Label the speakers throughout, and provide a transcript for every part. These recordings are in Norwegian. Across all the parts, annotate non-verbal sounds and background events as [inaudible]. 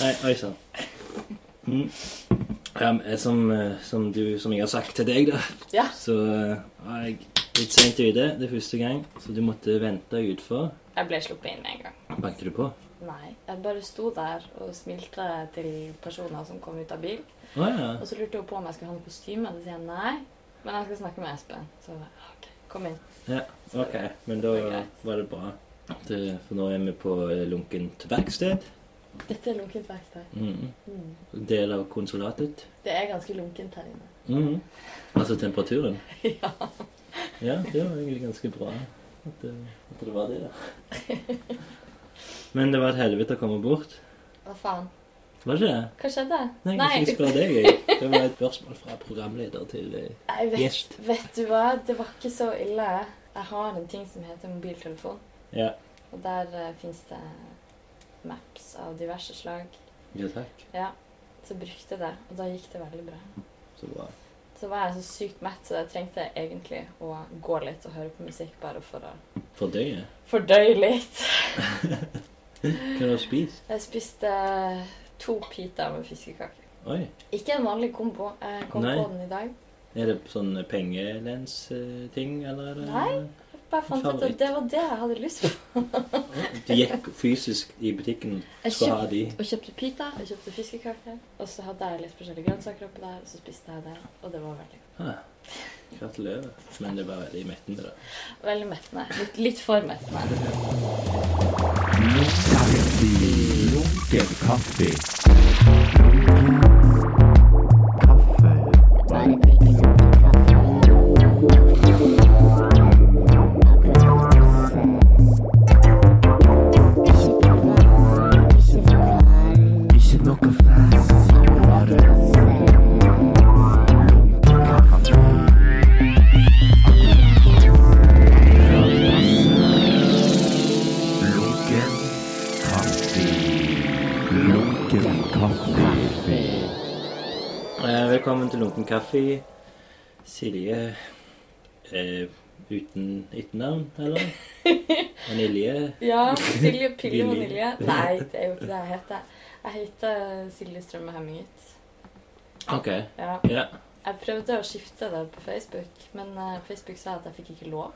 Speaker 1: Nei, oi sann. Mm. Um, eh, som, eh, som, du, som jeg har sagt til deg, da,
Speaker 2: Ja.
Speaker 1: så eh, var jeg litt seint ute. Det er første gang, så du måtte vente utfor.
Speaker 2: Jeg ble sluppet inn med en gang.
Speaker 1: Banket du på?
Speaker 2: Nei. Jeg bare sto der og smilte til personer som kom ut av bil.
Speaker 1: Å ja.
Speaker 2: Og så lurte hun på om jeg skulle ha noe kostyme. Og så sier jeg nei, men jeg skal snakke med Espen. Så jeg bare, ok, kom inn.
Speaker 1: Ok, men da
Speaker 2: Det er greit.
Speaker 1: var det bra. Det, for nå er vi på eh, lunkent verksted.
Speaker 2: Dette er lunkent verksted.
Speaker 1: Mm.
Speaker 2: Mm.
Speaker 1: Del av konsulatet.
Speaker 2: Det er ganske lunkent her inne.
Speaker 1: Mm. Altså temperaturen.
Speaker 2: [laughs] ja.
Speaker 1: Ja, det var egentlig ganske bra at det, at det var det, da.
Speaker 2: [laughs]
Speaker 1: Men det var et helvete å komme bort.
Speaker 2: Hva faen?
Speaker 1: Var det ikke det?
Speaker 2: Hva skjedde?
Speaker 1: Nei, jeg skal spørre deg. jeg. Det var et spørsmål fra programleder til eh,
Speaker 2: Jeg vet,
Speaker 1: gjest.
Speaker 2: vet du hva? Det var ikke så ille. Jeg har en ting som heter mobiltelefon.
Speaker 1: Ja.
Speaker 2: Og der uh, fins det maps av diverse slag.
Speaker 1: Ja, takk.
Speaker 2: Ja. Så brukte jeg det, og da gikk det veldig bra.
Speaker 1: Så bra.
Speaker 2: Så var jeg så sykt mett, så jeg trengte egentlig å gå litt og høre på musikk bare for å
Speaker 1: For døgnet.
Speaker 2: fordøye litt.
Speaker 1: Hva har du spist?
Speaker 2: Jeg spiste to pita med fiskekaker.
Speaker 1: Oi.
Speaker 2: Ikke en vanlig kombo. Jeg kom
Speaker 1: Nei.
Speaker 2: på den i dag.
Speaker 1: Er det sånn pengelens-ting, eller? er det-
Speaker 2: Nei. Jeg bare fant ut
Speaker 1: Favoritt.
Speaker 2: at det var det jeg hadde lyst på.
Speaker 1: Du gikk fysisk i butikken
Speaker 2: Jeg
Speaker 1: for å ha de.
Speaker 2: Og kjøpte pita, jeg kjøpte fiskekaker. Og så hadde jeg litt forskjellige grønnsaker oppi der, og så spiste jeg det. Og det var veldig godt.
Speaker 1: Ah, Gratulerer. Men det var veldig mettende, da.
Speaker 2: Veldig mettende. Litt, litt for mettende.
Speaker 3: Lunken kaffe. Kaffe. Ikke noe fast, bare lunken kaffe. Lunken kaffe. Lunken kaffe.
Speaker 1: Eh, velkommen til Lunken kaffe. Silje eh, uten etternavn,
Speaker 2: [laughs]
Speaker 1: eller? Vanilje.
Speaker 2: Ja, Silje Pille
Speaker 1: Billig.
Speaker 2: Vanilje. Nei, det er jo ikke det jeg heter. Jeg heter Silje Strømme Hemmingut.
Speaker 1: OK.
Speaker 2: Ja.
Speaker 1: Ja.
Speaker 2: Jeg prøvde å skifte det på Facebook, men eh, Facebook sa at jeg fikk ikke lov.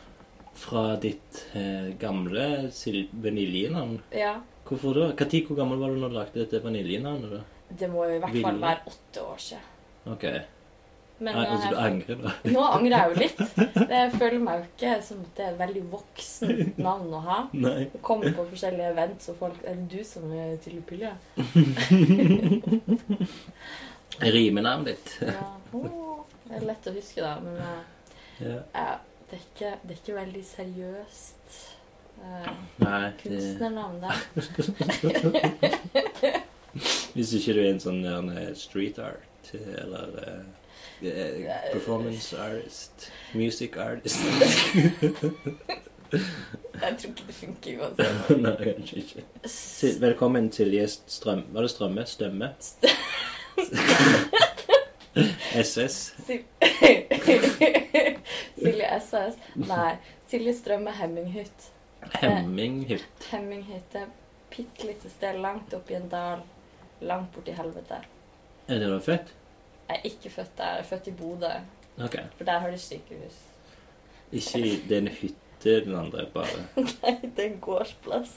Speaker 1: Fra ditt eh, gamle sil- vaniljenavn.
Speaker 2: Ja,
Speaker 1: Hvorfor da? Hva tid, hvor gammel var du når du lagde dette vaniljenavnet? da?
Speaker 2: Det må jo i hvert fall
Speaker 1: Ville.
Speaker 2: være åtte år siden.
Speaker 1: Ok,
Speaker 2: Men eh,
Speaker 1: Nei,
Speaker 2: nå
Speaker 1: altså du
Speaker 2: har jeg-
Speaker 1: angrer da? [laughs]
Speaker 2: nå angrer jeg jo litt. Jeg føler meg jo ikke som at det er et veldig voksent navn å ha.
Speaker 1: Nei.
Speaker 2: Du kommer på forskjellige events, og folk Er det du som er til Pille?
Speaker 1: Rimenavnet ditt. [laughs]
Speaker 2: Ja. Åh, Det er lett å huske, da. Men eh,
Speaker 1: Ja.
Speaker 2: ja, det, er ikke, det er ikke veldig seriøst eh,
Speaker 1: Nei, det...
Speaker 2: kunstnernavn, da.
Speaker 1: hvis ikke du er en sånn der, eh, street art, eller eh, eh, performance artist, music artist. [laughs]
Speaker 2: Jeg tror ikke det funker uansett.
Speaker 1: Nei, kanskje ikke. Til, velkommen til gjest Strøm... Var det Strømme? Stømme? [laughs]
Speaker 2: St-
Speaker 1: SS?
Speaker 2: Sil- [laughs] Silje SS. Nei. Silje Strømme Hemminghytt.
Speaker 1: Hemming? Hypp.
Speaker 2: Hemming heter bitte lite sted langt oppi en dal, langt borti helvete.
Speaker 1: Er det da fett?
Speaker 2: Jeg er ikke født der, jeg er født i Bodø,
Speaker 1: Ok.
Speaker 2: for der har de sykehus. [laughs]
Speaker 1: Ikke det er en hytte den andre, bare.
Speaker 2: Nei, det er en gårdsplass.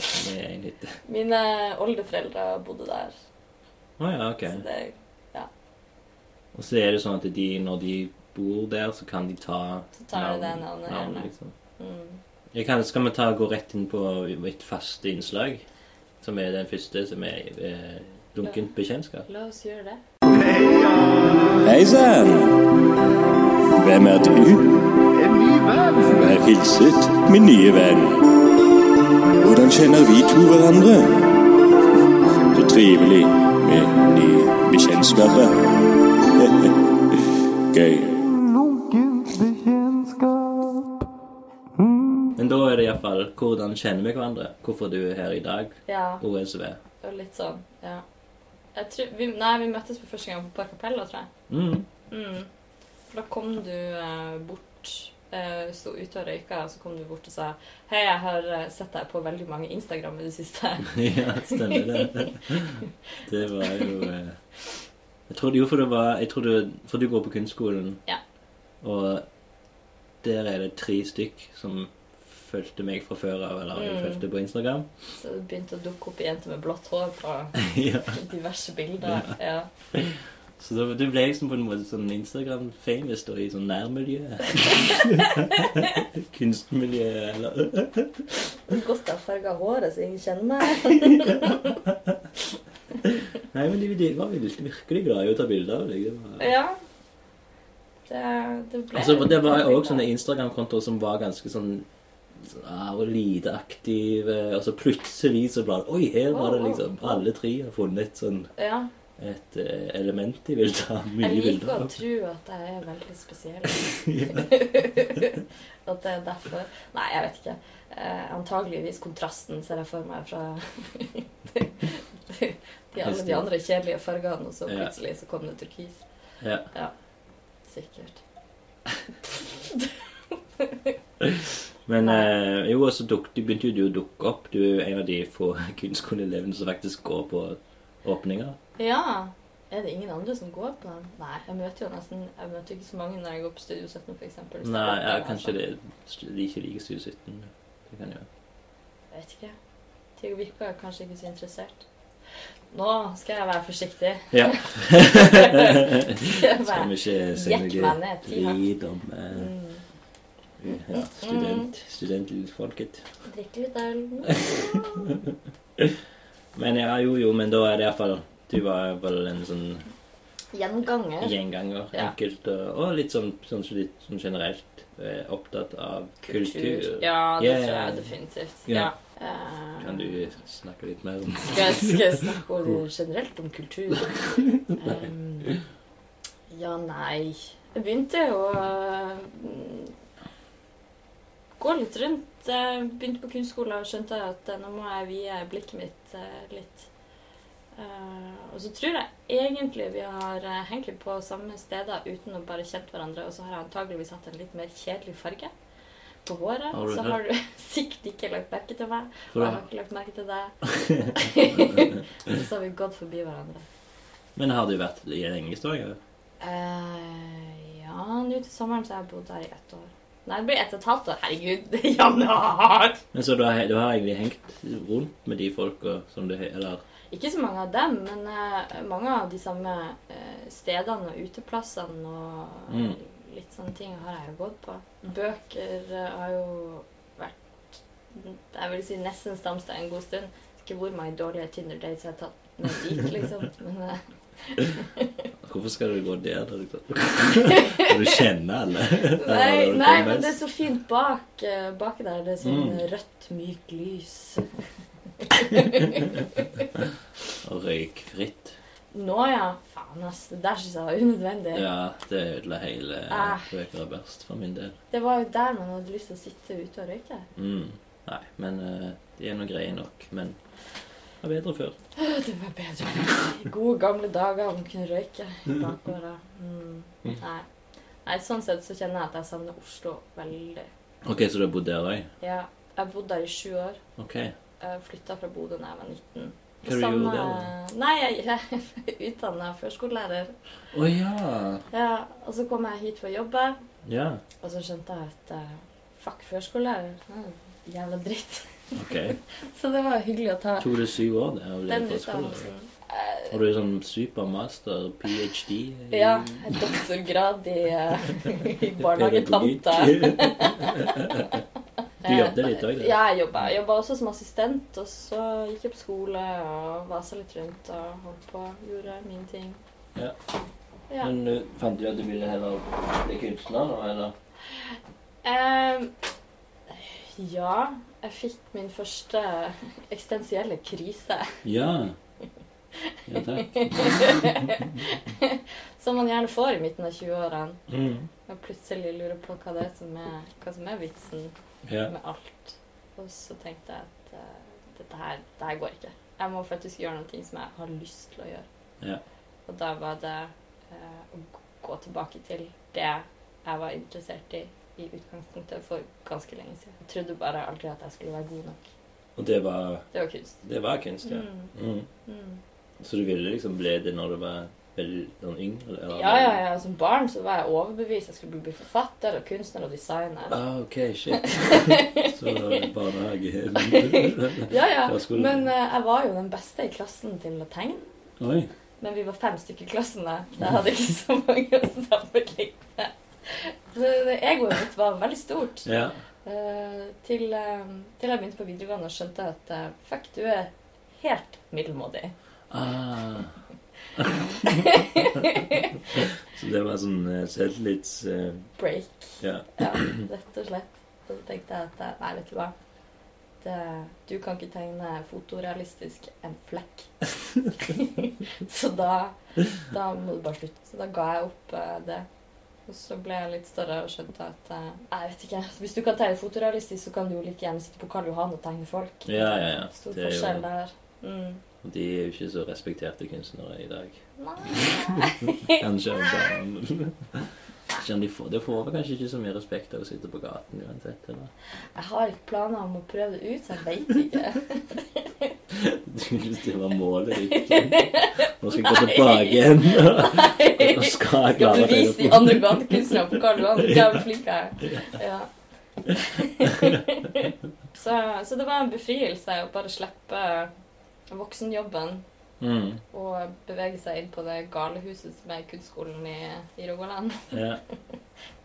Speaker 1: Det er en hytte.
Speaker 2: Mine oldeforeldre bodde der.
Speaker 1: Å ja, ok.
Speaker 2: Så det er
Speaker 1: Og så er det sånn at de, når de bor der, så kan de ta
Speaker 2: Så tar de det navnet, gjerne.
Speaker 1: liksom.
Speaker 2: mm.
Speaker 1: Jeg kan, skal vi ta gå rett inn på mitt faste innslag, som er den første, som er eh, lunkent bekjentskap?
Speaker 2: La oss gjøre det.
Speaker 4: Hei sann! Hvem er du? Vær hilset, min nye venn. Hvordan kjenner vi to hverandre? Så trivelig med nye bekjentskaper. [laughs] Gøy.
Speaker 1: Men da er det iallfall hvordan kjenner vi hverandre? Hvorfor du er her i dag?
Speaker 2: Ja,
Speaker 1: OSV.
Speaker 2: og litt sånn. Ja. Jeg tror, vi, nei, vi møttes på første gang på Park Capella, tror jeg.
Speaker 1: Mm.
Speaker 2: Mm. For da kom du eh, bort eh, sto ute og røyka, og så kom du bort og sa Hei, jeg har eh, sett deg på veldig mange Instagram i det siste. [laughs]
Speaker 1: [laughs] ja, stemmer det. Det var jo eh, Jeg trodde jo for det var jeg trodde, For du går på kunstskolen,
Speaker 2: Ja.
Speaker 1: og der er det tre stykk som fulgte meg fra før av, eller jeg
Speaker 2: Mm.
Speaker 1: fulgte på Instagram. [laughs]
Speaker 2: Så det begynte å dukke opp jenter med blått hår på
Speaker 1: ja.
Speaker 2: [laughs] diverse bilder. Ja.
Speaker 1: Så da, du ble liksom på en måte sånn Instagram-famous da, i sånn
Speaker 2: [laughs]
Speaker 1: nærmiljø. [laughs] Kunstmiljø, eller
Speaker 2: Godt jeg har farga håret, så ingen kjenner meg.
Speaker 1: Nei, men de, de var virkelig, virkelig glad i å ta bilder av deg. Det var...
Speaker 2: Ja. Det, det ble
Speaker 1: Altså, det var jo også sånne Instagram-kontoer som var ganske sånn sånn, ah, og lite aktive. Og så plutselig så bare Oi, her var det liksom Alle tre har funnet sånn
Speaker 2: Ja.
Speaker 1: et eh, element de vil ta mye
Speaker 2: Jeg liker
Speaker 1: bilder
Speaker 2: å
Speaker 1: av.
Speaker 2: tro at jeg er veldig
Speaker 1: [laughs]
Speaker 2: spesiell.
Speaker 1: Ja.
Speaker 2: at det er derfor Nei, jeg vet ikke. Eh, antageligvis kontrasten ser jeg for meg fra [laughs] de, de, alle de andre kjedelige fargene, og så
Speaker 1: Ja.
Speaker 2: plutselig så kom det turkis.
Speaker 1: Ja.
Speaker 2: Sikkert.
Speaker 1: Men eh, jo, og så duk, du begynte jo du å dukke opp. Du er jo en av de få [laughs] kunstskoleelevene som faktisk går på åpninger.
Speaker 2: Ja. Er det ingen andre som går på den? Nei, jeg møter jo nesten Jeg møter ikke så mange når jeg går på Studio 17, f.eks.
Speaker 1: Nei, ja,
Speaker 2: sånn,
Speaker 1: kanskje det, de ikke liker Studio 17. Det kan jo
Speaker 2: Jeg vet ikke. De virker kanskje ikke så interessert. Nå skal jeg være forsiktig.
Speaker 1: Ja.
Speaker 2: [laughs]
Speaker 1: [laughs]
Speaker 2: Jeg
Speaker 1: Skal
Speaker 2: bare-
Speaker 1: vi ikke si
Speaker 2: Jekk
Speaker 1: noe
Speaker 2: meg ned, ti hakk.
Speaker 1: drit om eh,
Speaker 2: Mm.
Speaker 1: Ja, student, studentfolket.
Speaker 2: Drikke litt øl.
Speaker 1: Men ja, jo, jo, men da er det iallfall Du var vel en sånn
Speaker 2: Gjenganger.
Speaker 1: gjenganger.
Speaker 2: Ja.
Speaker 1: Enkelt og, og litt sånn, sånn, litt sånn generelt eh, opptatt av kultur.
Speaker 2: Ja, det
Speaker 1: Yeah.
Speaker 2: tror jeg definitivt.
Speaker 1: Ja.
Speaker 2: Ja. Eh,
Speaker 1: Kan du snakke litt mer om
Speaker 2: Skal jeg, skal jeg snakke om, generelt om kultur? Em, ja, nei Jeg begynte jo å mm, gå litt rundt. eh, begynte på kunstskolen og skjønte at eh, nå må jeg vie blikket mitt eh, litt. Eh, og så tror jeg egentlig vi har eh, hengt litt på samme steder uten å bare kjent hverandre, og så har jeg antageligvis hatt en litt mer kjedelig farge på håret.
Speaker 1: Har du
Speaker 2: så
Speaker 1: det?
Speaker 2: har du [laughs] sikkert ikke lagt merke til meg. Og
Speaker 1: for
Speaker 2: jeg har
Speaker 1: da-
Speaker 2: ikke lagt merke til deg. Og så har vi gått forbi hverandre.
Speaker 1: Men har du vært i lenge, står jeg?
Speaker 2: Eh, ja, nå til sommeren så har jeg bodd her i ett år. Nei, det blir ett og et halvt år. Herregud, det er januar!
Speaker 1: Men så du har, du har egentlig hengt rundt med de folka som du Eller
Speaker 2: Ikke så mange av dem, men eh, mange av de samme eh, stedene og uteplassene og
Speaker 1: Mm.
Speaker 2: litt sånne ting har jeg jo gått på. Bøker eh, har jo vært Jeg vil si nesten stamstein en god stund. Ikke hvor mange dårlige Tinder dates jeg har tatt med dit, liksom. Men eh,
Speaker 1: Hvorfor skal du gå der, da? liksom? [laughs] Når du kjenner alle? Eller når
Speaker 2: Nei,
Speaker 1: du
Speaker 2: nei,
Speaker 1: kommer
Speaker 2: men det er
Speaker 1: mest?
Speaker 2: så fint bak, eh, bak der. Det er sånn
Speaker 1: Mm.
Speaker 2: rødt, mykt lys.
Speaker 1: Og røykfritt.
Speaker 2: Nå, ja. Faen, ass. Det der syns jeg var unødvendig.
Speaker 1: Ja, det ødela hele
Speaker 2: Ah.
Speaker 1: Bøker og børst for min del.
Speaker 2: Det var jo der man hadde lyst til å sitte ute og røyke.
Speaker 1: Mm. Nei, men eh, de er nå greie nok. Men det var bedre før.
Speaker 2: Å, Det var bedre.
Speaker 1: [laughs]
Speaker 2: I gode, gamle dager man kunne røyke i bakgårda. Mm.
Speaker 1: Mm.
Speaker 2: Nei. nei, sånn sett så kjenner jeg at jeg savner Oslo veldig.
Speaker 1: Ok, så du har bodd der òg?
Speaker 2: Ja, jeg bodde der i sju år.
Speaker 1: Ok.
Speaker 2: Flytta fra Bodø da jeg var 19.
Speaker 1: Hva du gjorde der?
Speaker 2: Nei, jeg [laughs] er utdanna førskolelærer.
Speaker 1: Å ja.
Speaker 2: Ja, og så kom jeg hit for å jobbe.
Speaker 1: Ja.
Speaker 2: Og så skjønte jeg at eh, fuck førskolelærer. Mm, jævla dritt. [laughs]
Speaker 1: Ok.
Speaker 2: Så det var hyggelig å ta
Speaker 1: Tok det syv år der å bli
Speaker 2: den
Speaker 1: førskolelærer?
Speaker 2: utdannelsen. Eh,
Speaker 1: Har du sånn supermaster ph.d.? i
Speaker 2: ja, en doktorgrad i, eh,
Speaker 1: [laughs]
Speaker 2: i barnehagetante.
Speaker 1: pedagogikk? Du jobbet litt òg,
Speaker 2: Eh,
Speaker 1: da?
Speaker 2: Ja, jeg jobba. Jeg jobba også som assistent. Og så gikk jeg på skole og vasa litt rundt og holdt på. Gjorde mine ting.
Speaker 1: Ja.
Speaker 2: Ja.
Speaker 1: Men du fant du at du ville heller bli kunstner nå, eller?
Speaker 2: Ehm, ja, jeg fikk min første [laughs] eksistensielle krise.
Speaker 1: Ja. Ja takk.
Speaker 2: Som man gjerne får i midten av 20-årene.
Speaker 1: Mm.
Speaker 2: Og plutselig lurer på hva det er som er, hva som er vitsen
Speaker 1: Ja.
Speaker 2: med alt. Og så tenkte jeg at eh, dette her, det her går ikke. Jeg må faktisk gjøre noe som jeg har lyst til å gjøre.
Speaker 1: Ja.
Speaker 2: Og da var det eh, å g- gå tilbake til det jeg var interessert i i utgangspunktet for ganske lenge siden. Jeg trodde bare aldri at jeg skulle være god nok.
Speaker 1: Og det var,
Speaker 2: Det var kunst.
Speaker 1: det var kunst, ja.
Speaker 2: Mm,
Speaker 1: Mm.
Speaker 2: mm.
Speaker 1: Så du ville liksom bli det når du var veldig sånn yngre? eller-
Speaker 2: Ja, ja, ja. Som barn så var jeg overbevist. Jeg skulle bli forfatter og kunstner og designer.
Speaker 1: Ah, ok,
Speaker 2: [laughs]
Speaker 1: shit. Så barnehage [laughs]
Speaker 2: Ja, ja.
Speaker 1: Ja, skulle-
Speaker 2: Men eh, jeg var jo den beste i klassen til å tegne.
Speaker 1: Oi.
Speaker 2: Men vi var fem stykker i klassen, da. Så jeg hadde ikke så mange å sammenligne. Så egoet mitt var veldig stort.
Speaker 1: Ja.
Speaker 2: Eh, til, eh, til jeg begynte på videregående og skjønte at eh, fuck, du er helt middelmådig.
Speaker 1: Ah. [laughs] Så det var sånn eh, selvtillits... eh,
Speaker 2: Break,
Speaker 1: Ja.
Speaker 2: ja, rett og slett. Og så tenkte jeg at eh, nei, vet du hva. Det, du kan ikke tegne fotorealistisk en flekk. [laughs] så da, da må du bare slutte. Så da ga jeg opp eh, det. Og så ble jeg litt større og skjønte at eh, jeg vet ikke, hvis du kan tegne fotorealistisk, så kan du jo like gjerne sitte på Karl Johan og tegne folk.
Speaker 1: Ja, ja, ja.
Speaker 2: Stor
Speaker 1: Det er jo-
Speaker 2: forskjell der. Mm.
Speaker 1: Og de er jo ikke så respekterte kunstnere i dag.
Speaker 2: Nei.
Speaker 1: [laughs] Kanskje om dagen. [laughs] Ikke om de får, de får vel kanskje ikke så mye respekt av å sitte på gaten uansett. Eller?
Speaker 2: Jeg har ikke planer om å prøve det ut, så jeg veit ikke.
Speaker 1: Hvis det var målet ditt. Nå skal jeg gå tilbake igjen. Nå [laughs] skal jeg
Speaker 2: Skal
Speaker 1: klare
Speaker 2: bevise de andre gatekunstnerne på Karl Johan hvor jævlig flink jeg er. Ja. så, [laughs] så det var en befrielse å bare slippe voksenjobben
Speaker 1: Mm,
Speaker 2: og bevege seg inn på det gale huset som er kunstskolen i, i Rogaland.
Speaker 1: ja.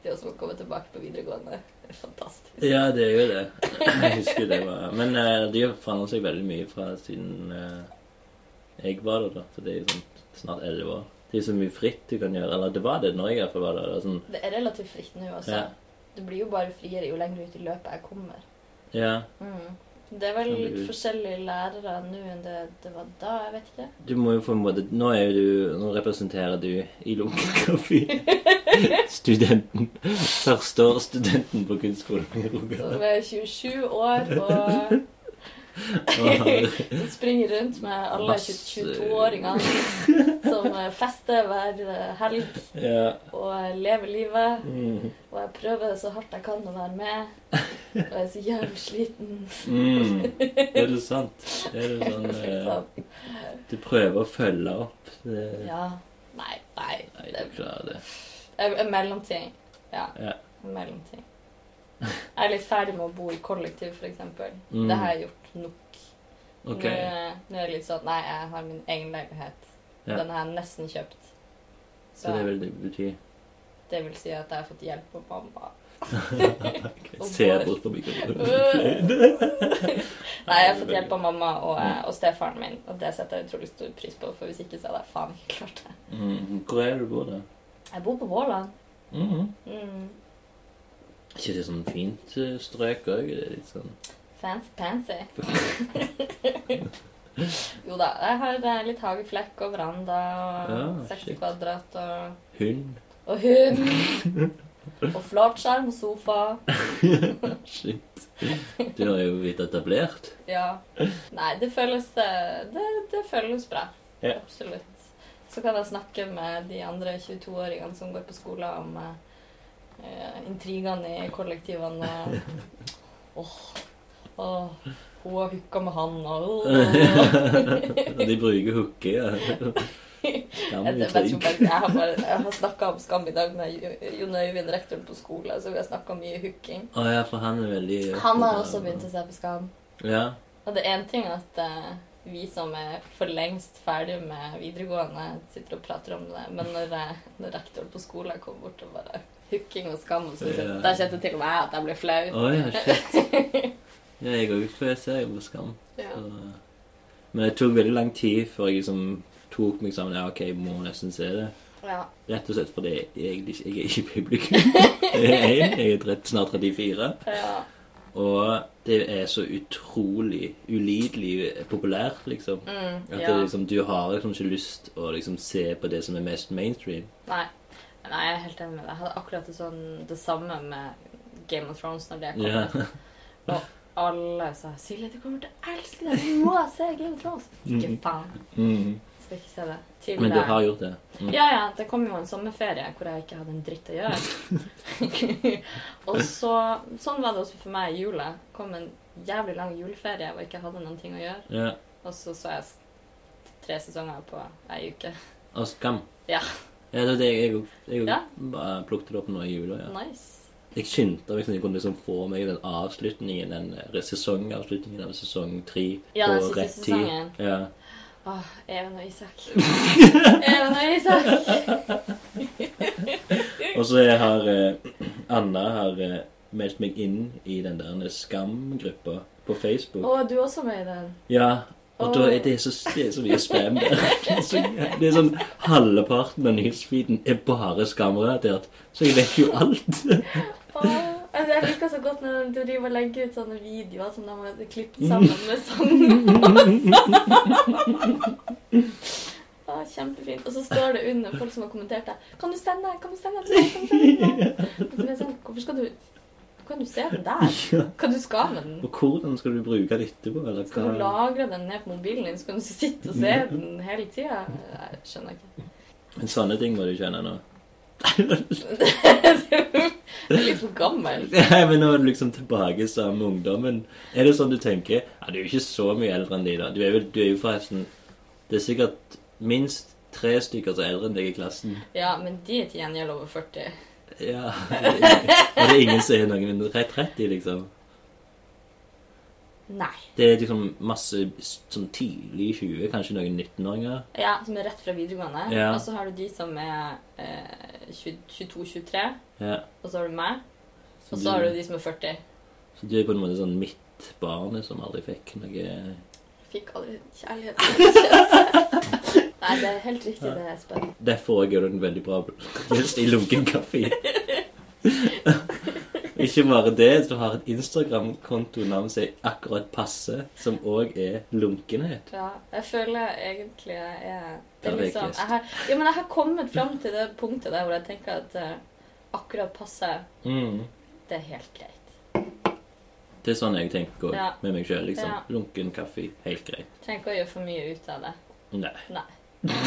Speaker 2: Det å komme tilbake på videregående. Fantastisk.
Speaker 1: ja, det er jo det. Jeg husker det var Men eh, de har forandret seg veldig mye fra siden eh, jeg var der, da. Så det er jo sånn snart elleve år. Det er så mye fritt du kan gjøre. Eller det var det når jeg i hvert fall var der. Det er sånn,
Speaker 2: Det er relativt fritt nå, altså.
Speaker 1: Ja.
Speaker 2: Du blir jo bare friere jo lenger ut i løpet jeg kommer.
Speaker 1: ja.
Speaker 2: Mm. Det er vel
Speaker 1: Kan du-
Speaker 2: litt forskjellige lærere nå enn det det var da. Jeg vet ikke.
Speaker 1: Du må jo på en måte Nå, er jo du, nå representerer du i
Speaker 2: [laughs]
Speaker 1: Lunkekafé studenten. Førsteårsstudenten på kunstskolen i Rogaland.
Speaker 2: Som er 27
Speaker 1: [laughs]
Speaker 2: år og [laughs]
Speaker 1: Og har-
Speaker 2: som springer rundt med alle
Speaker 1: Masse-
Speaker 2: 22-åringene som fester hver helg
Speaker 1: Ja.
Speaker 2: og lever livet.
Speaker 1: Mm.
Speaker 2: Og jeg prøver så hardt jeg kan å være med, og jeg er så jævlig sliten.
Speaker 1: Mm. Er det sant? Er det
Speaker 2: [laughs]
Speaker 1: sånn eh,
Speaker 2: Så,
Speaker 1: Du prøver å følge opp det?
Speaker 2: ja. Nei, nei.
Speaker 1: Nei,
Speaker 2: Det
Speaker 1: du klarer det.
Speaker 2: En en mellomting. Ja.
Speaker 1: Ja.
Speaker 2: En mellomting. Jeg er litt ferdig med å bo i kollektiv, f.eks. eksempel
Speaker 1: Mm.
Speaker 2: Det har jeg gjort nok.
Speaker 1: OK.
Speaker 2: Nå, er- nå er det litt sånn at nei, jeg har min egen leilighet.
Speaker 1: Ja.
Speaker 2: Den har jeg nesten kjøpt. Så,
Speaker 1: Så det vil det bety
Speaker 2: [laughs] det vil si at jeg har fått hjelp av
Speaker 1: [laughs]
Speaker 2: mamma.
Speaker 1: Ok, Se bort på mikrofonen.
Speaker 2: [laughs] nei, jeg har fått hjelp av mamma og, eh, og stefaren min, og det setter jeg utrolig stor pris på, for hvis ikke så hadde jeg faen ikke klart det.
Speaker 1: Mm. Hvor er det du bor, da?
Speaker 2: Jeg bor på Våland.
Speaker 1: Mm.
Speaker 2: Mm.
Speaker 1: Ikke det sånn fint eh, strøk òg? Det er litt sånn
Speaker 2: Fancy
Speaker 1: [laughs]
Speaker 2: pansy. jo da, jeg har eh, litt hageflekk og veranda og
Speaker 1: Ja,
Speaker 2: 60
Speaker 1: shit.
Speaker 2: kvadrat og,
Speaker 1: hund?
Speaker 2: og hund.
Speaker 1: [laughs]
Speaker 2: og flatskjerm og sofa.
Speaker 1: Shit. Du har jo blitt etablert.
Speaker 2: Ja. Nei, det føles, eh, det, det føles bra.
Speaker 1: Ja.
Speaker 2: Absolutt. Så kan jeg snakke med de andre 22-åringene som går på skole om eh, eh, intrigene i kollektivene. og- Åh, åh, hun har hooka med han,
Speaker 1: [laughs]
Speaker 2: og
Speaker 1: Og de bruker hooke,
Speaker 2: [laughs]
Speaker 1: ja. Skam
Speaker 2: Jeg,
Speaker 1: i
Speaker 2: jeg, vet ikke om
Speaker 1: trygg.
Speaker 2: jeg, jeg har, bare- jeg har snakka om Skam i dag med Jo- Jon Øyvind, rektoren på skole, så vi har snakka mye hooking.
Speaker 1: Å ja, for han er veldig
Speaker 2: Han har også begynt å se på Skam.
Speaker 1: Ja.
Speaker 2: Og det er én ting at eh, vi som er for lengst ferdig med videregående, sitter og prater om det, men når, eh, når rektoren på skolen kommer bort og bare hooking og skam og
Speaker 1: Ja.
Speaker 2: sånn, Da kjente til og med jeg at jeg ble flau.
Speaker 1: Å ja, shit. Ja, jeg òg ser jo på Skam.
Speaker 2: Ja.
Speaker 1: så- Men det tok veldig lang tid før jeg liksom tok meg sammen. Ja, OK, jeg må nesten se det.
Speaker 2: Ja.
Speaker 1: Rett og slett fordi jeg egentlig ikke jeg er ikke publikum.
Speaker 2: [laughs]
Speaker 1: Jeg er en, jeg er trett- snart 34.
Speaker 2: ja.
Speaker 1: Og det er så utrolig ulidelig populært, liksom. At
Speaker 2: Mm,
Speaker 1: det,
Speaker 2: ja.
Speaker 1: er liksom, du har liksom ikke lyst å liksom se på det som er mest mainstream.
Speaker 2: Nei. Nei, jeg er helt enig med deg. Jeg hadde akkurat det, sånn, det samme med Game of Thrones når det kom.
Speaker 1: Ja. [laughs]
Speaker 2: Og alle sa 'Silje, du kommer til å elske det! Du må se Game of Thrones!' Ikke faen. Skal ikke se det. Til,
Speaker 1: Mm. Men du
Speaker 2: eh,
Speaker 1: har gjort det?
Speaker 2: Ja, ja. Det kom jo en sommerferie hvor jeg ikke hadde en dritt å
Speaker 1: [laughs]
Speaker 2: gjøre. og så, sånn var det også for meg i jula. kom en jævlig lang juleferie hvor jeg ikke hadde noen ting å gjøre.
Speaker 1: Ja.
Speaker 2: Og så så jeg s- tre sesonger på ei uke.
Speaker 1: Og skam?
Speaker 2: Ja.
Speaker 1: Ja, det er det jeg òg. Jeg
Speaker 2: Ja.
Speaker 1: bare plukket det opp nå i jula. ja.
Speaker 2: Nice.
Speaker 1: Jeg skyndte meg sånn at jeg kunne liksom få meg den avslutningen, den eh, sesongavslutningen av sesong tre
Speaker 2: Ja, den
Speaker 1: på
Speaker 2: siste
Speaker 1: rett tid.
Speaker 2: sesongen.
Speaker 1: Ja.
Speaker 2: Åh, Even og Isak. [laughs] Even og Isak!
Speaker 1: Og så jeg har eh, [clears throat] Anna har eh, meldt meg inn i den der skamgruppa på Facebook.
Speaker 2: Og du er også med i den.
Speaker 1: Ja, og da er det så, det er så mye spam
Speaker 2: [laughs]
Speaker 1: der. Så Det er sånn halvparten av nyhetsfeeden er bare skamrelatert, så jeg vet jo alt.
Speaker 2: Åh, altså, jeg liker så godt når du driver og legger ut sånne videoer som de har klippet sammen med [laughs] sanger. Åh, kjempefint. Og så står det under folk som har kommentert det. Kan du sende? Kan du sende? til meg? Kan du sende? til meg?» Og så blir jeg sånn, Hvorfor skal du Kan du se den der?
Speaker 1: Ja.
Speaker 2: Hva du skal med den?
Speaker 1: Og hvordan skal du bruke det etterpå? Eller
Speaker 2: Skal du
Speaker 1: hva?
Speaker 2: lagre den ned på mobilen din, så kan du sitte og se den hele tida? Jeg skjønner ikke.
Speaker 1: Men sånne ting må du skjønne nå. [laughs]
Speaker 2: Det er litt for gammel.
Speaker 1: Nei, men nå er du liksom tilbake sammen med ungdommen. Er det sånn du tenker? Ja, du er jo ikke så mye eldre enn de, da. Du er, vel, du er jo forresten Det er sikkert minst tre stykker som er eldre enn deg i klassen.
Speaker 2: Ja, men de er til gjengjeld over 40.
Speaker 1: Ja. [laughs] Og det er ingen som er noen mindre enn 30, liksom.
Speaker 2: Nei.
Speaker 1: Det er liksom masse sånn tidlig 20, kanskje noen 19-åringer.
Speaker 2: Ja, som er rett fra videregående.
Speaker 1: Ja.
Speaker 2: Og så har du de som er eh, 22-23.
Speaker 1: Ja.
Speaker 2: Og så har du meg.
Speaker 1: Så
Speaker 2: Og
Speaker 1: du-
Speaker 2: så har du de som er 40.
Speaker 1: Så du er på en måte sånn mitt barnet som aldri fikk noe
Speaker 2: Fikk aldri kjærlighet.
Speaker 1: [laughs]
Speaker 2: Nei, det er helt riktig det, Espen.
Speaker 1: Derfor også gjør du en veldig bra gjest i lunken kaffe. Ikke bare det, du har et Instagram-kontonavn som er akkurat passe, som òg er lunkenhet.
Speaker 2: Ja, jeg føler egentlig jeg er det er
Speaker 1: Perfekt
Speaker 2: liksom,
Speaker 1: gjest.
Speaker 2: jeg har, Ja, men jeg har kommet fram til det punktet der hvor jeg tenker at eh, akkurat passe,
Speaker 1: Mm.
Speaker 2: det er helt greit.
Speaker 1: Det er sånn jeg tenker også,
Speaker 2: Ja.
Speaker 1: med meg sjøl. Liksom.
Speaker 2: Ja.
Speaker 1: Lunken kaffe, helt greit.
Speaker 2: Trenger ikke å gjøre for mye ut av det.
Speaker 1: Nei. [laughs]
Speaker 2: Nei. [laughs]
Speaker 1: Bare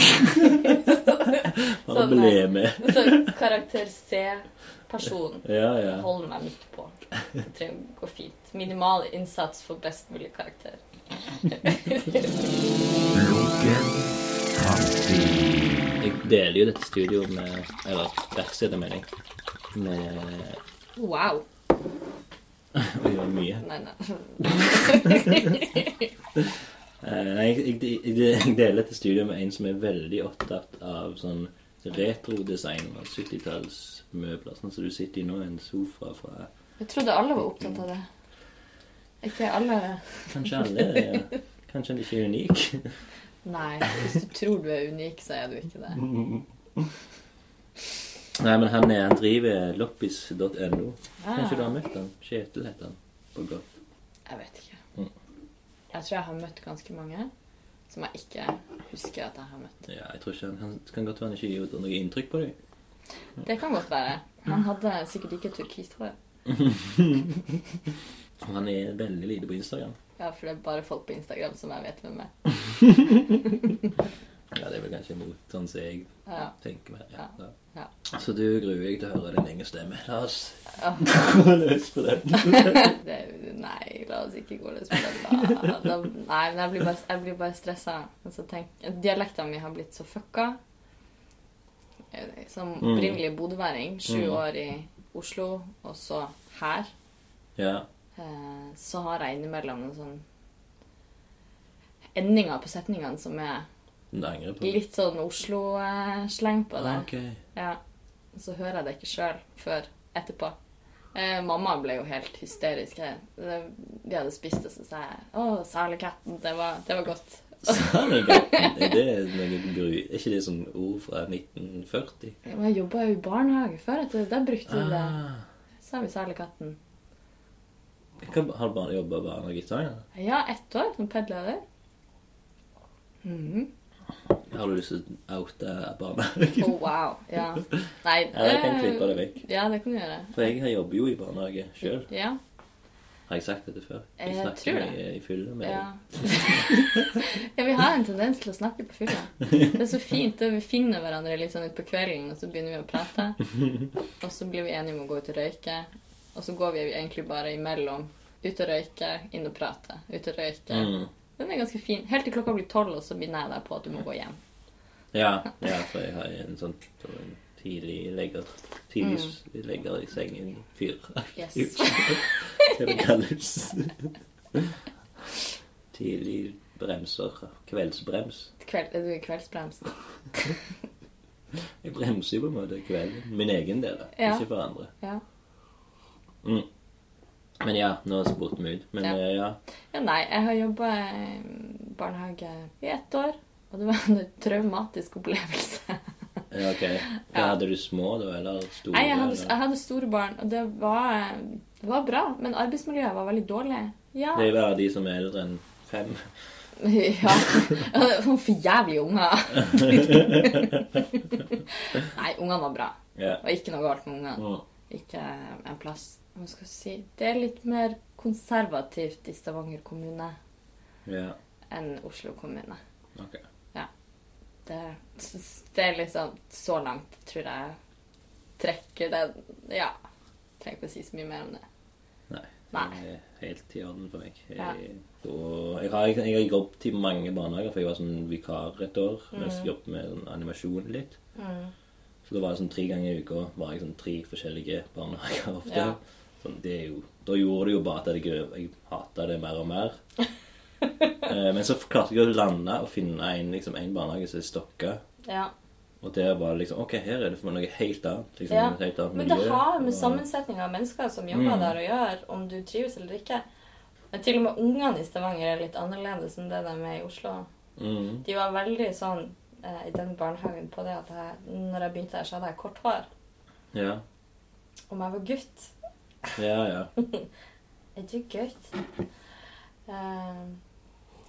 Speaker 2: Sånn,
Speaker 1: ble
Speaker 2: eh,
Speaker 1: med.
Speaker 2: Så karakter C-person
Speaker 1: Ja, ja.
Speaker 2: holder meg midt på. Det trenger å gå fint. Minimal innsats for best mulig karakter.
Speaker 3: Lunken kaffe.
Speaker 1: Jeg deler jo dette studioet med Eller verkstedet, mener jeg. Med
Speaker 2: Wow.
Speaker 1: Vi gjør mye.
Speaker 2: Nei, nei.
Speaker 1: Eh, Nei, jeg, jeg, jeg, jeg deler dette studioet med en som er veldig opptatt av sånn retrodesign og 70-tallsmøbler. Sånn som du sitter i nå, en sofa fra
Speaker 2: Jeg trodde alle var opptatt av det. Ikke alle
Speaker 1: Kanskje alle er Kanskje han ikke er unik. [laughs]
Speaker 2: Nei. Hvis du tror du er unik, så er du ikke det.
Speaker 1: Nei, men han, er, han driver loppis.no.
Speaker 2: Ah,
Speaker 1: Kanskje du har møtt han? Kjetil heter han. På Goff.
Speaker 2: Jeg vet ikke. Jeg tror jeg har møtt ganske mange som jeg ikke husker at jeg har møtt.
Speaker 1: Ja, jeg tror ikke han, han det kan godt være han ikke gjør noe inntrykk på deg.
Speaker 2: Det kan godt være. Han hadde sikkert ikke turkist hår.
Speaker 1: Han er veldig lite på Instagram.
Speaker 2: Ja, for det er bare folk på Instagram som jeg vet hvem er.
Speaker 1: Ja, det er vel kanskje mot sånn som jeg
Speaker 2: Ja.
Speaker 1: tenker meg. Ja, ja.
Speaker 2: Ja.
Speaker 1: Så du gruer deg til å høre din egen stemme. La oss
Speaker 2: Ja.
Speaker 1: [laughs] gå løs på den.
Speaker 2: Det, er jo- nei, la oss ikke gå løs på det. Da, da, nei, men jeg blir bare, jeg blir bare stressa. Men så tenk- Dialekten min har blitt så fucka. Eh, Som opprinnelig bodøværing, sju
Speaker 1: Mm.
Speaker 2: år i Oslo, og så her,
Speaker 1: Ja.
Speaker 2: eh, så har jeg innimellom noen sånn endinger på setningene som er
Speaker 1: Du angrer på det?
Speaker 2: litt sånn Oslo-sleng på det.
Speaker 1: Ah, ok.
Speaker 2: Ja. Og så hører jeg det ikke sjøl før etterpå. Eh, mamma ble jo helt hysterisk. Jeg- det- Vi hadde spist, og så sa jeg 'Å, salekatten, det var, det var godt'.
Speaker 1: Sannheten. Er det noe gru... Er ikke det sånn ord fra 1940?
Speaker 2: Ja, Men jeg jobba jo i barnehage før, at det- der brukte vi det.
Speaker 1: Ah.
Speaker 2: Så sa vi 'salekatten'.
Speaker 1: Jeg kan- Har du bare jobba barnehage i Stavanger?
Speaker 2: Ja, ett år som pedleder.
Speaker 1: [laughs]
Speaker 2: Mhm.
Speaker 1: Har du lyst til å oute barnehage? [laughs]
Speaker 2: Å, wow. Ja. Nei
Speaker 1: Ja, jeg kan klippe det vekk.
Speaker 2: Ja, det kan du gjøre.
Speaker 1: For jeg har jobber jo i barnehage sjøl.
Speaker 2: Ja.
Speaker 1: Har jeg sagt dette før?
Speaker 2: Jeg
Speaker 1: snakker
Speaker 2: tror det.
Speaker 1: mye i fylla med
Speaker 2: Ja. [laughs] ja, vi har en tendens til å snakke på fylla. Det er så fint. det Vi finner hverandre litt sånn utpå kvelden, og så begynner vi å prate. Og så blir vi enige om å gå ut og røyke. Og så går vi egentlig bare imellom. Ut og røyke, inn og prate. Ut og røyke.
Speaker 1: Mm.
Speaker 2: Den er ganske fin. Helt til klokka blir tolv, og så begynner jeg deg på at du må gå hjem.
Speaker 1: Ja, ja, for jeg har en sånn sånn tidlig legger Tidlig
Speaker 2: Mm.
Speaker 1: legger i sengen fyr. [laughs]
Speaker 2: Yes.
Speaker 1: Hva det kalles. Tidlig bremser. Kveldsbrems.
Speaker 2: [laughs] Kveld, er du i kveldsbrems?
Speaker 1: Jeg bremser jo på en måte kvelden. Min egen del, da.
Speaker 2: Ja.
Speaker 1: ikke for andre.
Speaker 2: Ja.
Speaker 1: Mm. Men ja, nå spurte vi ut. Men
Speaker 2: Ja.
Speaker 1: eh, ja.
Speaker 2: Ja, nei, jeg har jobba i barnehage i ett år, og det var en traumatisk opplevelse.
Speaker 1: ja. Ok. Hva
Speaker 2: Ja.
Speaker 1: Hadde du små da, eller store?
Speaker 2: Nei, jeg hadde, jeg
Speaker 1: eller?
Speaker 2: hadde store barn, og det var, det var bra, men arbeidsmiljøet var veldig dårlig. Ja.
Speaker 1: Det er jo bare de som er eldre enn fem.
Speaker 2: [laughs] ja. [laughs] Sånn for jævlige unger. [laughs] Nei, ungene var bra.
Speaker 1: Ja.
Speaker 2: Det var ikke noe galt med ungene.
Speaker 1: Mm.
Speaker 2: Ikke en plass. Hva skal jeg si? Det er litt mer konservativt i Stavanger kommune
Speaker 1: Ja.
Speaker 2: enn Oslo kommune.
Speaker 1: Ok.
Speaker 2: Det, det er liksom så langt, tror jeg, trekker den Ja. Trenger ikke å si så mye mer om det.
Speaker 1: Nei.
Speaker 2: Nei.
Speaker 1: Det er helt i orden for meg. Jeg,
Speaker 2: Ja.
Speaker 1: og jeg, har, jeg har jobbet i mange barnehager, for jeg var sånn vikar et år
Speaker 2: Mm.
Speaker 1: mens jeg jobbet med sånn animasjon litt. Så da var det sånn tre ganger i uka var jeg sånn tre forskjellige barnehager ofte.
Speaker 2: Ja.
Speaker 1: Sånn, det er jo, da gjorde det jo bare at jeg, jeg hata det mer og
Speaker 2: [laughs]
Speaker 1: mer. Eh, Men så klarte jeg å lande og finne en, liksom, en barnehage som er stokka.
Speaker 2: Ja.
Speaker 1: Og der var det liksom Ok, her er det for meg noe helt annet. Liksom,
Speaker 2: Ja,
Speaker 1: et helt annet
Speaker 2: Men det
Speaker 1: miljø,
Speaker 2: har med
Speaker 1: og-
Speaker 2: sammensetninga av mennesker som jobber
Speaker 1: Mm.
Speaker 2: der å gjøre, om du trives eller ikke. Men til og med ungene i Stavanger er litt annerledes enn det de er i Oslo.
Speaker 1: mm,
Speaker 2: De var veldig sånn eh, i den barnehagen på det at jeg, når jeg begynte der, så hadde jeg kort hår.
Speaker 1: Ja,
Speaker 2: Om jeg var gutt.
Speaker 1: ja. ja.
Speaker 2: Er du gutt? Eh,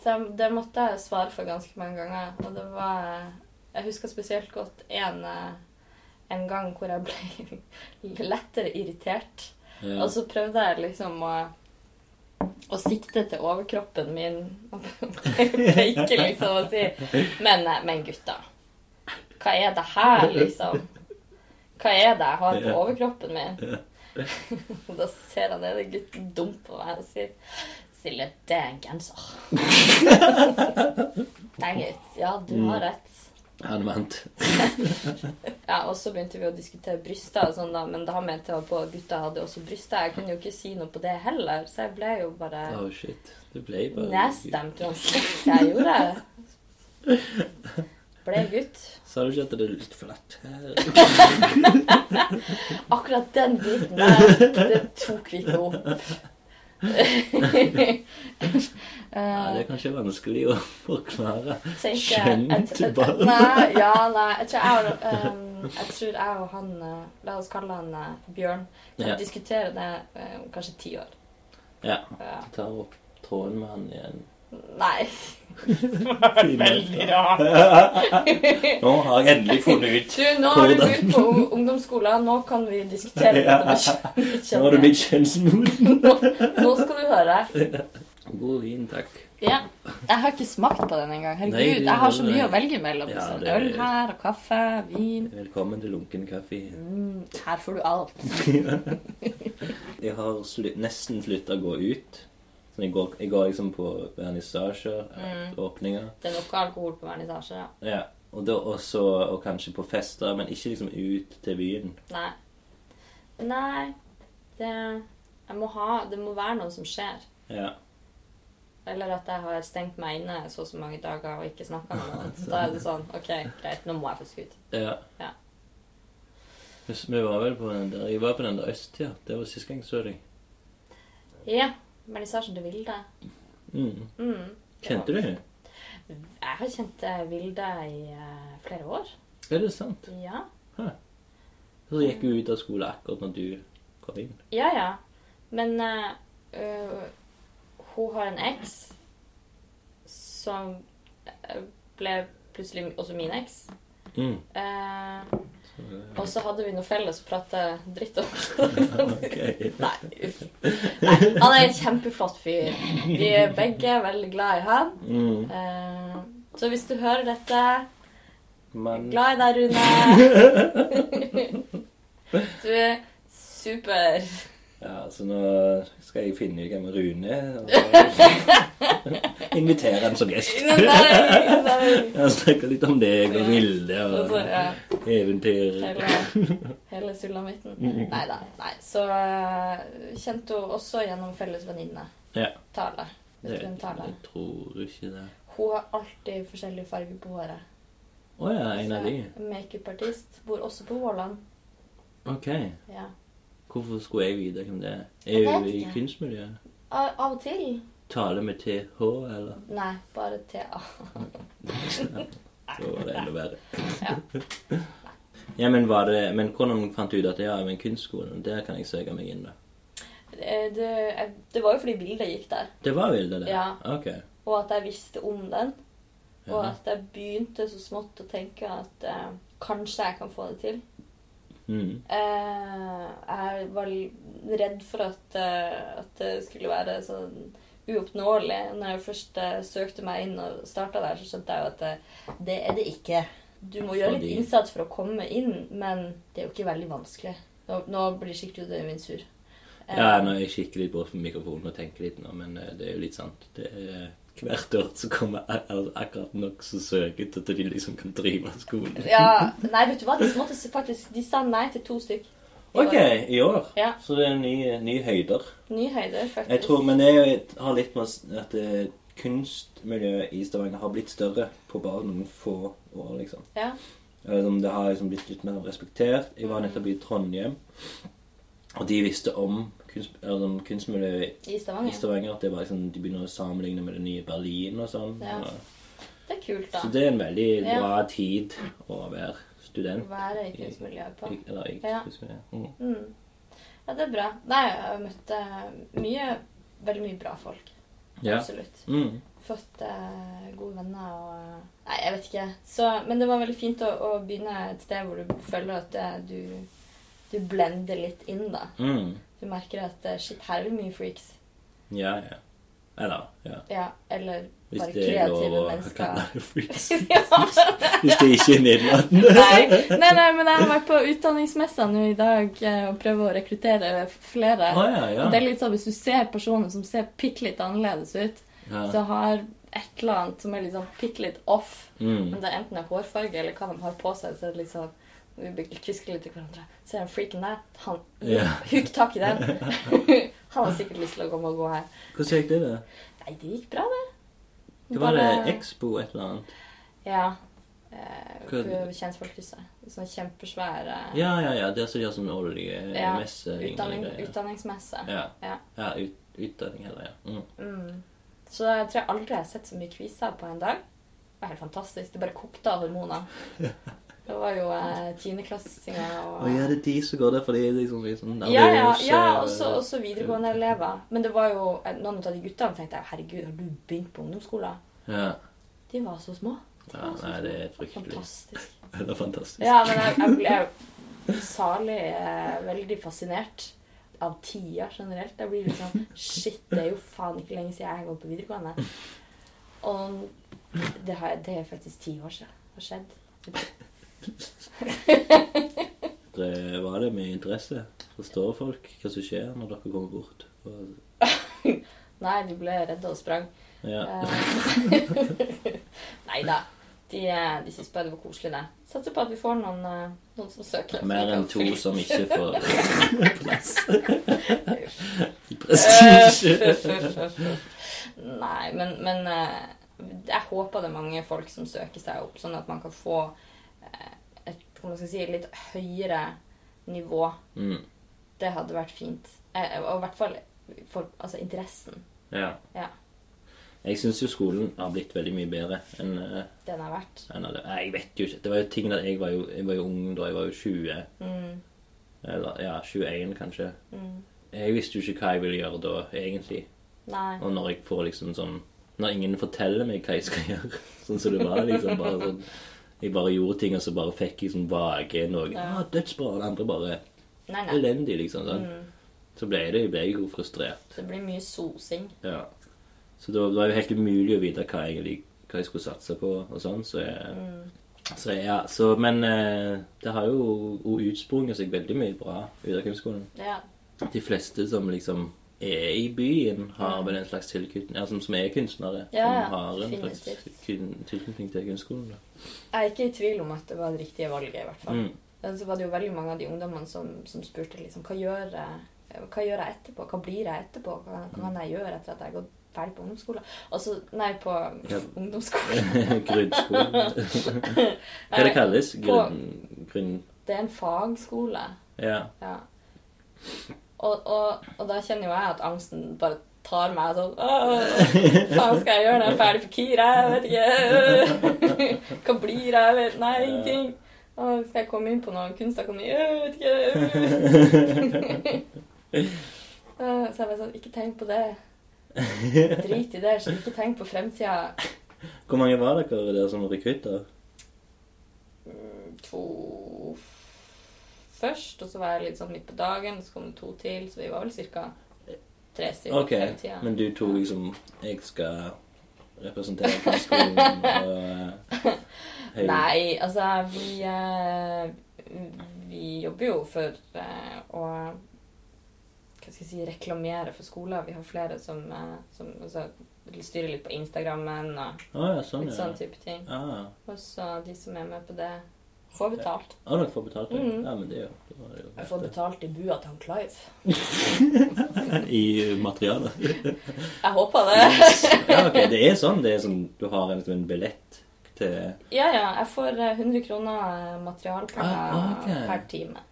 Speaker 2: så jeg, det måtte jeg svare for ganske mange ganger. Og det var Jeg husker spesielt godt en, eh, en gang hvor jeg ble [laughs] lettere irritert.
Speaker 1: ja.
Speaker 2: Og så prøvde jeg liksom å, å sikte til overkroppen min og [laughs] peke liksom og si Men, eh, men gutta, hva er det her, liksom? Hva er det jeg har på overkroppen min? [laughs] Og da ser han ene gutten dum på meg og sier Silje, det er en genser. Dang it. Ja, du har rett.
Speaker 1: Han vant.
Speaker 2: Ja, og så begynte vi å diskutere bryster og sånn, da, men da mente jeg på at gutta hadde også bryster. Jeg kunne jo ikke si noe på det heller, så jeg ble jo bare
Speaker 1: Oh shit. Det ble bare
Speaker 2: nedstemt uansett hva jeg gjorde. Ble gutt.
Speaker 1: Sa du ikke at det er litt flatt her?
Speaker 2: Akkurat den biten der, det tok vi ikke opp. [laughs]
Speaker 1: Nei,
Speaker 2: Eh,
Speaker 1: det er kanskje vanskelig å [laughs] forklare.
Speaker 2: Skjønte
Speaker 1: Skjønte barn.
Speaker 2: Nei, ja, nei. Jeg tror jeg, og, ehm, jeg tror jeg og han eh, La oss kalle han eh, Bjørn. Kan
Speaker 1: Ja.
Speaker 2: diskutere det eh, om kanskje ti år.
Speaker 1: Ja.
Speaker 2: Ja.
Speaker 1: Jeg tar opp tråden med han igjen.
Speaker 2: Nei.
Speaker 1: Veldig rart. [laughs] Nå har jeg endelig funnet ut.
Speaker 2: Du, nå har du
Speaker 1: Hvordan?
Speaker 2: begynt på ung- ungdomsskolen. Nå kan vi diskutere
Speaker 1: Ja.
Speaker 2: dette med kjønn-
Speaker 1: Nå har du blitt kjønnsmoden.
Speaker 2: Nå, nå skal du høre.
Speaker 1: God vin, takk.
Speaker 2: Ja. Jeg har ikke smakt på den engang. Herregud,
Speaker 1: Nei, det-
Speaker 2: jeg har så mye å velge mellom.
Speaker 1: Ja,
Speaker 2: sånn
Speaker 1: det-
Speaker 2: Øl her, og kaffe, vin
Speaker 1: Velkommen til lunken kaffe.
Speaker 2: mm, Her får du alt.
Speaker 1: Jeg har slu nesten sluttet å gå ut. Så jeg går, jeg går liksom på vernissasjer, eh, åpninger.
Speaker 2: Det er noe alkohol på vernissasje, ja.
Speaker 1: Ja. Og, da også, og kanskje på fester, men ikke liksom ut til byen.
Speaker 2: Nei. Nei. Det jeg må ha Det må være noe som skjer.
Speaker 1: Ja.
Speaker 2: Eller at jeg har stengt meg inne så og så mange dager og ikke snakka med noen. Da er det sånn OK, greit, nå må jeg faktisk ut.
Speaker 1: Ja.
Speaker 2: Ja.
Speaker 1: Hvis Vi var vel på den der Jeg var på den der østtida. Det var sist gang jeg så deg.
Speaker 2: Ja. Vernissasjen til Vilde.
Speaker 1: Mm.
Speaker 2: Mm.
Speaker 1: Kjente du henne?
Speaker 2: Jeg har kjent eh, Vilde i eh, flere år.
Speaker 1: Er det sant?
Speaker 2: Ja.
Speaker 1: Så gikk hun ut av skole akkurat når du kom inn.
Speaker 2: Ja, ja. Men eh, øh, hun har en eks som eh, ble plutselig også min eks.
Speaker 1: Mm.
Speaker 2: Eh,
Speaker 1: Så
Speaker 2: Og så hadde vi noe felles og prata dritt om
Speaker 1: Ok.
Speaker 2: Nei, uff. Nei, han er en kjempeflott fyr. Vi er begge veldig glad i han.
Speaker 1: Mm.
Speaker 2: Eh, Så hvis du hører dette
Speaker 1: Men
Speaker 2: Glad i deg,
Speaker 1: [laughs]
Speaker 2: Rune. Du er super.
Speaker 1: Ja, så nå skal jeg finne ut hvem Rune er. og
Speaker 2: [laughs]
Speaker 1: så Invitere han som gjest.
Speaker 2: Nei,
Speaker 1: [laughs]
Speaker 2: nei, nei.
Speaker 1: Jeg snakker litt om deg og Vilde og
Speaker 2: Altså, ja.
Speaker 1: eventyr.
Speaker 2: Hele, hele sulamitten. Nei da. Nei. Så eh, kjente hun også gjennom felles venninne.
Speaker 1: Ja.
Speaker 2: Tale. Vet
Speaker 1: Det,
Speaker 2: du hvem Tale
Speaker 1: jeg
Speaker 2: er?
Speaker 1: tror ikke det.
Speaker 2: Hun har alltid forskjellig farge på håret.
Speaker 1: Å ja, en av de.
Speaker 2: Så Makeupartist. Bor også på Våland.
Speaker 1: Ok.
Speaker 2: Ja.
Speaker 1: Hvorfor skulle jeg vite hvem det er?
Speaker 2: Jeg
Speaker 1: Er hun
Speaker 2: vet
Speaker 1: i
Speaker 2: ikke.
Speaker 1: kunstmiljøet?
Speaker 2: Av av og til.
Speaker 1: Tale med TH, eller?
Speaker 2: Nei, bare
Speaker 1: [laughs]
Speaker 2: TA.
Speaker 1: Så var det enda
Speaker 2: [laughs]
Speaker 1: verre.
Speaker 2: Ja.
Speaker 1: Ja, men, var det, men hvordan fant du ut at ja, men kunstskolen, der kan jeg søke meg inn, da?
Speaker 2: Eh, Det, jeg- det var jo fordi bildet gikk der.
Speaker 1: Det var Vilde, det?
Speaker 2: Ja.
Speaker 1: Ok.
Speaker 2: Og at jeg visste om den. Og
Speaker 1: Jaha.
Speaker 2: at jeg begynte så smått å tenke at eh, kanskje jeg kan få det til.
Speaker 1: Mm.
Speaker 2: Eh, jeg var l- redd for at, eh, at det skulle være sånn uoppnåelig. Når jeg først eh, søkte meg inn og starta der, så skjønte jeg jo at eh, det er det ikke. Du må gjøre
Speaker 1: Fordi-
Speaker 2: litt innsats for å komme inn, men det er jo ikke veldig vanskelig. Nå, nå blir skikkelig døden min sur. Eh,
Speaker 1: Ja, nå er jeg skikkelig bort på mikrofonen og tenker litt nå, men eh, det er jo litt sant. Det er eh, hvert år så kommer ak- altså, akkurat nok så søket til at de liksom kan drive skolen.
Speaker 2: ja, Nei, vet du hva? De, måtte s- faktisk, de sa nei til to stykk. i år.
Speaker 1: Ok, i år.
Speaker 2: Ja.
Speaker 1: Så det er nye, nye høyder.
Speaker 2: Nye høyder, faktisk.
Speaker 1: Jeg tror, Men jeg har litt med oss at eh, kunstmiljøet i Stavanger har blitt større på bare noen få år, liksom.
Speaker 2: Ja.
Speaker 1: Eller om Det har liksom blitt litt mer respektert. Jeg var nettopp i Trondheim, og de visste om kunst, eller om kunstmiljøet
Speaker 2: I
Speaker 1: i
Speaker 2: Stavanger.
Speaker 1: Stavanger. At det var liksom, de begynner å sammenligne med det nye Berlin og sånn.
Speaker 2: Ja,
Speaker 1: Og-
Speaker 2: Det er kult, da.
Speaker 1: Så det er en veldig
Speaker 2: Ja.
Speaker 1: bra tid å være student.
Speaker 2: Være i kunstmiljøet på.
Speaker 1: I- Eller ikke
Speaker 2: Ja.
Speaker 1: kunstmiljø. Mm.
Speaker 2: Mm. Ja, det er bra. Nei, jeg har møtt eh, mye Veldig mye bra folk.
Speaker 1: Ja.
Speaker 2: Absolutt.
Speaker 1: Mm.
Speaker 2: Fått eh, gode venner og eh, Nei, jeg vet ikke. Så, men det var veldig fint å, å begynne et sted hvor du føler at eh, du, du blender litt inn, da.
Speaker 1: Mm.
Speaker 2: Du merker at eh, shit, her er det mye freaks.
Speaker 1: ja, ja. Eller ja.
Speaker 2: Ja, eller
Speaker 1: Hvis
Speaker 2: bare
Speaker 1: det er lov
Speaker 2: kreative
Speaker 1: å
Speaker 2: mennesker.
Speaker 1: kalle det [laughs] freaks.
Speaker 2: [laughs] ja.
Speaker 1: Hvis det ikke er nedlatende.
Speaker 2: Nei.
Speaker 1: [laughs]
Speaker 2: nei, nei, men jeg har vært på utdanningsmessa nå i dag eh, og prøver å rekruttere flere.
Speaker 1: Å ja, ja.
Speaker 2: Og Det er litt sånn, Hvis du ser personer som ser bitte litt annerledes ut,
Speaker 1: ja.
Speaker 2: så har et eller annet som er liksom bitte litt off
Speaker 1: Mm.
Speaker 2: Om det enten er hårfarge eller hva de har på seg, så er det liksom vi begynner å kviske litt til hverandre. Ser den freaken der? Han,
Speaker 1: Ja.
Speaker 2: Huk tak i den.
Speaker 1: [laughs]
Speaker 2: han har sikkert lyst til å komme og gå her.
Speaker 1: Hvordan gikk det, da?
Speaker 2: Nei, det gikk bra, det.
Speaker 1: Det var
Speaker 2: Bare-
Speaker 1: det Expo et eller annet?
Speaker 2: Ja. Eh,
Speaker 1: Hva-
Speaker 2: på Kjensfolkkrysset. Sånn kjempesvær eh,
Speaker 1: Ja, ja, ja. Der som gjør sånn årlige
Speaker 2: Ja, utdanning,
Speaker 1: messe-lignende greier.
Speaker 2: utdanningsmesse.
Speaker 1: Ja.
Speaker 2: Ja.
Speaker 1: ja ut, utdanning heller, ja. Mm.
Speaker 2: Mm. Så jeg tror jeg aldri har sett så mye kviser på en dag. Det var helt fantastisk. Det bare kokte
Speaker 1: [laughs]
Speaker 2: av hormoner. Det var jo eh, tiendeklassinger og
Speaker 1: Og ja, det er de som går der fordi de er liksom, liksom
Speaker 2: ja, ja,
Speaker 1: nervøse,
Speaker 2: ja,
Speaker 1: og-
Speaker 2: også, også videregående elever. Men det var jo eh, noen av de guttene tenkte jeg, herregud, har du begynt på ungdomsskolen?
Speaker 1: Ja.
Speaker 2: De var så små. De
Speaker 1: Ja,
Speaker 2: var så
Speaker 1: nei,
Speaker 2: små.
Speaker 1: det er fryktelig.
Speaker 2: Fantastisk.
Speaker 1: Eller fantastisk.
Speaker 2: Ja, men jeg, jeg ble salig eh, veldig fascinert av tida generelt. Jeg blir litt sånn Shit, det er jo faen ikke lenge siden jeg har gått på videregående. Og det, har, jeg- det er faktisk ti år siden det har skjedd.
Speaker 1: Det var det med interesse. Forstår folk hva som skjer når dere kommer bort? Og,
Speaker 2: Nei, de ble redde og sprang. Eh,
Speaker 1: ja.
Speaker 2: [laughs] Nei da. De, eh, de syns bare det var koselig, det. Satser på at vi får noen, eh, noen som søker.
Speaker 1: Mer enn to som ikke
Speaker 2: [laughs]
Speaker 1: får plass. Prestisje.
Speaker 2: Prestisje. [laughs] Nei, men, men eh, jeg håper det er mange folk som søker seg opp, sånn at man kan få eh, et hva man skal si, litt høyere nivå.
Speaker 1: Mm.
Speaker 2: Det hadde vært fint. Eh, Og i hvert fall for, altså, interessen.
Speaker 1: Ja.
Speaker 2: Ja,
Speaker 1: Jeg syns jo skolen har blitt veldig mye bedre enn eh,
Speaker 2: den har vært.
Speaker 1: enn at- Nei, Jeg vet jo ikke. Det var jo ting at jeg var jo, jeg var jo ung da. Jeg var jo 20.
Speaker 2: Mm,
Speaker 1: Eller ja, 21 kanskje.
Speaker 2: mm.
Speaker 1: Jeg visste jo ikke hva jeg ville gjøre da, egentlig.
Speaker 2: Nei.
Speaker 1: Og når [laughs] jeg får liksom sånn Når ingen forteller meg hva jeg skal gjøre, sånn som det var liksom bare sånn Jeg bare gjorde ting, og så bare fikk jeg sånn vage noe ah, Dødsbra! Og det andre bare
Speaker 2: Nei, nei.
Speaker 1: elendig, liksom. sånn. Så ble det, ble jeg jo frustrert.
Speaker 2: Det blir mye sosing.
Speaker 1: Ja. Så det var, det var jo helt umulig å vite hva jeg, egentlig- hva jeg skulle satse på og sånn. Så, jeg, så jeg- ja. Så, men eh, det har jo og utsprunget seg veldig mye bra ut av kunstskolen.
Speaker 2: Ja.
Speaker 1: De fleste som liksom er i byen, har vel en slags tilknytning altså, Som er kunstnere.
Speaker 2: Ja, ja,
Speaker 1: som har en slags
Speaker 2: definitivt.
Speaker 1: kun- tilknytning til kunstskolen. Da. [laughs]
Speaker 2: Jeg er ikke i tvil om at det var det riktige valget, i hvert fall.
Speaker 1: Mm.
Speaker 2: Men Så var det jo veldig mange av de ungdommene som, som spurte liksom, hva gjør jeg, hva gjør jeg etterpå, hva blir jeg etterpå, hva, hva kan jeg gjøre etter at jeg har gått ferdig på ungdomsskolen? Altså, nei, på
Speaker 1: Ja.
Speaker 2: [laughs] ungdomsskolen. [laughs]
Speaker 1: Grunnskolen. Hva det kalles? Grunn... grunn
Speaker 2: Det er en fagskole.
Speaker 1: ja.
Speaker 2: Ja. Og, og, og da kjenner jo jeg at angsten bare tar meg sånn Åh, faen skal jeg gjøre når jeg er ferdig på Kyr? Jeg vet ikke. [laughs] Hva blir jeg? Jeg vet Nei, ingenting. Åh, skal jeg komme inn på noe kunstakademi? Jeg vet ikke. [laughs] Åh, Så jeg bare sånn Ikke tenk på det. Drit i det. Så ikke tenk på fremtida.
Speaker 1: Hvor mange var dere der som rekrutter?
Speaker 2: To først, og så var jeg litt sånn midt på dagen, så kom det to til, så vi var vel ca. tre stykker
Speaker 1: Ok,
Speaker 2: hele tida.
Speaker 1: men du tok liksom Jeg skal representere kunstskolen og
Speaker 2: [laughs]
Speaker 1: eh, høy-
Speaker 2: Nei, altså vi eh, Vi jobber jo for eh, å Hva skal jeg si reklamere for skoler. Vi har flere som, eh, som altså, vil styre litt på Instagrammen og
Speaker 1: Å ja, sånn,
Speaker 2: litt
Speaker 1: ja.
Speaker 2: sånn type ting.
Speaker 1: Ah.
Speaker 2: Og så de som er med på det, får betalt.
Speaker 1: Å, dere får betalt, ja.
Speaker 2: Mhm.
Speaker 1: Ja, men det er jo det var jo
Speaker 2: Jeg får
Speaker 1: verdt
Speaker 2: betalt i bua til han Clive.
Speaker 1: det. I materialet.
Speaker 2: Jeg håper det.
Speaker 1: Ja, ok, det er sånn. Det er sånn du har en, en billett til
Speaker 2: Ja, ja. Jeg får eh, 100 kroner eh, materialpenger
Speaker 1: Ah, ok.
Speaker 2: per time.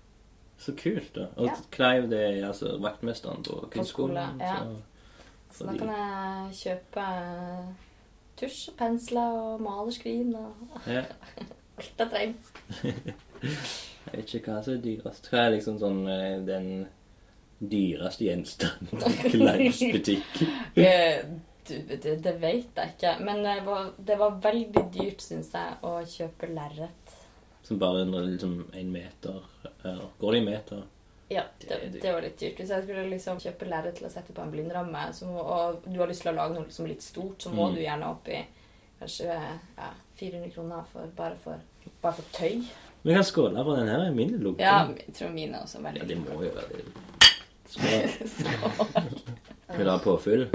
Speaker 1: Så kult, da. Og
Speaker 2: Ja.
Speaker 1: Clive, det er altså vaktmesteren på kunstskolen.
Speaker 2: skole, ja.
Speaker 1: så,
Speaker 2: Så da
Speaker 1: fordi-
Speaker 2: kan jeg kjøpe eh, tusj og pensler og malerskrin og
Speaker 1: ja.
Speaker 2: alt jeg trenger.
Speaker 1: Jeg vet ikke hva som er dyrast. Hva er liksom sånn eh, den dyreste gjenstanden
Speaker 2: [laughs]
Speaker 1: i Kleivs butikk?
Speaker 2: Eh, du, det, det vet jeg ikke. Men det var, det var veldig dyrt, syns jeg, å kjøpe lerret.
Speaker 1: Som bare er liksom en meter eller, Går det i meter?
Speaker 2: Ja,
Speaker 1: Det
Speaker 2: det,
Speaker 1: er dyrt.
Speaker 2: det var litt dyrt. Hvis jeg skulle liksom kjøpe lerret til å sette på en blindramme, så må, og du har lyst til å lage noe liksom litt stort, så må
Speaker 1: Mm.
Speaker 2: du gjerne opp i kanskje eh, ja, 400 kroner for, bare, for, bare for tøy.
Speaker 1: Vi kan skåle for den her. er Min logo.
Speaker 2: Ja, jeg tror mine er også
Speaker 1: Mm. ja,
Speaker 2: veldig
Speaker 1: det må jo være det. Skål.
Speaker 2: Så-
Speaker 1: Vil du ha påfyll?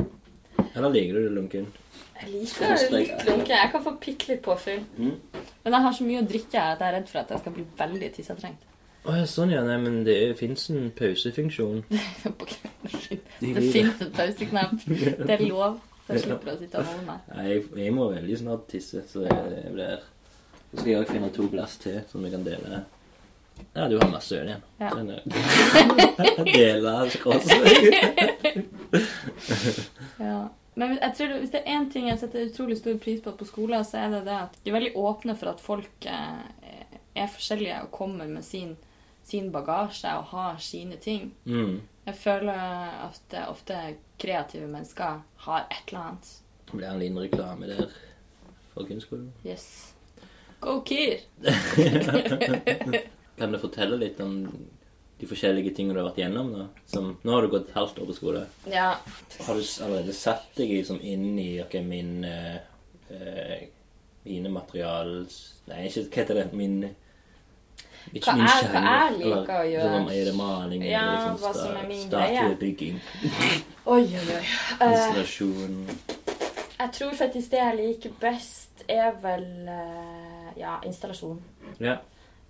Speaker 1: Eller liker du det lunken?
Speaker 2: [laughs] Jeg liker det litt lunke. Jeg kan få bitte litt påfyll.
Speaker 1: Mm.
Speaker 2: Men jeg har så mye å drikke at jeg er redd for at jeg skal bli veldig tissetrengt. [laughs]
Speaker 1: Å ja, sånn ja. Nei, men det fins en pausefunksjon.
Speaker 2: På kvelden.
Speaker 1: De
Speaker 2: det
Speaker 1: vil-
Speaker 2: fins en pauseknapp.
Speaker 1: [laughs]
Speaker 2: Det er lov. Så jeg slipper å sitte og holde meg.
Speaker 1: Nei, jeg, jeg må veldig snart tisse, så jeg blir Så skal jeg også finne to glass til som vi kan dele. Ja, du har masse øl igjen.
Speaker 2: Ja.
Speaker 1: Den er- [laughs] Dele skrosset.
Speaker 2: Ja. Men jeg tror det, hvis det er én ting jeg setter utrolig stor pris på på skolen, så er det det at de er veldig åpne for at folk eh, er forskjellige og kommer med sin, sin bagasje og har sine ting.
Speaker 1: Mm.
Speaker 2: Jeg føler at eh, ofte kreative mennesker har et eller annet.
Speaker 1: Det blir en liten reklame der for kunstskolen. [laughs]
Speaker 2: Yes. Go Kyr!
Speaker 1: Kan du fortelle litt om de forskjellige tingene du har vært gjennom? da? Som, nå har du gått et halvt år på skole.
Speaker 2: Ja.
Speaker 1: Har du s- allerede satt deg liksom inn i ok, min eh, eh, Mine material Nei, ikke hva heter det? Min ikke
Speaker 2: Hva
Speaker 1: min
Speaker 2: er- hva
Speaker 1: sjanger,
Speaker 2: jeg liker å
Speaker 1: eller
Speaker 2: gjøre?
Speaker 1: sånn, Er det maling?
Speaker 2: Ja,
Speaker 1: eller liksom
Speaker 2: hva som
Speaker 1: sta-
Speaker 2: er min
Speaker 1: Statuebygging?
Speaker 2: Oi, oi, oi. Eh,
Speaker 1: Installasjon?
Speaker 2: jeg tror faktisk det jeg liker best, er vel eh, ja, installasjon.
Speaker 1: Ja.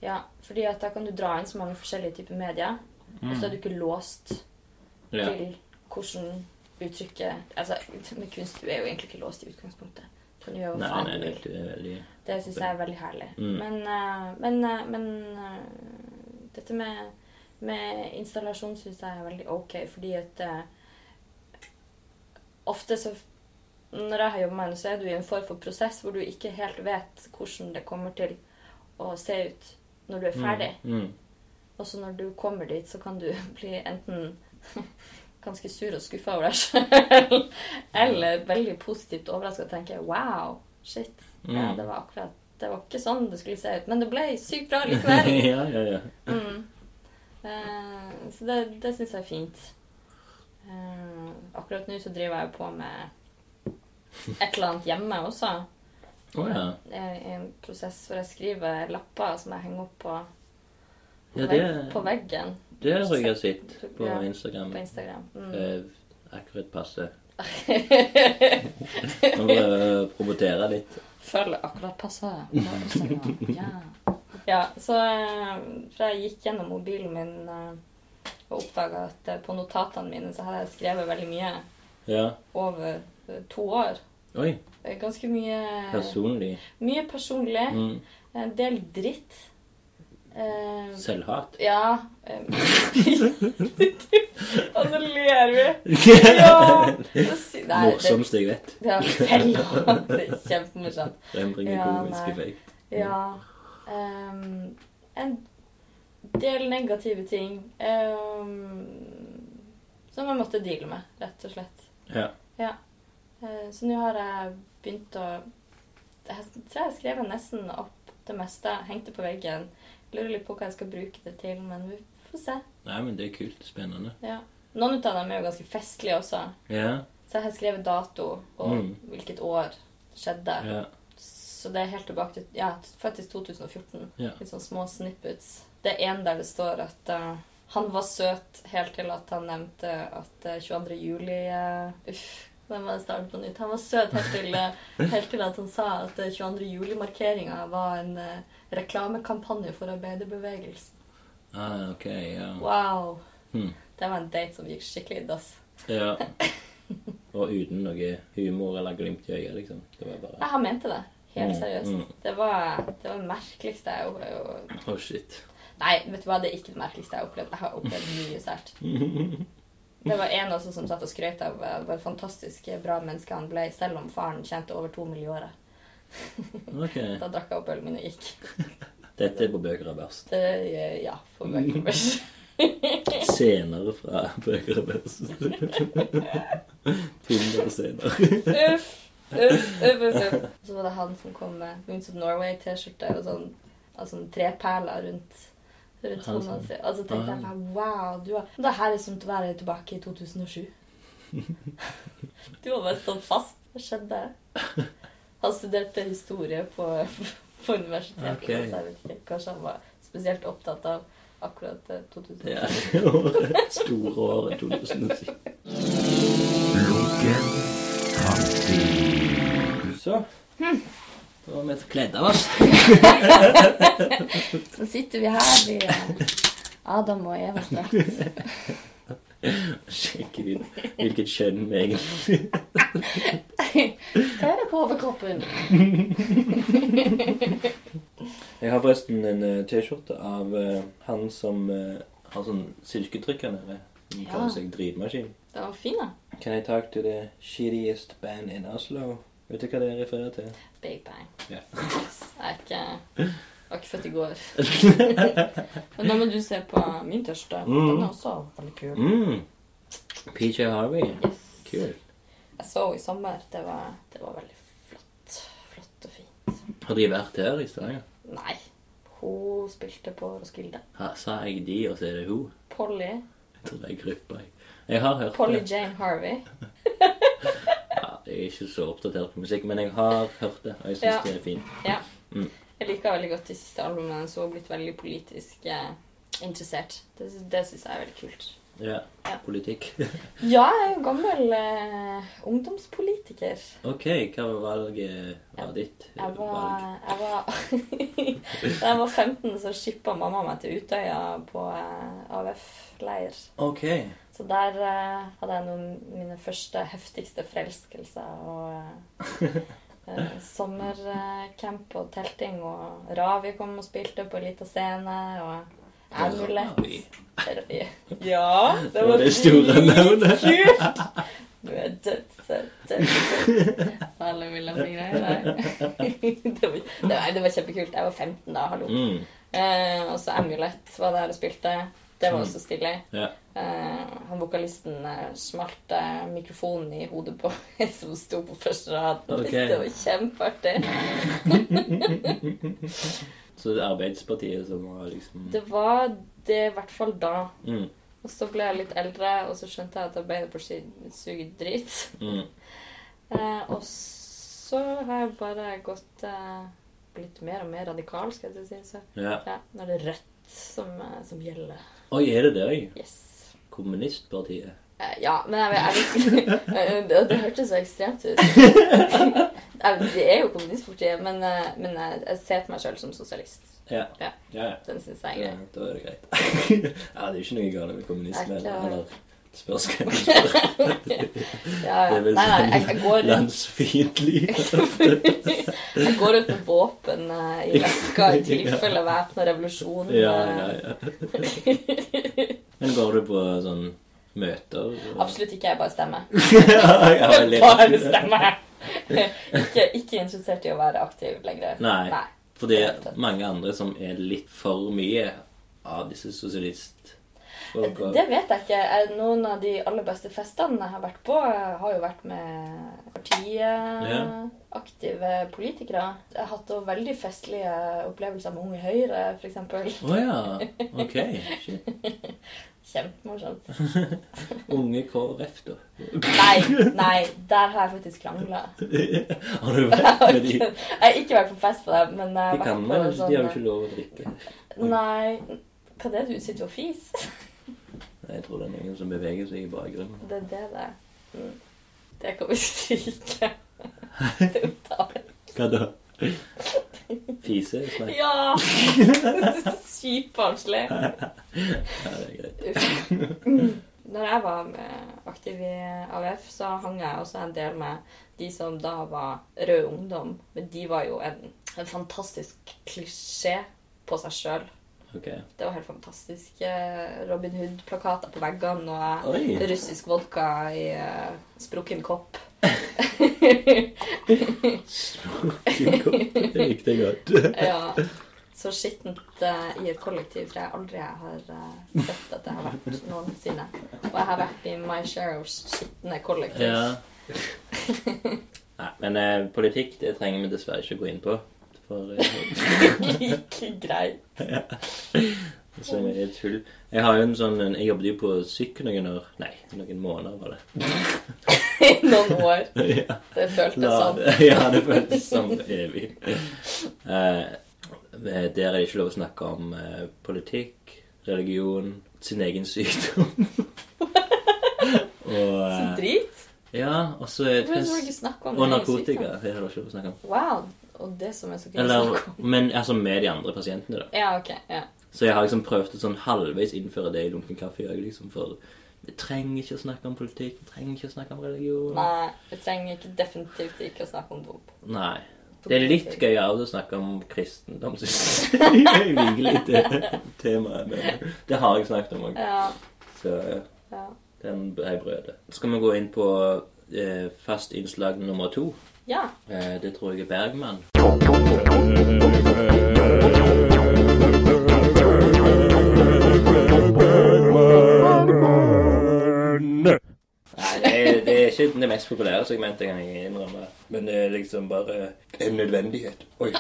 Speaker 2: Ja, fordi at da kan du dra inn så mange forskjellige typer medier, og så er du ikke låst
Speaker 1: Mm. ja.
Speaker 2: til hvordan uttrykket Altså, med kunst du er jo egentlig ikke låst i utgangspunktet. Du kan gjøre hva
Speaker 1: Nei,
Speaker 2: faen
Speaker 1: nei,
Speaker 2: du
Speaker 1: det
Speaker 2: vil.
Speaker 1: er veldig
Speaker 2: Det syns jeg er veldig herlig.
Speaker 1: Mm.
Speaker 2: Men, eh, men, eh, men eh, dette med, med installasjon syns jeg er veldig ok, fordi at eh, Ofte så Når jeg har jobba med det, så er du i en form for prosess hvor du ikke helt vet hvordan det kommer til å se ut når du er ferdig.
Speaker 1: Mm.
Speaker 2: Og så når du kommer dit, så kan du [laughs] bli enten [laughs] ganske sur og skuffa over deg [laughs] sjøl, eller veldig positivt overraska og tenke wow, shit.
Speaker 1: Mm. [laughs]
Speaker 2: Ja, det var akkurat Det var ikke sånn det skulle se ut, men det ble sykt bra likevel.
Speaker 1: [laughs] ja, ja, ja.
Speaker 2: Mm. Eh, så det, det syns jeg er fint. Eh, akkurat nå så driver jeg jo på med et eller annet hjemme også.
Speaker 1: Å ja.
Speaker 2: Jeg er i en prosess hvor jeg skriver lapper som jeg henger opp på,
Speaker 1: Ja,
Speaker 2: vegg, på
Speaker 1: det,
Speaker 2: veggen
Speaker 1: det har jeg sett på
Speaker 2: Ja,
Speaker 1: Instagram.
Speaker 2: på Instagram. Mm.
Speaker 1: Eh, akkurat passe. [laughs] Nå må jeg promotere litt.
Speaker 2: Følg akkurat passe. på Instagram. sånn, Ja. ja, så eh, fra jeg gikk gjennom mobilen min eh, og oppdaga at eh, på notatene mine så hadde jeg skrevet veldig mye
Speaker 1: Ja.
Speaker 2: over eh, to år.
Speaker 1: Oi.
Speaker 2: Eh, Ganske mye
Speaker 1: Personlig.
Speaker 2: Mye personlig.
Speaker 1: Mm.
Speaker 2: En del dritt. Eh,
Speaker 1: [laughs] Selvhat.
Speaker 2: ja eh, [laughs] Og så ler
Speaker 1: [laughs]
Speaker 2: vi. Ja! så si- Nei, det-
Speaker 1: Morsomst jeg vet.
Speaker 2: Ja, selvhat. Det er kjempemorsomt.
Speaker 1: Den bringer
Speaker 2: Ja,
Speaker 1: komisk
Speaker 2: nei.
Speaker 1: effekt.
Speaker 2: Ja. ehm, en del negative ting ehm, som jeg måtte deale med, rett og slett.
Speaker 1: Ja.
Speaker 2: Eh, så nå har jeg begynt å Jeg tror jeg skrev nesten opp det meste. Hengte på veggen. Lurer litt på hva jeg skal bruke det til, men vi får se.
Speaker 1: Nei, men det er kult. Spennende.
Speaker 2: Ja. Noen av dem er jo ganske festlige også.
Speaker 1: Ja.
Speaker 2: Så jeg har skrevet dato og
Speaker 1: Mm.
Speaker 2: hvilket år det skjedde.
Speaker 1: Ja.
Speaker 2: Så det er helt tilbake til Ja, faktisk 2014.
Speaker 1: Ja.
Speaker 2: Litt sånn små snippets. Det er en der det står at eh, han var søt helt til at han nevnte at eh, 22. juli eh, Uff. Den var starten på nytt. Han var søt helt til, eh, helt til at han sa at eh, 22. juli-markeringa var en eh, reklamekampanje for arbeiderbevegelsen.
Speaker 1: Ah, ok, ja.
Speaker 2: Wow!
Speaker 1: Hmm.
Speaker 2: Det var en date som gikk skikkelig i dass.
Speaker 1: ja. [laughs] Og uten noe humor eller glimt i øyet, liksom. Det var bare
Speaker 2: Nei, han mente det. Helt
Speaker 1: Mm, mm.
Speaker 2: seriøst. Det var det var det merkeligste jeg har jo-
Speaker 1: Å, shit.
Speaker 2: Nei, vet du hva, det er ikke det merkeligste jeg har opplevd. Jeg har opplevd mye sært. Det var en også som satt og skrøt av eh, hvor fantastisk bra menneske han ble, selv om faren tjente over to mill. i året.
Speaker 1: Ok.
Speaker 2: Da drakk jeg opp ølen min og gikk.
Speaker 1: Dette er på bøker av børst.
Speaker 2: Det, eh, ja, for Vancouver.
Speaker 1: Senere fra [laughs] bøker av [laughs] børst. Tinder senere.
Speaker 2: Uff, uff, uff, uff. uff. Så var det han som kom med Moons of Norway-T-skjorte og sånn, altså sånn treperler rundt. Rundt
Speaker 1: Han
Speaker 2: hånda
Speaker 1: som-
Speaker 2: si. Og så tenkte jeg bare wow, du har, det her er som å være tilbake i
Speaker 1: [laughs]
Speaker 2: 2007. du har bare stått fast. Hva skjedde? Han studerte historie på, på universitetet,
Speaker 1: Ok.
Speaker 2: så jeg vet ikke. Kanskje han var spesielt opptatt av akkurat eh, 2007.
Speaker 1: Ja. Året. Store året 2010.
Speaker 3: Lunken framtid.
Speaker 1: Så.
Speaker 2: Hm.
Speaker 1: Da var vi kledd av oss.
Speaker 2: Så sitter vi her i eh, Adam og Evas drakt.
Speaker 1: Sjekke ut hvilket kjønn vi egentlig
Speaker 2: Hva er det på overkroppen?
Speaker 1: Jeg har forresten en eh, T-skjorte av eh, han som eh, har sånn silketrykk her nede. Som
Speaker 2: Ja.
Speaker 1: kaller seg Drivmaskin.
Speaker 2: Den var fin, da.
Speaker 1: Can I talk to the shittiest band in Oslo? Vet du hva det refererer til?
Speaker 2: Big Bang.
Speaker 1: Ja.
Speaker 2: Jeg [laughs] er ikke, jeg var ikke født i
Speaker 1: [laughs]
Speaker 2: går. Men da må du se på min tørste. Den er også veldig kul.
Speaker 1: Mm. PJ Harvey.
Speaker 2: Yes.
Speaker 1: Kult.
Speaker 2: Jeg så henne i sommer. Det var, det var veldig flott. Flott og fint.
Speaker 1: Har de vært her i Stavanger?
Speaker 2: Nei. Hun spilte på Roskilde.
Speaker 1: Ha- Sa jeg de, og så er det hun?
Speaker 2: Polly.
Speaker 1: Jeg tror det er gruppa. jeg. Jeg har hørt
Speaker 2: Polly
Speaker 1: det.
Speaker 2: Jane Harvey.
Speaker 1: Ja, jeg er ikke så oppdatert på musikk, men jeg har hørt det, og jeg syns
Speaker 2: Ja.
Speaker 1: det er fint.
Speaker 2: Ja.
Speaker 1: Mm.
Speaker 2: Jeg liker veldig godt de siste albumene hennes. Hun har blitt veldig politisk eh, interessert. Det, sy- det syns jeg er veldig kult.
Speaker 1: Ja.
Speaker 2: Ja.
Speaker 1: Politikk. [laughs]
Speaker 2: Ja, jeg er jo gammel eh, ungdomspolitiker.
Speaker 1: OK, hva var valget var ditt? eh,
Speaker 2: Jeg
Speaker 1: valg?
Speaker 2: var, jeg var [laughs] Da jeg var 15, så shippa mamma meg til Utøya på eh, AUF-leir.
Speaker 1: OK.
Speaker 2: Så der eh, hadde jeg noen mine første heftigste forelskelser. Og eh, eh, sommercamp og telting, og Ravi kom og spilte på ei lita scene. Og
Speaker 1: Ravi?
Speaker 2: Amulett. Ravi. Ja, det
Speaker 1: Det var
Speaker 2: var
Speaker 1: det store navnet.
Speaker 2: dritkult! Du er [laughs] dødssøt, dødssøt. Alle vil ha mine greier. [laughs] Det var, det var- det var kjempekult. Jeg var 15 da, hallo.
Speaker 1: Mm.
Speaker 2: Eh, og så Amulett var der og spilte. Det var også stilig.
Speaker 1: Ja.
Speaker 2: Eh, han vokalisten eh, smalt eh, mikrofonen i hodet på [laughs] en som sto på første rad. [laughs]
Speaker 1: Ok.
Speaker 2: Det var kjempeartig.
Speaker 1: Så det er Arbeiderpartiet som har liksom
Speaker 2: Det var det i hvert fall da.
Speaker 1: mm,
Speaker 2: Og så ble jeg litt eldre, og så skjønte jeg at Arbeiderpartiet suger drit.
Speaker 1: mm.
Speaker 2: Eh, og så har jeg bare gått eh, blitt mer og mer radikal, skal jeg til å si. Så
Speaker 1: Ja.
Speaker 2: ja, nå er det rødt som, eh, som gjelder.
Speaker 1: Oi, er det det òg?
Speaker 2: Yes.
Speaker 1: Kommunistpartiet.
Speaker 2: Eh, Ja, men jeg, jeg, jeg det, det hørtes så ekstremt ut. Jeg- Det er jo kommunistpartiet, men, eh, men jeg, jeg ser på meg sjøl som sosialist.
Speaker 1: Ja.
Speaker 2: Ja.
Speaker 1: ja, ja.
Speaker 2: Den syns jeg er
Speaker 1: Ja,
Speaker 2: grei.
Speaker 1: Da er det greit. [laughs] ja, det er ikke noe galt med kommunisme.
Speaker 2: Det er
Speaker 1: Eller,
Speaker 2: klart.
Speaker 1: eller spørs hvem du spør. Det
Speaker 2: Ja, ja.
Speaker 1: er
Speaker 2: Nei,
Speaker 1: vel
Speaker 2: nei, jeg, jeg, går
Speaker 1: sånn
Speaker 2: rundt,
Speaker 1: landsfiendtlig.
Speaker 2: jeg går rundt med våpen eh,
Speaker 1: [laughs]
Speaker 2: i veska i tilfelle væpna revolusjon. eh,
Speaker 1: ja, ja,
Speaker 2: [laughs]
Speaker 1: ja. Men går du på sånn møter? og-
Speaker 2: Absolutt ikke, jeg bare stemmer.
Speaker 1: [laughs] ja,
Speaker 2: [laughs]
Speaker 1: veldig.
Speaker 2: Bare stemmer! [laughs] Ikke, ikke interessert i å være aktiv lenger.
Speaker 1: Nei.
Speaker 2: nei.
Speaker 1: For det er mange andre som er litt for mye av disse sosialist... Og, og,
Speaker 2: Det vet jeg ikke. Eh, Noen av de aller beste festene jeg har vært på, eh, har jo vært med
Speaker 1: Ja.
Speaker 2: partiet, aktive politikere. Jeg har hatt også veldig festlige opplevelser med Unge Høyre, f.eks.
Speaker 1: Å ja. Ok. Shit.
Speaker 2: Kjempemorsomt.
Speaker 1: Unge KrF, da. [laughs]
Speaker 2: Nei, nei, der har jeg faktisk krangla.
Speaker 1: Har
Speaker 2: [laughs]
Speaker 1: du vært med de?
Speaker 2: Jeg har ikke vært på fest på det, men jeg
Speaker 1: De
Speaker 2: har vært
Speaker 1: kan
Speaker 2: på
Speaker 1: vel ikke,
Speaker 2: sånn
Speaker 1: de har jo ikke lov å drikke.
Speaker 2: Nei, hva er det du sitter og fiser? [laughs]
Speaker 1: Nei, Jeg tror det er noen som beveger seg i bakgrunnen.
Speaker 2: Det er det det er. Mm. Det kan vi [laughs]
Speaker 1: [laughs]
Speaker 2: stryke. Det tar
Speaker 1: Hva da? [laughs] Fise? Snakk?
Speaker 2: Ja! [laughs] Sykt barnslig.
Speaker 1: Ja, det er greit.
Speaker 2: Uff. Når jeg var med- aktiv i AUF, så hang jeg også en del med de som da var Rød Ungdom. Men de var jo en, en fantastisk klisjé på seg sjøl.
Speaker 1: Ok.
Speaker 2: Det var helt fantastiske Robin Hood-plakater på veggene og
Speaker 1: Oi.
Speaker 2: russisk vodka i eh, sprukken kopp.
Speaker 1: Det likte jeg godt.
Speaker 2: Ja, så skittent eh, i et kollektiv, for jeg aldri har eh, sett at jeg har vært noensinne. Og jeg har vært i my share of skitne kollektiv.
Speaker 1: [laughs] Ja. Nei, men eh, politikk det trenger vi dessverre ikke gå inn på. For eh,
Speaker 2: Ikke greit.
Speaker 1: så er det tull. Jeg har jo en sånn en- Jeg jobbet jo på syk noen år. Nei, noen måneder var det.
Speaker 2: I noen år.
Speaker 1: [laughs] Ja,
Speaker 2: Det føltes
Speaker 1: la,
Speaker 2: sånn.
Speaker 1: [laughs] ja det føltes som evig. Eh, der er det ikke lov å snakke om eh, politikk, religion, sin egen sykdom. [laughs] og
Speaker 2: Så
Speaker 1: eh,
Speaker 2: Sånn drit.
Speaker 1: Ja, og så er det
Speaker 2: Hvorfor skal vi ikke snakke om
Speaker 1: Og
Speaker 2: det i
Speaker 1: narkotika.
Speaker 2: sykdom?
Speaker 1: Det har du ikke lov å snakke om.
Speaker 2: Wow. Og det som er så gøy å
Speaker 1: Eller,
Speaker 2: snakke om.
Speaker 1: men altså med de andre pasientene, da.
Speaker 2: Ja, ok. Ja.
Speaker 1: Så jeg har liksom prøvd å sånn halvveis innføre det i Lunken kaffe òg, liksom. For vi trenger ikke å snakke om politikk, vi trenger ikke å snakke om religion.
Speaker 2: Nei, vi trenger ikke definitivt ikke å snakke om dop.
Speaker 1: Nei. Det er litt gøyere å snakke om kristendom, syns jeg. [laughs] Jeg liker litt det temaet. Men det har jeg snakket om òg.
Speaker 2: Ja,
Speaker 1: Så
Speaker 2: ja.
Speaker 1: den ble brødet. Skal vi gå inn på eh, fast innslag nummer to?
Speaker 2: Ja.
Speaker 1: Eh, det tror jeg er Bergman. Nei, det er, det er ikke det mest populære segmentet, kan jeg innrømme. Men det er liksom bare en nødvendighet. Oi.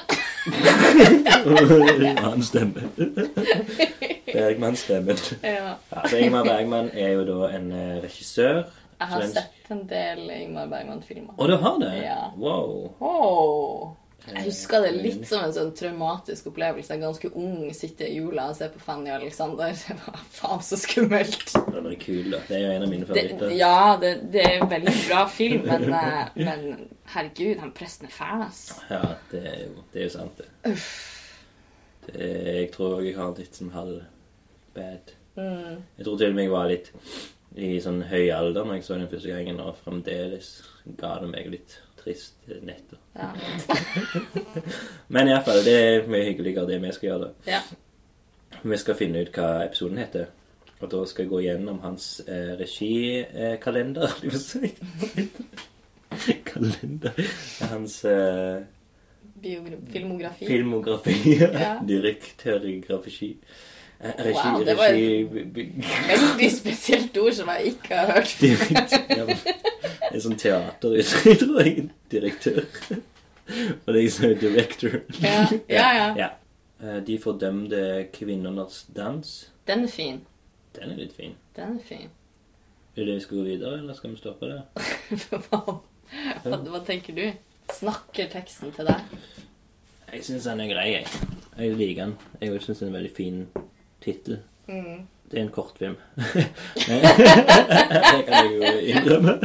Speaker 1: Annen stemme. Bergman-stemmen.
Speaker 2: ja.
Speaker 1: Altså, Ingmar Bergman er jo da en eh, regissør.
Speaker 2: Jeg har
Speaker 1: Svensk.
Speaker 2: sett en del Ingmar Bergman-filmer.
Speaker 1: Å, du har det?
Speaker 2: Ja.
Speaker 1: Wow.
Speaker 2: Åh. Jeg husker det litt som en sånn traumatisk opplevelse. Jeg er Ganske ung, sitter i jula og ser på Fanny og Alexander. [laughs] Det var faen så skummelt.
Speaker 1: Den er kul, da. Det er jo en av mine
Speaker 2: Det,
Speaker 1: favoritter.
Speaker 2: ja, det, det er en veldig bra film, [laughs] men, eh, men herregud, han presten er fæl, ass.
Speaker 1: Ja, det er jo, det er jo sant, det. det er, jeg tror jeg har litt sånn halv bad.
Speaker 2: Mm.
Speaker 1: Jeg tror til og med jeg var litt i sånn høy alder når jeg så den første gangen, og fremdeles ga det meg litt triste netter.
Speaker 2: Ja.
Speaker 1: Men iallfall, det er mye hyggeligere det vi skal gjøre. da.
Speaker 2: ja.
Speaker 1: Vi skal finne ut hva episoden heter. Og da skal jeg gå gjennom hans eh, regikalender. [laughs] Eh, kalender, vil si. kalender Hans eh,
Speaker 2: Biogra-
Speaker 1: [laughs]
Speaker 2: Filmografi.
Speaker 1: filmografi.
Speaker 2: Ja.
Speaker 1: Direktørgrafi. Eh, Regi,
Speaker 2: Wow, det var-
Speaker 1: regi by- [laughs] by-
Speaker 2: Veldig spesielt ord som jeg ikke har hørt før.
Speaker 1: Ja, men- En sånn teateruttrykk, tror jeg. Direktør. Og det er sånn director.
Speaker 2: Ja, ja. ja.
Speaker 1: Ja. Eh, De fordømte kvinnenes dans.
Speaker 2: Den er fin.
Speaker 1: Den er litt fin.
Speaker 2: Den er fin. [laughs]
Speaker 1: Vil du vi skal gå videre, eller skal vi stoppe det?
Speaker 2: Hva, hva, hva tenker du? Snakker teksten til deg?
Speaker 1: Jeg syns den er grei, jeg. Jeg liker den. Jeg syns det er en veldig fin tittel. Det er en [laughs] kortfilm. det kan jeg jo innrømme.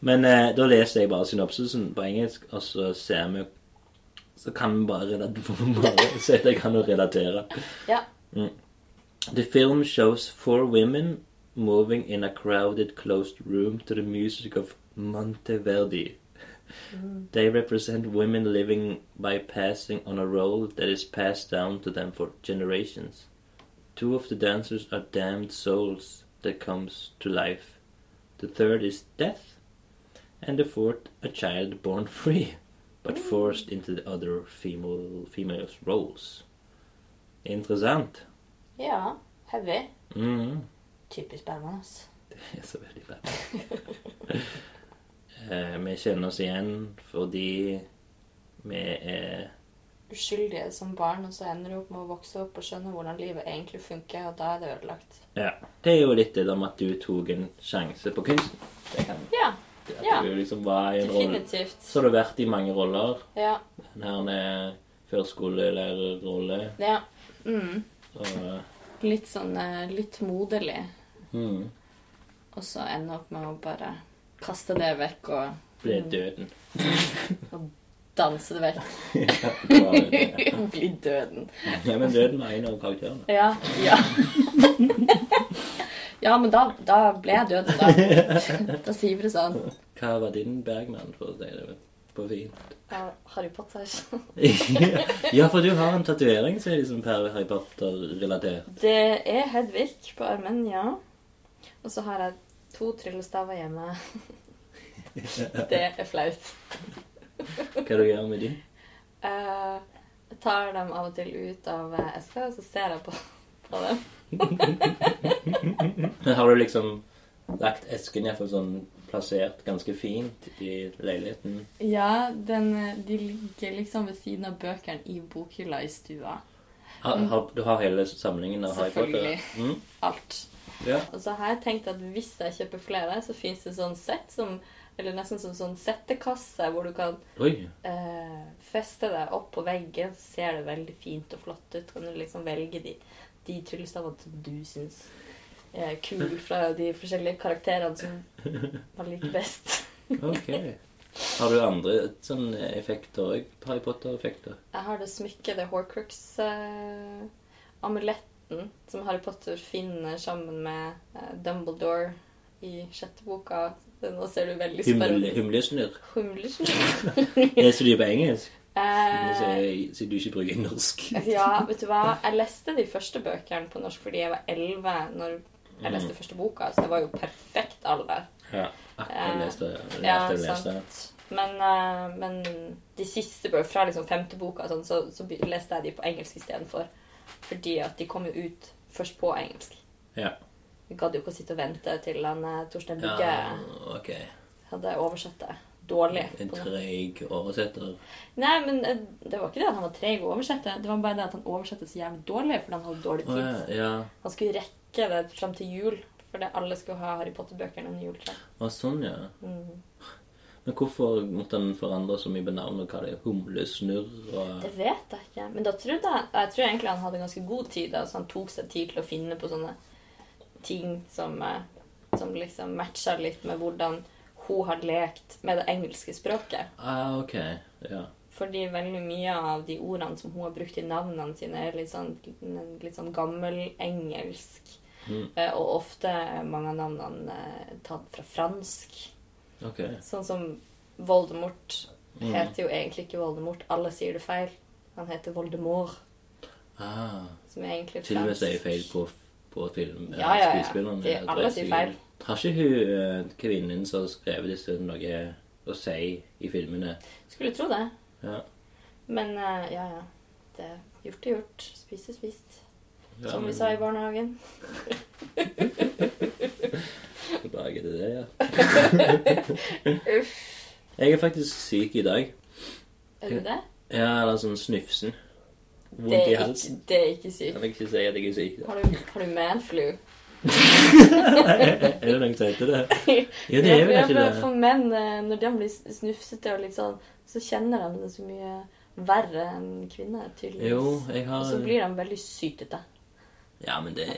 Speaker 1: Men eh, da leser jeg bare synopsisen på engelsk, og så ser vi Så kan vi bare, [laughs] relat- bare se at jeg kan jo relatere. Mm.
Speaker 5: Ja.
Speaker 1: The film shows four women moving in a crowded closed room to the music of Monteverdi. They represent women living by passing on a role that is passed down to them for generations. Two of the dancers are damned souls that comes to life. The third is death, and the fourth a child born [laughs] free, but forced into the other female females' roles. Interessant.
Speaker 5: ja. Heavy.
Speaker 1: Mm.
Speaker 5: Typisk Bergman, ass.
Speaker 1: [laughs] Det er så veldig bra. Eh, vi kjenner oss igjen fordi vi er
Speaker 2: Uskyldige som barn, og så ender du opp med å vokse opp og skjønne hvordan livet egentlig funker, og da er det ødelagt.
Speaker 1: Ja. Det er jo litt det der med at du tok en sjanse på kunsten. Det kan
Speaker 2: Ja,
Speaker 1: at
Speaker 2: Ja.
Speaker 1: du liksom var i en rolle.
Speaker 2: definitivt.
Speaker 1: Så har du vært i mange roller.
Speaker 2: Ja.
Speaker 1: Den her er førskolelærerrolle
Speaker 2: ja. Mm.
Speaker 1: og
Speaker 2: Litt sånn eh, litt moderlig,
Speaker 1: mm,
Speaker 2: og så ender opp med å bare kaste det vekk og
Speaker 1: ble døden.
Speaker 2: danse det vekk. [laughs]
Speaker 1: ja, det var det.
Speaker 2: Bli døden.
Speaker 1: [laughs] ja, men døden var en av karakterene.
Speaker 2: Ja. Ja, [laughs] ja men da, da ble jeg døden, da. Da sier vi det sånn.
Speaker 1: Hva var din Bergman, for å si det på fint?
Speaker 2: Ja, Harry Potter.
Speaker 1: [laughs] ja, for du har en tatovering som er liksom per Harry Potter-relatert.
Speaker 2: Det er Hedvig på armen, ja. Og så har jeg to tryllestaver hjemme. [laughs] Det er flaut.
Speaker 1: Hva du gjør med din?
Speaker 2: Eh, Jeg tar dem av og til ut av eh, eska, og så ser jeg på, på dem.
Speaker 1: Har du liksom lagt esken i hvert fall sånn plassert ganske fint i leiligheten?
Speaker 2: Ja, de ligger liksom ved siden av bøkene i bokhylla i stua.
Speaker 1: Har, har, du har hele samlingen av Harry Potter?
Speaker 2: Mm. Selvfølgelig.
Speaker 1: Mm,
Speaker 2: Alt.
Speaker 1: ja.
Speaker 2: Og så har jeg tenkt at hvis jeg kjøper flere, så fins det sånn sett som Eller nesten som sånn settekasse hvor du kan
Speaker 1: Oi.
Speaker 2: eh, feste deg opp på veggen, så ser det veldig fint og flott ut. Kan du liksom velge de, de tryllestavene som du syns er kule fra de forskjellige karakterene som man liker best.
Speaker 1: Ok. Har du andre sånne effekter òg? Harry Potter-effekter?
Speaker 2: Jeg har det smykket, det Horcrux-amuletten, som Harry Potter finner sammen med eh, Dumbledore i sjette boka. Nå ser du veldig
Speaker 1: Humle-
Speaker 2: spørrende
Speaker 1: Humlesnurr?
Speaker 2: Humlesnurr.
Speaker 1: Leser du det på engelsk?
Speaker 2: Eh,
Speaker 1: Siden siden du ikke bruker norsk.
Speaker 2: Ja, vet du hva? Jeg leste de første bøkene på norsk fordi jeg var 11 når jeg leste
Speaker 1: Mm.
Speaker 2: første boka, så det var jo perfekt alder.
Speaker 1: Ja. Akkurat leste jeg.
Speaker 2: Eh, Ja,
Speaker 1: lærte å lese.
Speaker 2: sant. Men, eh, men de siste bøkene, fra liksom femte boka, og sånn, så, så be- leste jeg de på engelsk istedenfor. Fordi at de kom jo ut først på engelsk.
Speaker 1: Ja.
Speaker 2: Vi gadd jo ikke å sitte og vente til han eh, Torstein
Speaker 1: ja.
Speaker 2: Bugge
Speaker 1: Ok.
Speaker 2: hadde oversatt det dårlig.
Speaker 1: En
Speaker 2: på norsk.
Speaker 1: treig oversetter.
Speaker 2: Nei, men eh, det var ikke det at han var treg å oversette, det var bare det at han oversatte så jævlig dårlig fordi han hadde dårlig
Speaker 1: Å
Speaker 2: tid.
Speaker 1: ja. ja.
Speaker 2: Han skulle rekke det fram til jul, fordi alle skulle ha Harry Potter-bøkene under juletreet.
Speaker 1: Å, sånn, ja.
Speaker 2: Mm.
Speaker 1: Men hvorfor måtte han forandre så mye på navnet og kalle det humlesnurr og
Speaker 2: Det vet jeg ikke. Men da trodde jeg Jeg tror egentlig han hadde ganske god tid, da, så han tok seg tid til å finne på sånne ting som, eh, som liksom matcha litt med hvordan hun har lekt med det engelske språket.
Speaker 1: Ah, ok. Ja.
Speaker 2: Fordi veldig mye av de ordene som hun har brukt i navnene sine, er litt sånn, litt sånn gammelengelsk.
Speaker 1: Mm.
Speaker 2: Eh, Og ofte er mange av navnene eh, tatt fra fransk.
Speaker 1: Ok.
Speaker 2: Sånn som Voldemort
Speaker 1: Mm.
Speaker 2: heter jo egentlig ikke Voldemort. Alle sier det feil. Han heter Voldemort,
Speaker 1: Ah.
Speaker 2: som er egentlig
Speaker 1: Til og med
Speaker 2: fransk.
Speaker 1: sier feil på, på film.
Speaker 2: Ja, ja, ja.
Speaker 1: skuespillerne,
Speaker 2: De-
Speaker 1: det
Speaker 2: alle
Speaker 1: vet
Speaker 2: sier
Speaker 1: jeg.
Speaker 2: feil.
Speaker 1: Har ikke hun eh, kvinnen som har skrevet disse noe å si i filmene?
Speaker 2: Skulle tro det.
Speaker 1: Ja.
Speaker 2: Men eh, ja, ja. at eh, gjort er gjort. Spist er spist.
Speaker 1: Ja,
Speaker 2: Som vi
Speaker 1: men-
Speaker 2: sa i barnehagen.
Speaker 1: Hvilken dag er det
Speaker 2: [laughs]
Speaker 1: det, ja? Jeg er faktisk syk i dag.
Speaker 2: Er du det?
Speaker 1: Ja, eller sånn snufsen.
Speaker 2: Det
Speaker 1: Vondt i
Speaker 2: er ikke,
Speaker 1: halsen.
Speaker 2: det er ikke
Speaker 1: Jeg
Speaker 2: sykt.
Speaker 1: vil ikke si at jeg er syk.
Speaker 2: [laughs] Har du, har du manflu?
Speaker 1: [laughs] er det noen som
Speaker 2: [laughs]
Speaker 1: heter det? Ja, det er vel
Speaker 2: Ja, for-
Speaker 1: ikke
Speaker 2: ja,
Speaker 1: det.
Speaker 2: For menn, eh, når de blir snufsete og litt sånn, så kjenner de det så mye verre enn kvinner, tydeligvis.
Speaker 1: Jo, jeg
Speaker 2: Og så
Speaker 1: har
Speaker 2: blir de veldig sytete.
Speaker 1: Ja, men det,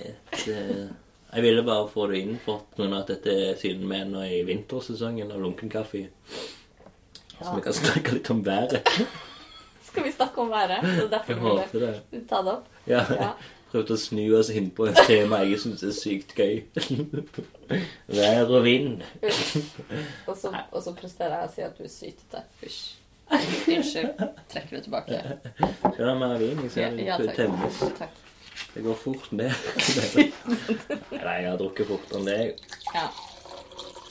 Speaker 1: det Jeg ville bare få det inn for grunn av at dette er siden vi er nå i vintersesongen av lunken kaffe. Så
Speaker 2: Ja.
Speaker 1: vi kan snakke litt om været.
Speaker 2: Skal vi snakke om været? Så derfor
Speaker 1: Jeg
Speaker 2: vil
Speaker 1: håper det.
Speaker 2: jeg ta det opp.
Speaker 1: Ja.
Speaker 2: Ja.
Speaker 1: Prøvde å snu oss inn på et tema jeg syns er sykt gøy. Vær og vind.
Speaker 2: Og så, og så presterer jeg å si at du er sytete. Hysj. Unnskyld. Trekker det tilbake.
Speaker 1: Ja, det er mer vin. Jeg
Speaker 2: Ja,
Speaker 1: ser
Speaker 2: ja,
Speaker 1: det temmes.
Speaker 2: takk. takk.
Speaker 1: Det går fort
Speaker 2: [laughs]
Speaker 1: ned. Nei, jeg har drukket fortere enn deg.
Speaker 2: Ja.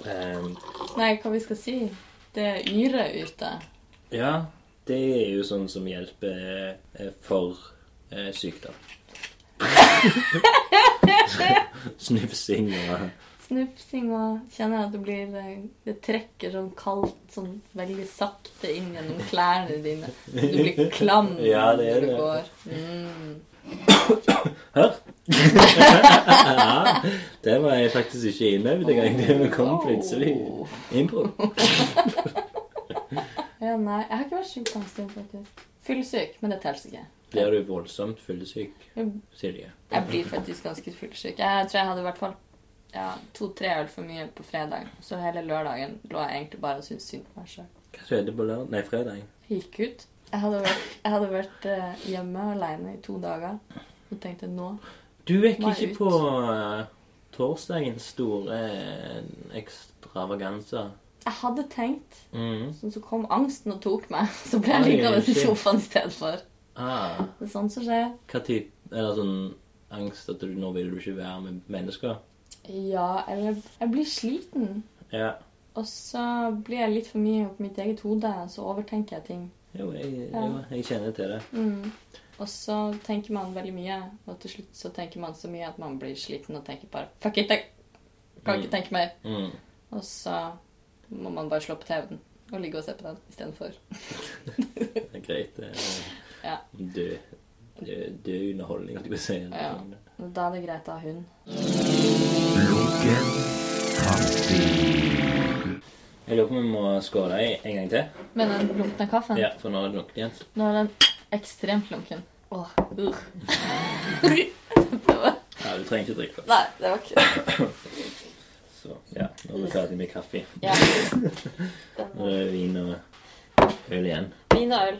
Speaker 1: Ehm,
Speaker 2: Nei, hva vi skal si? Det er yre ute.
Speaker 1: ja, det er jo sånn som hjelper eh, for eh, [laughs] sykdom. Snufsing og
Speaker 2: Snufsing og kjenner at det blir eh, Det trekker sånn kaldt, sånn veldig sakte inn gjennom klærne dine. Du blir klam
Speaker 1: [laughs] Ja, det er
Speaker 2: når du
Speaker 1: det.
Speaker 2: går. Mm.
Speaker 1: Hør! ja, det var jeg faktisk ikke innøvd engang. Det kom plutselig.
Speaker 2: Wow.
Speaker 1: Impro.
Speaker 2: Ja, nei, jeg har ikke vært syk på en stund, faktisk. Fyllesyk, men det teller ikke.
Speaker 1: Blir du voldsomt fyllesyk,
Speaker 2: Jeg-
Speaker 1: Silje?
Speaker 2: Jeg blir faktisk ganske fyllesyk. Jeg tror jeg hadde i hvert fall ja, to-tre øl for mye på fredag. Så hele lørdagen lå jeg egentlig bare og syntes synd på meg sjøl.
Speaker 1: Hva skjedde på lørdag? Nei, fredag.
Speaker 2: Jeg gikk ut. Jeg hadde vært, jeg hadde vært eh, hjemme aleine i to dager og tenkte nå
Speaker 1: Du gikk
Speaker 2: Må
Speaker 1: ikke
Speaker 2: jeg ut?
Speaker 1: på eh, torsdagens store eh, ekstravaganse.
Speaker 2: Jeg hadde tenkt,
Speaker 1: Mm.
Speaker 2: sånn så kom angsten og tok meg. [laughs] Så ble jeg
Speaker 1: Oi,
Speaker 2: liggende i
Speaker 1: shit.
Speaker 2: sofaen i stedet for.
Speaker 1: Ah,
Speaker 2: Det er sånn som skjer.
Speaker 1: hva typ? Eller sånn angst at du, nå vil du ikke være med mennesker?
Speaker 2: Ja, eller jeg blir sliten.
Speaker 1: Ja.
Speaker 2: Og så blir jeg litt for mye på mitt eget hode, så overtenker jeg ting.
Speaker 1: Jo, jeg,
Speaker 2: Ja.
Speaker 1: jo, jeg kjenner til det.
Speaker 2: Mm. Og så tenker man veldig mye, og til slutt så tenker man så mye at man blir sliten og tenker bare Fuck it, jeg kan ikke
Speaker 1: Mm.
Speaker 2: tenke mer.
Speaker 1: Mm.
Speaker 2: Og så må man bare slå på TV-en og ligge og se på den istedenfor.
Speaker 1: Det er greit. eh,
Speaker 2: Ja.
Speaker 1: Dø. Dø, dø underholdning, skal vi si.
Speaker 2: Ja. Og Da er det greit å ha hund.
Speaker 3: Lunken kaffe.
Speaker 1: Jeg lurer på om vi må skåle i en gang til.
Speaker 2: Men den lunkne kaffen,
Speaker 1: Ja, for nå er det nok igjen.
Speaker 2: nå er den ekstremt lunken. Åh, uh. det var,
Speaker 1: Ja, du trenger ikke drikke.
Speaker 2: [laughs] nei, det var ikke
Speaker 1: Så ja, nå er vi ferdig med kaffe.
Speaker 2: [laughs] ja. Det
Speaker 1: Nå
Speaker 2: var-
Speaker 1: er det vin og øl igjen.
Speaker 2: Vin og øl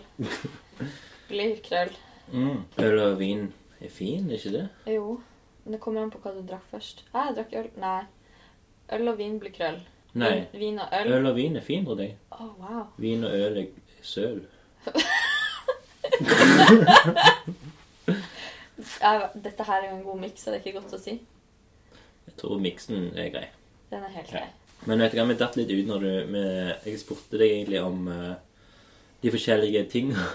Speaker 2: blir krøll.
Speaker 1: Mm. Øl og vin er fin, er ikke det?
Speaker 2: Jo, men det kommer an på hva du drakk først. Hæ, jeg drakk øl. Nei. Øl og vin blir krøll.
Speaker 1: Nei.
Speaker 2: Vin, vin og øl.
Speaker 1: Øl og vin er fin for deg.
Speaker 2: Åh, wow.
Speaker 1: Vin og øl er søl.
Speaker 2: Ja, dette her er jo en god miks, så det er ikke godt å si.
Speaker 1: Jeg tror miksen er grei.
Speaker 2: Den er helt
Speaker 1: Ja.
Speaker 2: grei.
Speaker 1: Men vet du hva, vi datt litt ut når du vi, Jeg spurte deg egentlig om eh, de forskjellige tingene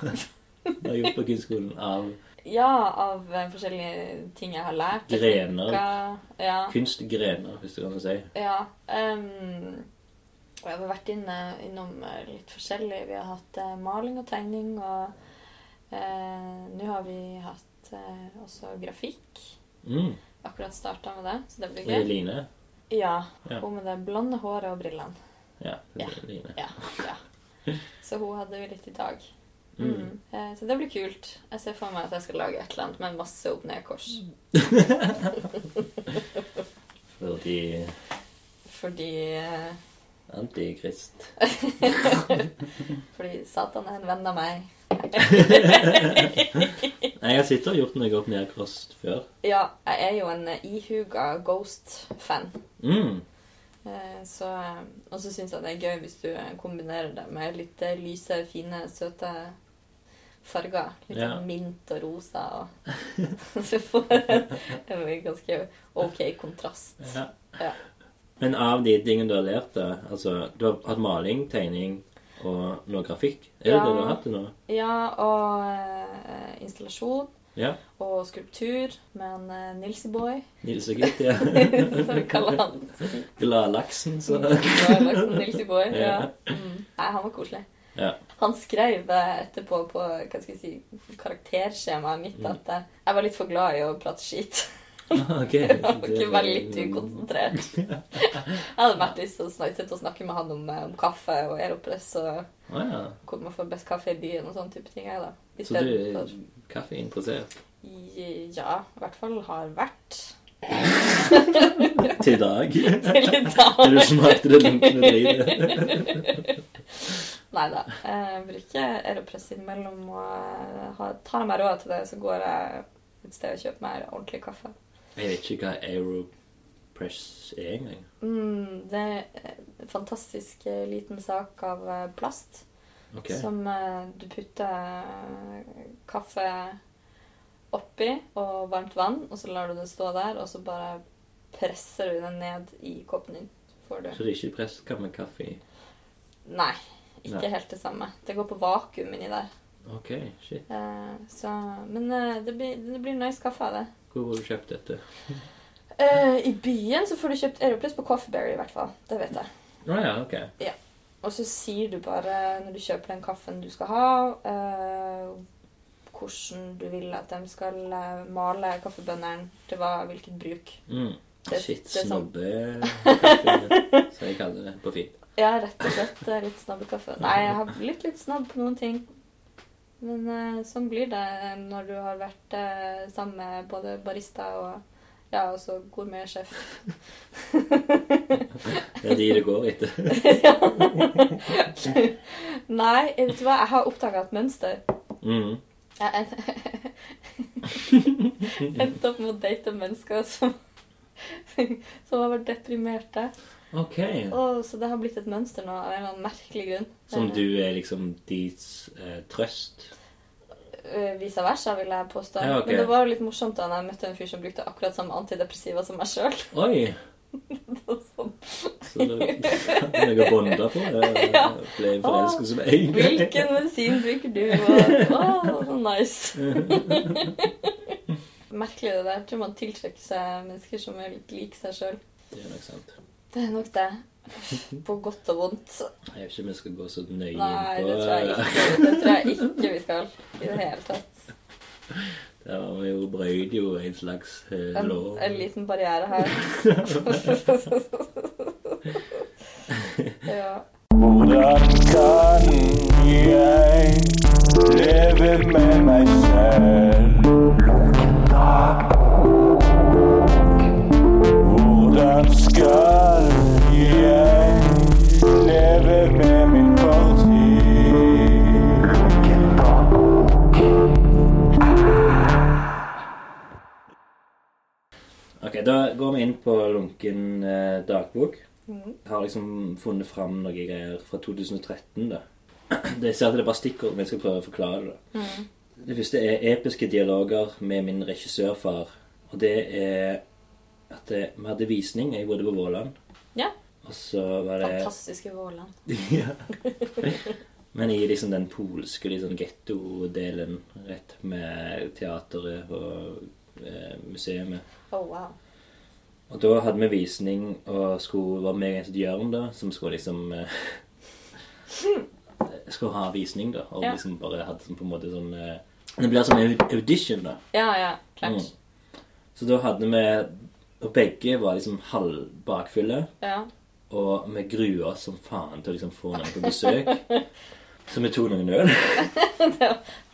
Speaker 1: [laughs] du har gjort på kunstskolen av
Speaker 2: Ja, av eh, forskjellige ting jeg har lært.
Speaker 1: grener.
Speaker 2: Hva- Ja.
Speaker 1: Kunstgrener, hvis du kan si.
Speaker 2: Ja. ehm, og jeg har vært inne, innom eh, litt forskjellig. Vi har hatt eh, maling og tegning, og eh, nå har vi hatt eh, også grafikk.
Speaker 1: Mm.
Speaker 2: Akkurat starta med det, så det blir
Speaker 1: Det er
Speaker 2: gøy.
Speaker 1: Line.
Speaker 2: Ja.
Speaker 1: Ja.
Speaker 2: Hun med det blonde håret og brillene.
Speaker 1: Ja. det er
Speaker 2: Ja.
Speaker 1: Line. [laughs]
Speaker 2: Ja. ja. Så hun hadde vi litt i dag. Mm.
Speaker 1: Mm.
Speaker 2: Eh, Så det blir kult. Jeg ser for meg at jeg skal lage et eller annet med masse opp ned-kors.
Speaker 1: Fordi
Speaker 2: Fordi, eh,
Speaker 1: Antikrist.
Speaker 2: fordi Satan er en venn av [laughs] meg.
Speaker 1: Nei, Jeg sitter og har gjort noe opp ned kost før.
Speaker 2: Ja, jeg er jo en eh, ihuga Ghost-fan.
Speaker 1: Mm.
Speaker 2: Eh, Så, eh, og så syns jeg det er gøy hvis du eh, kombinerer det med litt eh, lyse, fine, søte farger. Litt
Speaker 1: Ja.
Speaker 2: sånn mint og rosa.
Speaker 1: [laughs]
Speaker 2: Og [laughs] så får du en en ganske OK kontrast.
Speaker 1: Ja.
Speaker 2: Ja.
Speaker 1: Men av de tingene du har lært deg altså, Du har hatt maling, tegning og noe grafikk. Er det
Speaker 2: Ja.
Speaker 1: det du har hatt til nå?
Speaker 2: Ja, og eh, installasjon
Speaker 1: Ja.
Speaker 2: og skulptur med en eh, Nilsy-boy,
Speaker 1: Nils og Gitt, ja.
Speaker 2: [laughs] som vi kaller
Speaker 1: [laughs]
Speaker 2: han.
Speaker 1: Vil du ha laksen, så
Speaker 2: Nilsy-boy, ja.
Speaker 1: Ja.
Speaker 2: Mm. Nei, han var koselig. [laughs]
Speaker 1: Ja.
Speaker 2: Han skrev eh, etterpå på hva skal jeg si, karakterskjemaet
Speaker 1: Mm.
Speaker 2: mitt at eh, jeg var litt for glad i å
Speaker 1: [laughs]
Speaker 2: prate skit.
Speaker 1: OK.
Speaker 2: Jeg var ikke veldig litt ukonsentrert.
Speaker 1: [laughs]
Speaker 2: Jeg hadde vært lyst til å snakke, sitte og snakke med han om, eh, om kaffe og Aeropress og
Speaker 1: Å ja.
Speaker 2: hvor man får best kaffe i byen og sånne type ting. jeg, da. I
Speaker 1: Så du
Speaker 2: stedet
Speaker 1: er
Speaker 2: for
Speaker 1: kaffeinteressert?
Speaker 2: Ja, i hvert fall har vært
Speaker 1: [laughs] Til i dag? [laughs]
Speaker 2: til i
Speaker 1: Du
Speaker 2: dag.
Speaker 1: smakte det lunkne dritet?
Speaker 2: [laughs] Nei da. Jeg bruker Aeropress innimellom og eh, har- tar jeg meg råd til det, så går jeg et sted og kjøper meg ordentlig kaffe.
Speaker 1: Jeg vet ikke hva Aeropress er engang.
Speaker 2: Mm, det er en fantastisk eh, liten sak av eh, plast
Speaker 1: Ok.
Speaker 2: som eh, du putter eh, kaffe oppi og varmt vann, og så lar du det stå der, og så bare presser du det ned i koppen din. Så får du
Speaker 1: Så det er ikke presska med kaffe i?
Speaker 2: Nei, ikke
Speaker 1: Nei.
Speaker 2: helt det samme. Det går på vakuum inni der.
Speaker 1: OK, shit.
Speaker 2: Eh, så, men eh, det, blir, det blir nice kaffe av det.
Speaker 1: Hvor har du kjøpt dette?
Speaker 2: Eh, I byen så får du kjøpt Aeropress på Coffeeberry, i hvert fall. Det vet jeg.
Speaker 1: Å ja, OK.
Speaker 2: Og så sier du bare, når du kjøper den kaffen du skal ha, eh, hvordan du vil at de skal eh, male kaffebønneren til hva, hvilket bruk.
Speaker 1: Mm.
Speaker 2: Det-
Speaker 1: Shit,
Speaker 2: det er sånn-
Speaker 1: snobbekaffe. Så jeg kaller det på fint.
Speaker 2: Ja, rett og slett eh, litt snabbekaffe. Nei, jeg har blitt litt snabb på noen ting. Men eh, sånn blir det når du har vært eh, sammen med både barista og ja, også gourmetsjef.
Speaker 1: Det er de det går etter. [laughs]
Speaker 2: Nei, vet du hva? Jeg har oppdaga et mønster.
Speaker 1: Mm. [laughs]
Speaker 2: Jeg en- endte opp med å date mennesker som, som har vært deprimerte.
Speaker 1: OK.
Speaker 2: Og, så det har blitt et mønster nå, av en eller annen merkelig grunn.
Speaker 1: Som du er liksom deres eh, trøst.
Speaker 2: Eh, Vice versa, vil jeg påstå.
Speaker 1: Ja, ok.
Speaker 2: Men det var jo litt morsomt da når jeg møtte en fyr som brukte akkurat samme antidepressiva som meg [laughs] sjøl.
Speaker 1: Oi!
Speaker 2: sånn,
Speaker 1: Så det [laughs] er noe bonda på. Jeg
Speaker 2: Ja.
Speaker 1: ble forelsket som en gang.
Speaker 2: Hvilken medisin bruker du? Og, å, så
Speaker 1: [laughs]
Speaker 2: nice. Merkelig det der. Jeg tror man tiltrekker seg mennesker som er litt lik seg sjøl.
Speaker 1: Det er nok sant.
Speaker 2: Det er nok det. På godt og vondt.
Speaker 1: Jeg vet ikke om vi skal gå så nøye inn
Speaker 2: Nei,
Speaker 1: på
Speaker 2: det tror jeg ikke. Det tror jeg ikke vi skal i det hele tatt.
Speaker 1: Der har vi jo brøyd jo en slags eh,
Speaker 2: En,
Speaker 1: lov.
Speaker 2: en liten barriere
Speaker 1: [laughs]
Speaker 2: her. ja.
Speaker 6: Hvordan kan jeg leve med meg selv? Hvordan skal jeg leve med min fortid?
Speaker 1: Ok, da går vi inn på lunken eh, dagbok.
Speaker 2: Mhm.
Speaker 1: Har liksom funnet fram noen greier fra 2013, da. [clears throat] Det jeg ser at det er bare stikkord, men jeg skal prøve å forklare det. Det første er episke dialoger med min regissørfar. Og det er at eh, vi hadde visning. Jeg bodde på Våland.
Speaker 2: Ja.
Speaker 1: Og så var det
Speaker 2: Fantastiske Våland.
Speaker 1: [laughs] Ja. [laughs] Men i liksom den polske liksom getto-delen, rett med teateret og eh, museet.
Speaker 2: Oh, wow.
Speaker 1: Og da hadde vi visning, og skulle var meg og Jørn, da, som skulle liksom eh, [laughs] Skulle ha visning, da, og
Speaker 2: Ja.
Speaker 1: liksom bare hadde sånn på en måte sånn eh, Det blir som en audition, da.
Speaker 2: Ja, ja. Klart.
Speaker 1: Mm. Så da hadde vi Og begge var liksom halvbakfulle.
Speaker 2: Ja.
Speaker 1: Og vi gruer oss som faen til å liksom få noen på besøk. Så vi tok noen øl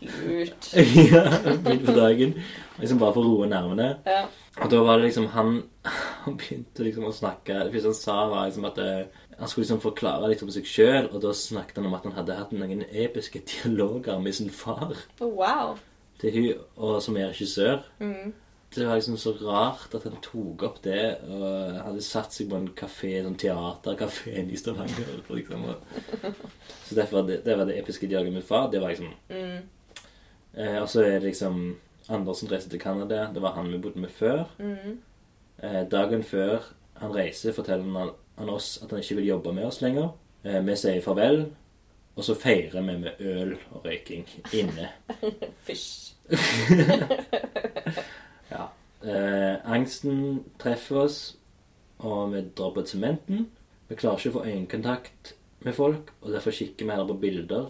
Speaker 2: Lurt.
Speaker 1: ja, midt på dagen. Liksom bare for å roe nervene.
Speaker 2: Ja.
Speaker 1: Og da var det liksom han Han begynte liksom å snakke Det første han sa, var liksom at eh, han skulle liksom forklare litt om seg sjøl. Og da snakket han om at han hadde hatt noen episke dialoger med sin far
Speaker 2: Oh, wow.
Speaker 1: til hun, og som er regissør.
Speaker 2: Mm.
Speaker 1: Det var liksom så rart at han tok opp det og hadde satt seg på en kafé, sånn teaterkafé i Stavanger. Liksom.
Speaker 2: [laughs]
Speaker 1: og- Så derfor var det, det var det episke dialoget med far. Det var liksom
Speaker 2: Mm.
Speaker 1: eh, Og så er det liksom Andersen reiste til Canada. Det var han vi bodde med før.
Speaker 2: Mm.
Speaker 1: Eh, dagen før han reiser, forteller han, han oss at han ikke vil jobbe med oss lenger. Eh, vi sier farvel, Og så feirer vi med øl og røyking inne.
Speaker 7: Fysj.
Speaker 1: Ja. Eh, angsten treffer oss, og vi drar på sementen. Vi klarer ikke å få øyekontakt med folk, og derfor kikker vi heller på bilder.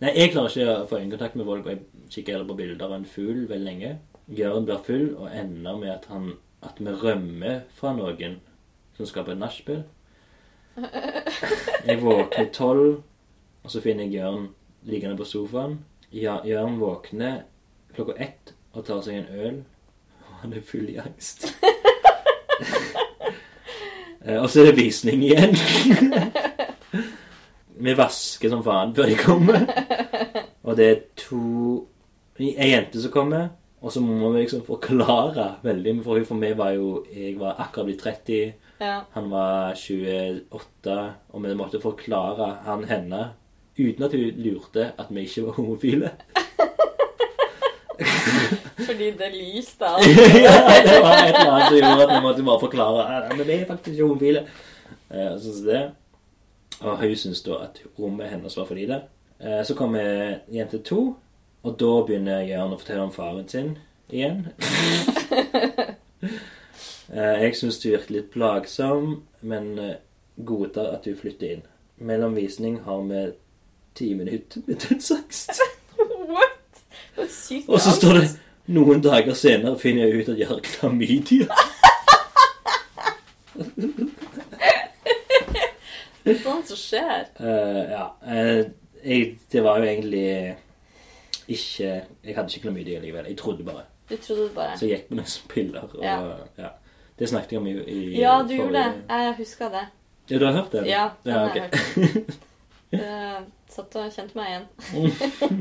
Speaker 1: Nei, jeg klarer ikke å få øyekontakt med folk, og jeg kikker heller på bilder av en fugl veldig lenge. Jørn blir full og ender med at, han, at vi rømmer fra noen som skal på et nachspiel. Jeg våkner tolv, og så finner jeg Jørn liggende på sofaen. Ja, Jørn våkner klokka ett og tar seg en øl. Og han er full i angst. [laughs] Eh, og så er det visning igjen. [laughs] Vi vasker som faen før de kommer. Og det er to Ei jente som kommer, og så må vi liksom forklare veldig. For for meg var jo Jeg var akkurat blitt 30.
Speaker 7: Ja.
Speaker 1: Han var 28, og vi måtte forklare han henne uten at hun lurte at vi ikke var homofile.
Speaker 7: Fordi det lyste
Speaker 1: [laughs]
Speaker 7: av.
Speaker 1: ja, det var et eller annet som gjorde at vi måtte bare forklare «Nei, Men vi er faktisk ikke homofile. Eh, Sånn som det. Og hun syntes da at rommet hennes var for lite. Eh, Så kommer jente to, og da begynner Jørn å fortelle om faren sin igjen. Eh, Jeg syns det virker litt plagsom, men eh, godtar at hun flytter inn. Mellom visning har vi ti minutter med dødsangst.
Speaker 7: What? Det var sykt
Speaker 1: Og så
Speaker 7: angst.
Speaker 1: står det Noen dager senere finner jeg ut at jeg har klamydia.
Speaker 7: Det er sånt som skjer.
Speaker 1: Eh, ja. eh, jeg, det var jo egentlig ikke Jeg hadde ikke klamydia likevel. Jeg trodde bare.
Speaker 7: Du trodde det bare.
Speaker 1: Så jeg gikk med noen piller. Og, ja.
Speaker 7: Ja.
Speaker 1: Det snakket jeg om i, i
Speaker 7: Ja, du gjorde det. Jeg husker det.
Speaker 1: Ja, du har hørt det?
Speaker 7: Ja, den
Speaker 1: ja
Speaker 7: har jeg
Speaker 1: ok.
Speaker 7: Jeg Eh, satt og kjente meg igjen.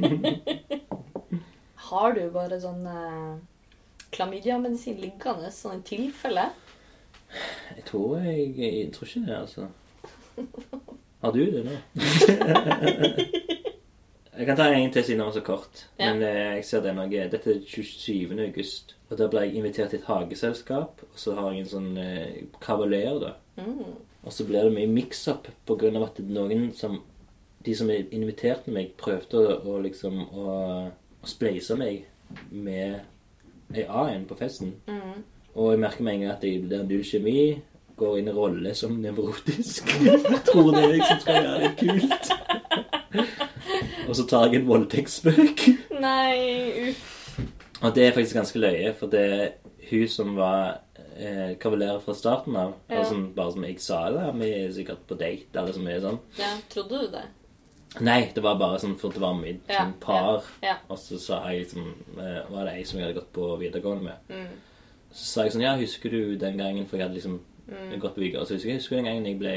Speaker 1: Mm.
Speaker 7: [laughs] Har du bare sånn eh, klamydiamedisin liggende sånn i tilfelle?
Speaker 1: jeg, tror jeg, jeg tror ikke det,
Speaker 7: [laughs]
Speaker 1: altså. Har du det nå?
Speaker 7: [laughs]
Speaker 1: jeg kan ta en til siden den var så kort.
Speaker 7: Ja.
Speaker 1: Men eh, jeg ser det er noe. Dette er 27. august. Og da ble jeg invitert til et hageselskap. Og så har jeg en sånn eh, kavaler, da.
Speaker 7: Mm.
Speaker 1: Og så blir det mye mix-up på grunn av at det er noen som De som inviterte meg, prøvde å, å liksom å, å spleise meg med ei A-en på festen.
Speaker 7: Mm.
Speaker 1: Og jeg merker med en gang at jeg blir null kjemi. Går inn i rolle som nevrotisk. [laughs] tror det er jeg som skal gjøre det kult. [laughs] Og så tar jeg en voldtektsspøk.
Speaker 7: Nei, uff.
Speaker 1: Og det er faktisk ganske løye, for det er hun som var eh, kavaler fra starten av,
Speaker 7: Ja.
Speaker 1: og som bare som jeg sa det, vi er sikkert på date, eller så mye sånn.
Speaker 7: Ja, trodde du det?
Speaker 1: Nei, det var bare sånn for det var mitt
Speaker 7: Ja,
Speaker 1: sånn par.
Speaker 7: ja, ja.
Speaker 1: Og så sa jeg liksom eh, Var det jeg som jeg hadde gått på videregående med?
Speaker 7: Mm.
Speaker 1: Så sa jeg sånn Ja, husker du den gangen For jeg hadde liksom
Speaker 7: Mm.
Speaker 1: gått på videregående. Så husker jeg husker du den gangen jeg ble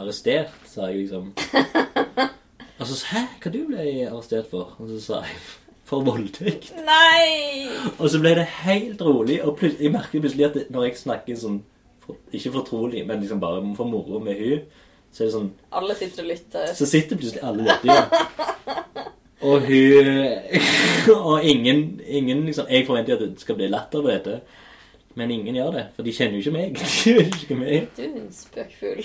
Speaker 1: arrestert, sa jeg liksom.
Speaker 7: [laughs]
Speaker 1: og så sa Hæ, hva du ble arrestert for? Og så sa jeg For voldtekt.
Speaker 7: Nei!
Speaker 1: Og så ble det helt rolig, og plut- jeg merker plutselig at det, når jeg snakker sånn for, Ikke fortrolig, men liksom bare for moro med hun, så er det sånn
Speaker 7: Alle sitter og lytter.
Speaker 1: så sitter plutselig alle dette, ja. Og hun Og ingen, ingen liksom, Jeg forventer jo at det skal bli latter på dette, men ingen gjør det. For de kjenner jo ikke meg. [laughs] De vet ikke hvem jeg er.
Speaker 7: Du er en spøkfugl.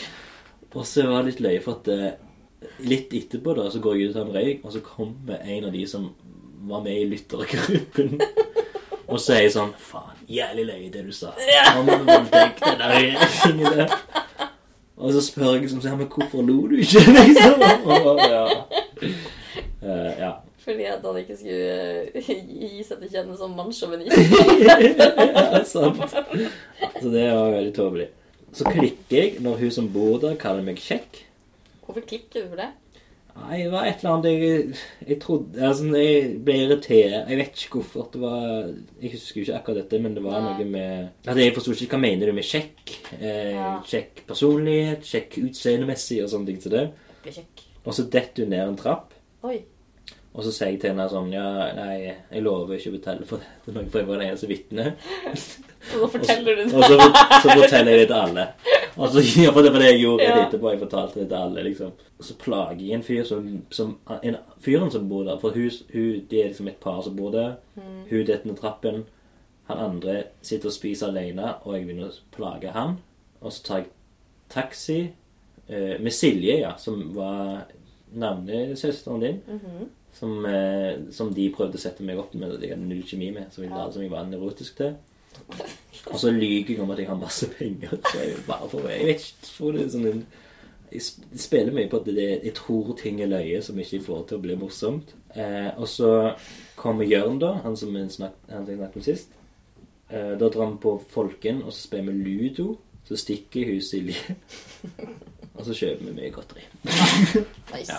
Speaker 1: Og så var det litt løye, for at eh, litt etterpå da, så går jeg ut og tar en røyk, og så kommer en av de som var med i lyttergruppen, og sier sånn Faen, jævlig løye det du sa. Om voldtekt, det der er ikke det. Og så spør jeg liksom sånn, men hvorfor lo du ikke? [laughs] Liksom. Og, ja. Eh, ja. [laughs]
Speaker 7: Fordi at han ikke skulle gi gi seg til kjenne som mannssjåvinist.
Speaker 1: ja, sant. Så det var veldig tåpelig. Så klikker jeg når hun som bor der, kaller meg kjekk.
Speaker 7: Hvorfor klikker du for det?
Speaker 1: Nei, det var et eller annet jeg, jeg trodde altså, Jeg ble irritert. Jeg vet ikke hvorfor det var Jeg husker jo ikke akkurat dette, men det var
Speaker 7: Nei.
Speaker 1: noe med At Jeg forsto ikke hva mener du med kjekk. Eh,
Speaker 7: Ja.
Speaker 1: Kjekk personlighet, kjekk utseendemessig og sånne ting som det.
Speaker 7: Bli kjekk.
Speaker 1: Og så detter hun ned en trapp,
Speaker 7: Oi.
Speaker 1: og så sier jeg til henne sånn Ja, nei, jeg lover ikke å betale for det til noen, for jeg var den eneste vitnet.
Speaker 7: Så da forteller du
Speaker 1: Og
Speaker 7: det.
Speaker 1: så, så forteller jeg det til alle. Og så, [laughs] ja, for det var det jeg gjorde
Speaker 7: Ja.
Speaker 1: etterpå. Jeg fortalte det til alle, liksom. Og så plager jeg en fyr som, som en, Fyren som bor der For hun, hun, det er liksom et par som bor der.
Speaker 7: Mm.
Speaker 1: Hun detter ned trappen. Han andre sitter og spiser alene, og jeg begynner å plage han. Og så tar jeg taxi eh, med Silje, ja, som var navnesøsteren din,
Speaker 7: Mm-hmm.
Speaker 2: Mhm.
Speaker 1: som, eh, som de prøvde å sette meg opp med, og jeg hadde null kjemi med, som jeg, la- som jeg var nevrotisk til. Og så lyver jeg om at jeg har masse penger. Så jeg, bare for, jeg vet ikke, tror det er sånn en, jeg sp- spiller mye på at det, jeg tror ting er løye som ikke får til å bli morsomt. Eh, og så kommer Jørn, da, han som jeg snak- han som jeg snakket om sist. Eh, da drar vi på Folken, og så spiller vi ludo. Så stikker hun Silje. [laughs] Og så kjøper vi mye godteri.
Speaker 2: Nice.
Speaker 1: Ja.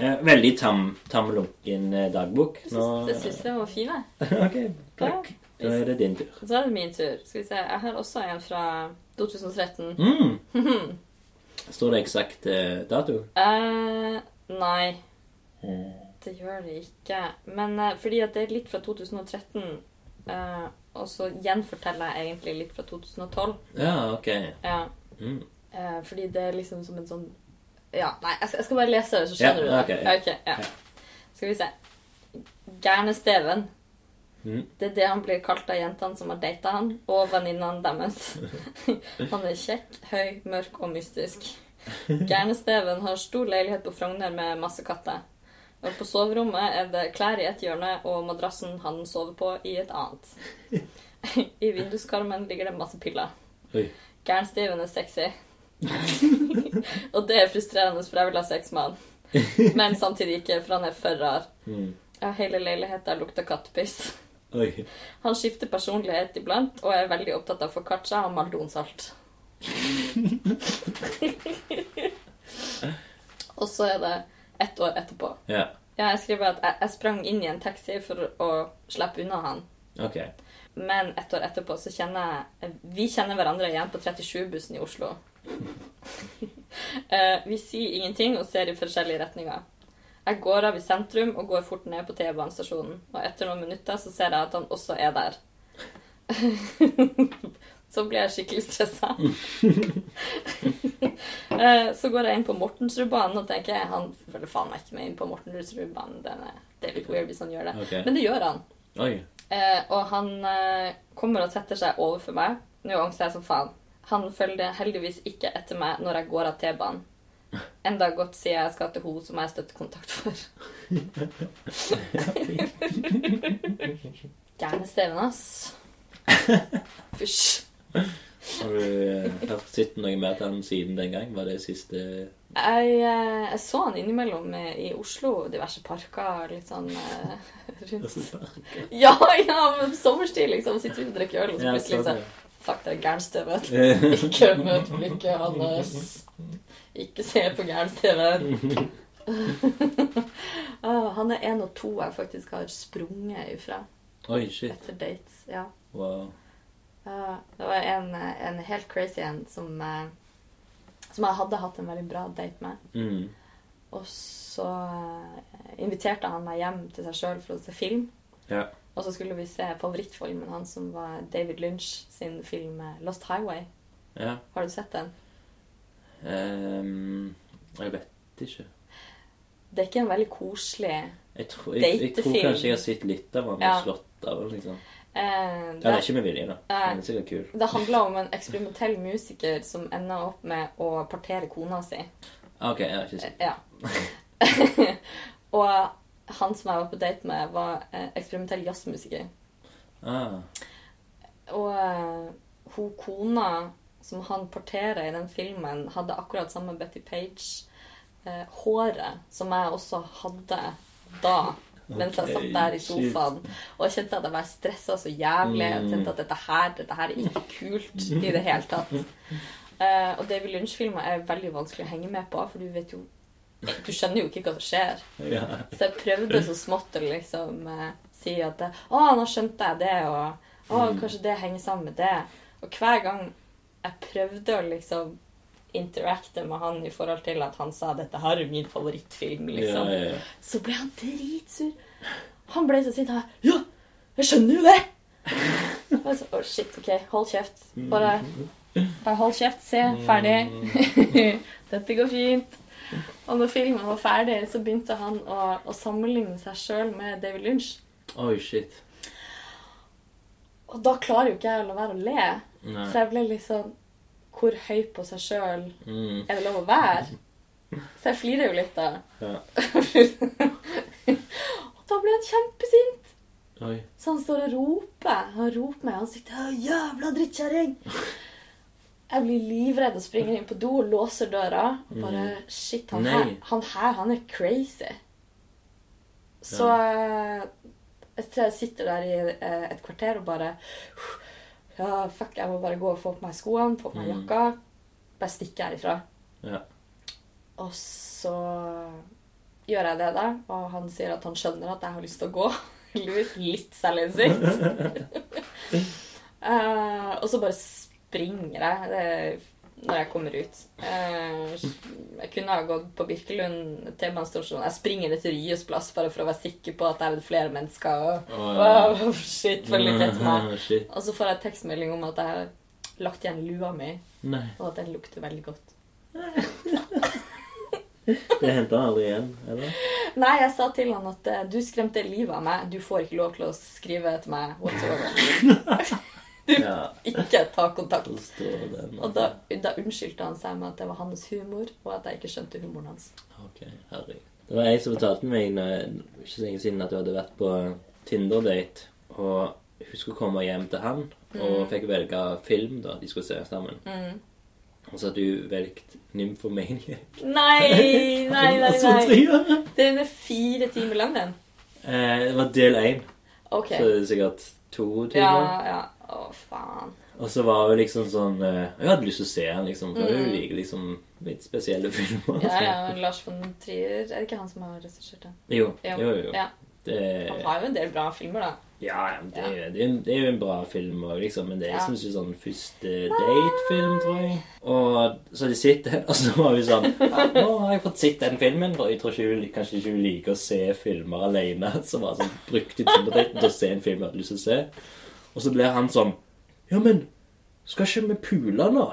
Speaker 1: Eh, veldig tam, tam lunken eh, dagbok.
Speaker 2: Jeg
Speaker 1: Nå,
Speaker 2: syns- Jeg
Speaker 1: [laughs]
Speaker 2: syns den var fin, jeg.
Speaker 1: ok,
Speaker 2: Ja.
Speaker 1: takk. Da er det din tur.
Speaker 2: Så er det min tur. Skal vi se. Jeg har også en fra 2013.
Speaker 1: Mm. Står det eksakt eh, dato?
Speaker 2: eh nei, det gjør det ikke. Men eh, fordi at det er litt fra 2013, eh, og så gjenforteller jeg egentlig litt fra 2012.
Speaker 1: Ja, ok.
Speaker 2: Ja,
Speaker 1: Mm.
Speaker 2: eh, fordi det er liksom som en sånn Ja, nei, jeg skal, jeg skal bare lese det, så
Speaker 1: Ja,
Speaker 2: skjønner du det.
Speaker 1: ok, ja.
Speaker 2: Ok, ja. Skal vi se. Gærne Steven.
Speaker 1: Mhm.
Speaker 2: Det er det han blir kalt av jentene som har data han, og venninnene deres. [laughs] han er kjekk, høy, mørk og mystisk. Gærne Steven har stor leilighet på Frogner med masse katter. Og på soverommet er det klær i et hjørne og madrassen han sover på, i et annet. [laughs] I vinduskarmen ligger det masse piller.
Speaker 1: Oi.
Speaker 2: Gæren Steven er sexy. og det er frustrerende, for jeg vil ha sex med han. Men samtidig ikke, for han er for rar.
Speaker 1: Mm.
Speaker 2: Ja, hele leiligheta lukter kattepiss.
Speaker 1: Oi.
Speaker 2: Han skifter personlighet iblant og er veldig opptatt av foccaccia og maldonsalt. og så er det ett år etterpå.
Speaker 1: Ja,
Speaker 2: Ja, jeg skriver at jeg, jeg sprang inn i en taxi for å slippe unna han.
Speaker 1: ok.
Speaker 2: Men ett år etterpå så kjenner jeg Vi kjenner hverandre igjen på 37-bussen i Oslo. [laughs] Eh, vi sier ingenting og ser i forskjellige retninger. Jeg går av i sentrum og går fort ned på T-banestasjonen. Og etter noen minutter så ser jeg at han også er der. [laughs] så blir jeg skikkelig stressa. [laughs] Eh, så går jeg inn på Mortensrudbanen og tenker han følger faen meg ikke med inn på Mortensrudbanen. Den er- Det er litt weird hvis han gjør det.
Speaker 1: Ok.
Speaker 2: Men det gjør han.
Speaker 1: Oi.
Speaker 2: Eh, og han eh, kommer og setter seg overfor meg. Nå angster jeg som faen. Han følger heldigvis ikke etter meg når jeg går av T-banen. Enda godt sier jeg skal til hun som jeg er støttekontakt [laughs] for. Gærne Steven, ass. Fysj.
Speaker 1: Har du eh, hørt sett noe mer til han siden den gang? Var det siste
Speaker 2: Jeg, eh, jeg så han innimellom eh, i Oslo, diverse parker, litt sånn eh, rundt Ja, ja, men sommerstid, liksom. Sitter ute og drikker øl, og så
Speaker 1: Ja,
Speaker 2: plutselig så
Speaker 1: sånn,
Speaker 2: Fuck, det er gærent Steven.
Speaker 1: ja.
Speaker 2: Ikke møt blikket hans. Ikke se på gæren TV. [laughs] Ah, han er en og to jeg faktisk har sprunget ifra
Speaker 1: [laughs] Oi, shit.
Speaker 2: etter dates. Ja.
Speaker 1: Wow.
Speaker 2: Ah, det var en, eh, en helt crazy en som, eh, som jeg hadde hatt en veldig bra date med.
Speaker 1: Mm.
Speaker 2: Og så eh, inviterte han meg hjem til seg sjøl for å se film.
Speaker 1: Ja.
Speaker 2: Og så skulle vi se favorittfilmen hans, som var David Lynch sin film eh, 'Lost Highway'.
Speaker 1: Ja.
Speaker 2: Har du sett den?
Speaker 1: Ehm, jeg vet ikke.
Speaker 2: Det er ikke en veldig koselig eh,
Speaker 1: Jeg tror, jeg, jeg tror
Speaker 2: Datefilm.
Speaker 1: kanskje jeg har sett litt av han og
Speaker 2: Ja.
Speaker 1: slått av han, liksom.
Speaker 2: Eh, det,
Speaker 1: Eller ikke med vilje, da.
Speaker 2: Nei.
Speaker 1: Men det er sikkert kul.
Speaker 2: det handler om en eksperimentell musiker som ender opp med å partere kona si. Eh,
Speaker 1: Ok, jeg har ikke sett.
Speaker 2: Ja. [laughs] Og han som jeg var på date med, var eh, eksperimentell jazzmusiker. Eh.
Speaker 1: Ah.
Speaker 2: Og eh, hun kona som han parterer i den filmen, hadde akkurat samme Betty Page. Eh, håret som jeg også hadde da. Mens jeg satt
Speaker 1: Ok,
Speaker 2: der i
Speaker 1: shit.
Speaker 2: sofaen og jeg kjente at jeg var stressa så jævlig. Jeg
Speaker 1: Mm.
Speaker 2: kjente at dette her, dette her er ikke kult i det hele tatt. Eh, og David Lynch-filmer er veldig vanskelig å henge med på, for du vet jo Du skjønner jo ikke hva som skjer.
Speaker 1: Ja.
Speaker 2: Så jeg prøvde så smått å liksom eh, si at det, Å, nå skjønte jeg det, og å, kanskje det henger sammen med det. Og hver gang jeg prøvde å liksom interacte med han i forhold til at han sa 'dette her er min favorittfilm',
Speaker 1: Ja,
Speaker 2: [laughs] liksom,
Speaker 1: ja, ja.
Speaker 2: så ble han dritsur. Han ble så sint. Han Ja, jeg skjønner jo det! Og jeg så, Å, shit, OK, hold kjeft. Bare, bare hold kjeft. Se, ferdig. [laughs] Dette går fint. Og når filmen var ferdig, så begynte han å, å sammenligne seg sjøl med David Lynch.
Speaker 1: Oi, shit.
Speaker 2: Og da klarer jo ikke jeg å la være å le.
Speaker 1: Nei.
Speaker 2: For jeg ble litt sånn Hvor høy på seg sjøl
Speaker 1: Mm.
Speaker 2: er det lov å være? Så jeg flirer jo litt da.
Speaker 1: Ja.
Speaker 2: [laughs] Og da ble han kjempesint.
Speaker 1: Oi.
Speaker 2: Så han står og roper. Han roper meg i ansiktet. «Å, 'Jævla drittkjerring!' Jeg blir livredd og springer inn på do og låser døra. Og bare Shit, han
Speaker 1: Mm. Nei.
Speaker 2: her, han her, han er crazy. Så eh, jeg tror jeg sitter der i eh, et kvarter og bare ja, Fuck, jeg må bare gå og få på meg skoene, få på meg
Speaker 1: Mm.
Speaker 2: jakka. Bare stikke herifra.
Speaker 1: Ja.
Speaker 2: Og så gjør jeg det, da. Og han sier at han skjønner at jeg har lyst til å gå. [laughs] Louis litt selvinnsikt. Eh, og så bare springer jeg eh, når jeg kommer ut. Eh, jeg kunne ha gått på Birkelund T-banestasjon. Jeg springer etter Ryes plass bare for å være sikker på at jeg vet flere mennesker. Og,
Speaker 1: Å,
Speaker 2: wow, shit, følger ikke etter meg.
Speaker 1: [laughs] Shit.
Speaker 2: Og så får jeg tekstmelding om at jeg har lagt igjen lua mi,
Speaker 1: Nei.
Speaker 2: og at den lukter veldig godt.
Speaker 1: Det henter han aldri igjen, eller?
Speaker 2: Nei, jeg sa til han at eh, du skremte livet av meg. Du får ikke lov til å skrive til meg whatsoever.
Speaker 1: [laughs] Ja.
Speaker 2: Ikke ta kontakt.
Speaker 1: Så står den
Speaker 2: Og da, da unnskyldte han seg med at det var hans humor, og at jeg ikke skjønte humoren hans.
Speaker 1: Ok, herregud. Det var jeg som fortalte meg når, jeg- ikke så lenge siden at du hadde vært på Tinder-date. Og hun skulle komme hjem til han,
Speaker 2: Mm.
Speaker 1: og fikk velge film da de skulle se sammen. Og så hadde hun valgt Nymphomania.
Speaker 2: Nei,
Speaker 1: [laughs]
Speaker 2: nei, nei.
Speaker 1: Sånn som
Speaker 2: nei.
Speaker 1: jeg gjør.
Speaker 2: Den er fire timer lang, den.
Speaker 1: Eh, Det var del én,
Speaker 2: OK.
Speaker 1: så det er sikkert to
Speaker 2: Ja,
Speaker 1: timer.
Speaker 2: ja. Å, faen.
Speaker 1: Og så var hun liksom sånn eh, Jeg hadde lyst til å se han, liksom. For hun liker liksom litt spesielle filmer.
Speaker 2: Mm. Ja,
Speaker 1: så-
Speaker 2: ja. Lars von Trier Er det ikke han som har regissert den?
Speaker 1: Jo, jo, jo.
Speaker 2: Ja.
Speaker 1: Det,
Speaker 2: Han har jo en del bra filmer, da.
Speaker 1: Ja, ja, men det, er jo- det, er, jo- det er jo en bra film òg, liksom. Men det er
Speaker 2: Ja.
Speaker 1: liksom ikke sånn første date-film, tror jeg. Og så de sitter, [laughs] og så var vi
Speaker 2: [laughs]
Speaker 1: sånn ja, 'Nå har jeg fått sett den filmen.' For jeg tror ikke hun, kanskje ikke hun liker å se filmer alene. [laughs] Så var det sånn, brukte Tinder-daten til å se en film jeg hadde lyst til å se. Og så ble han sånn 'Ja, men skal ikke vi pule nå?'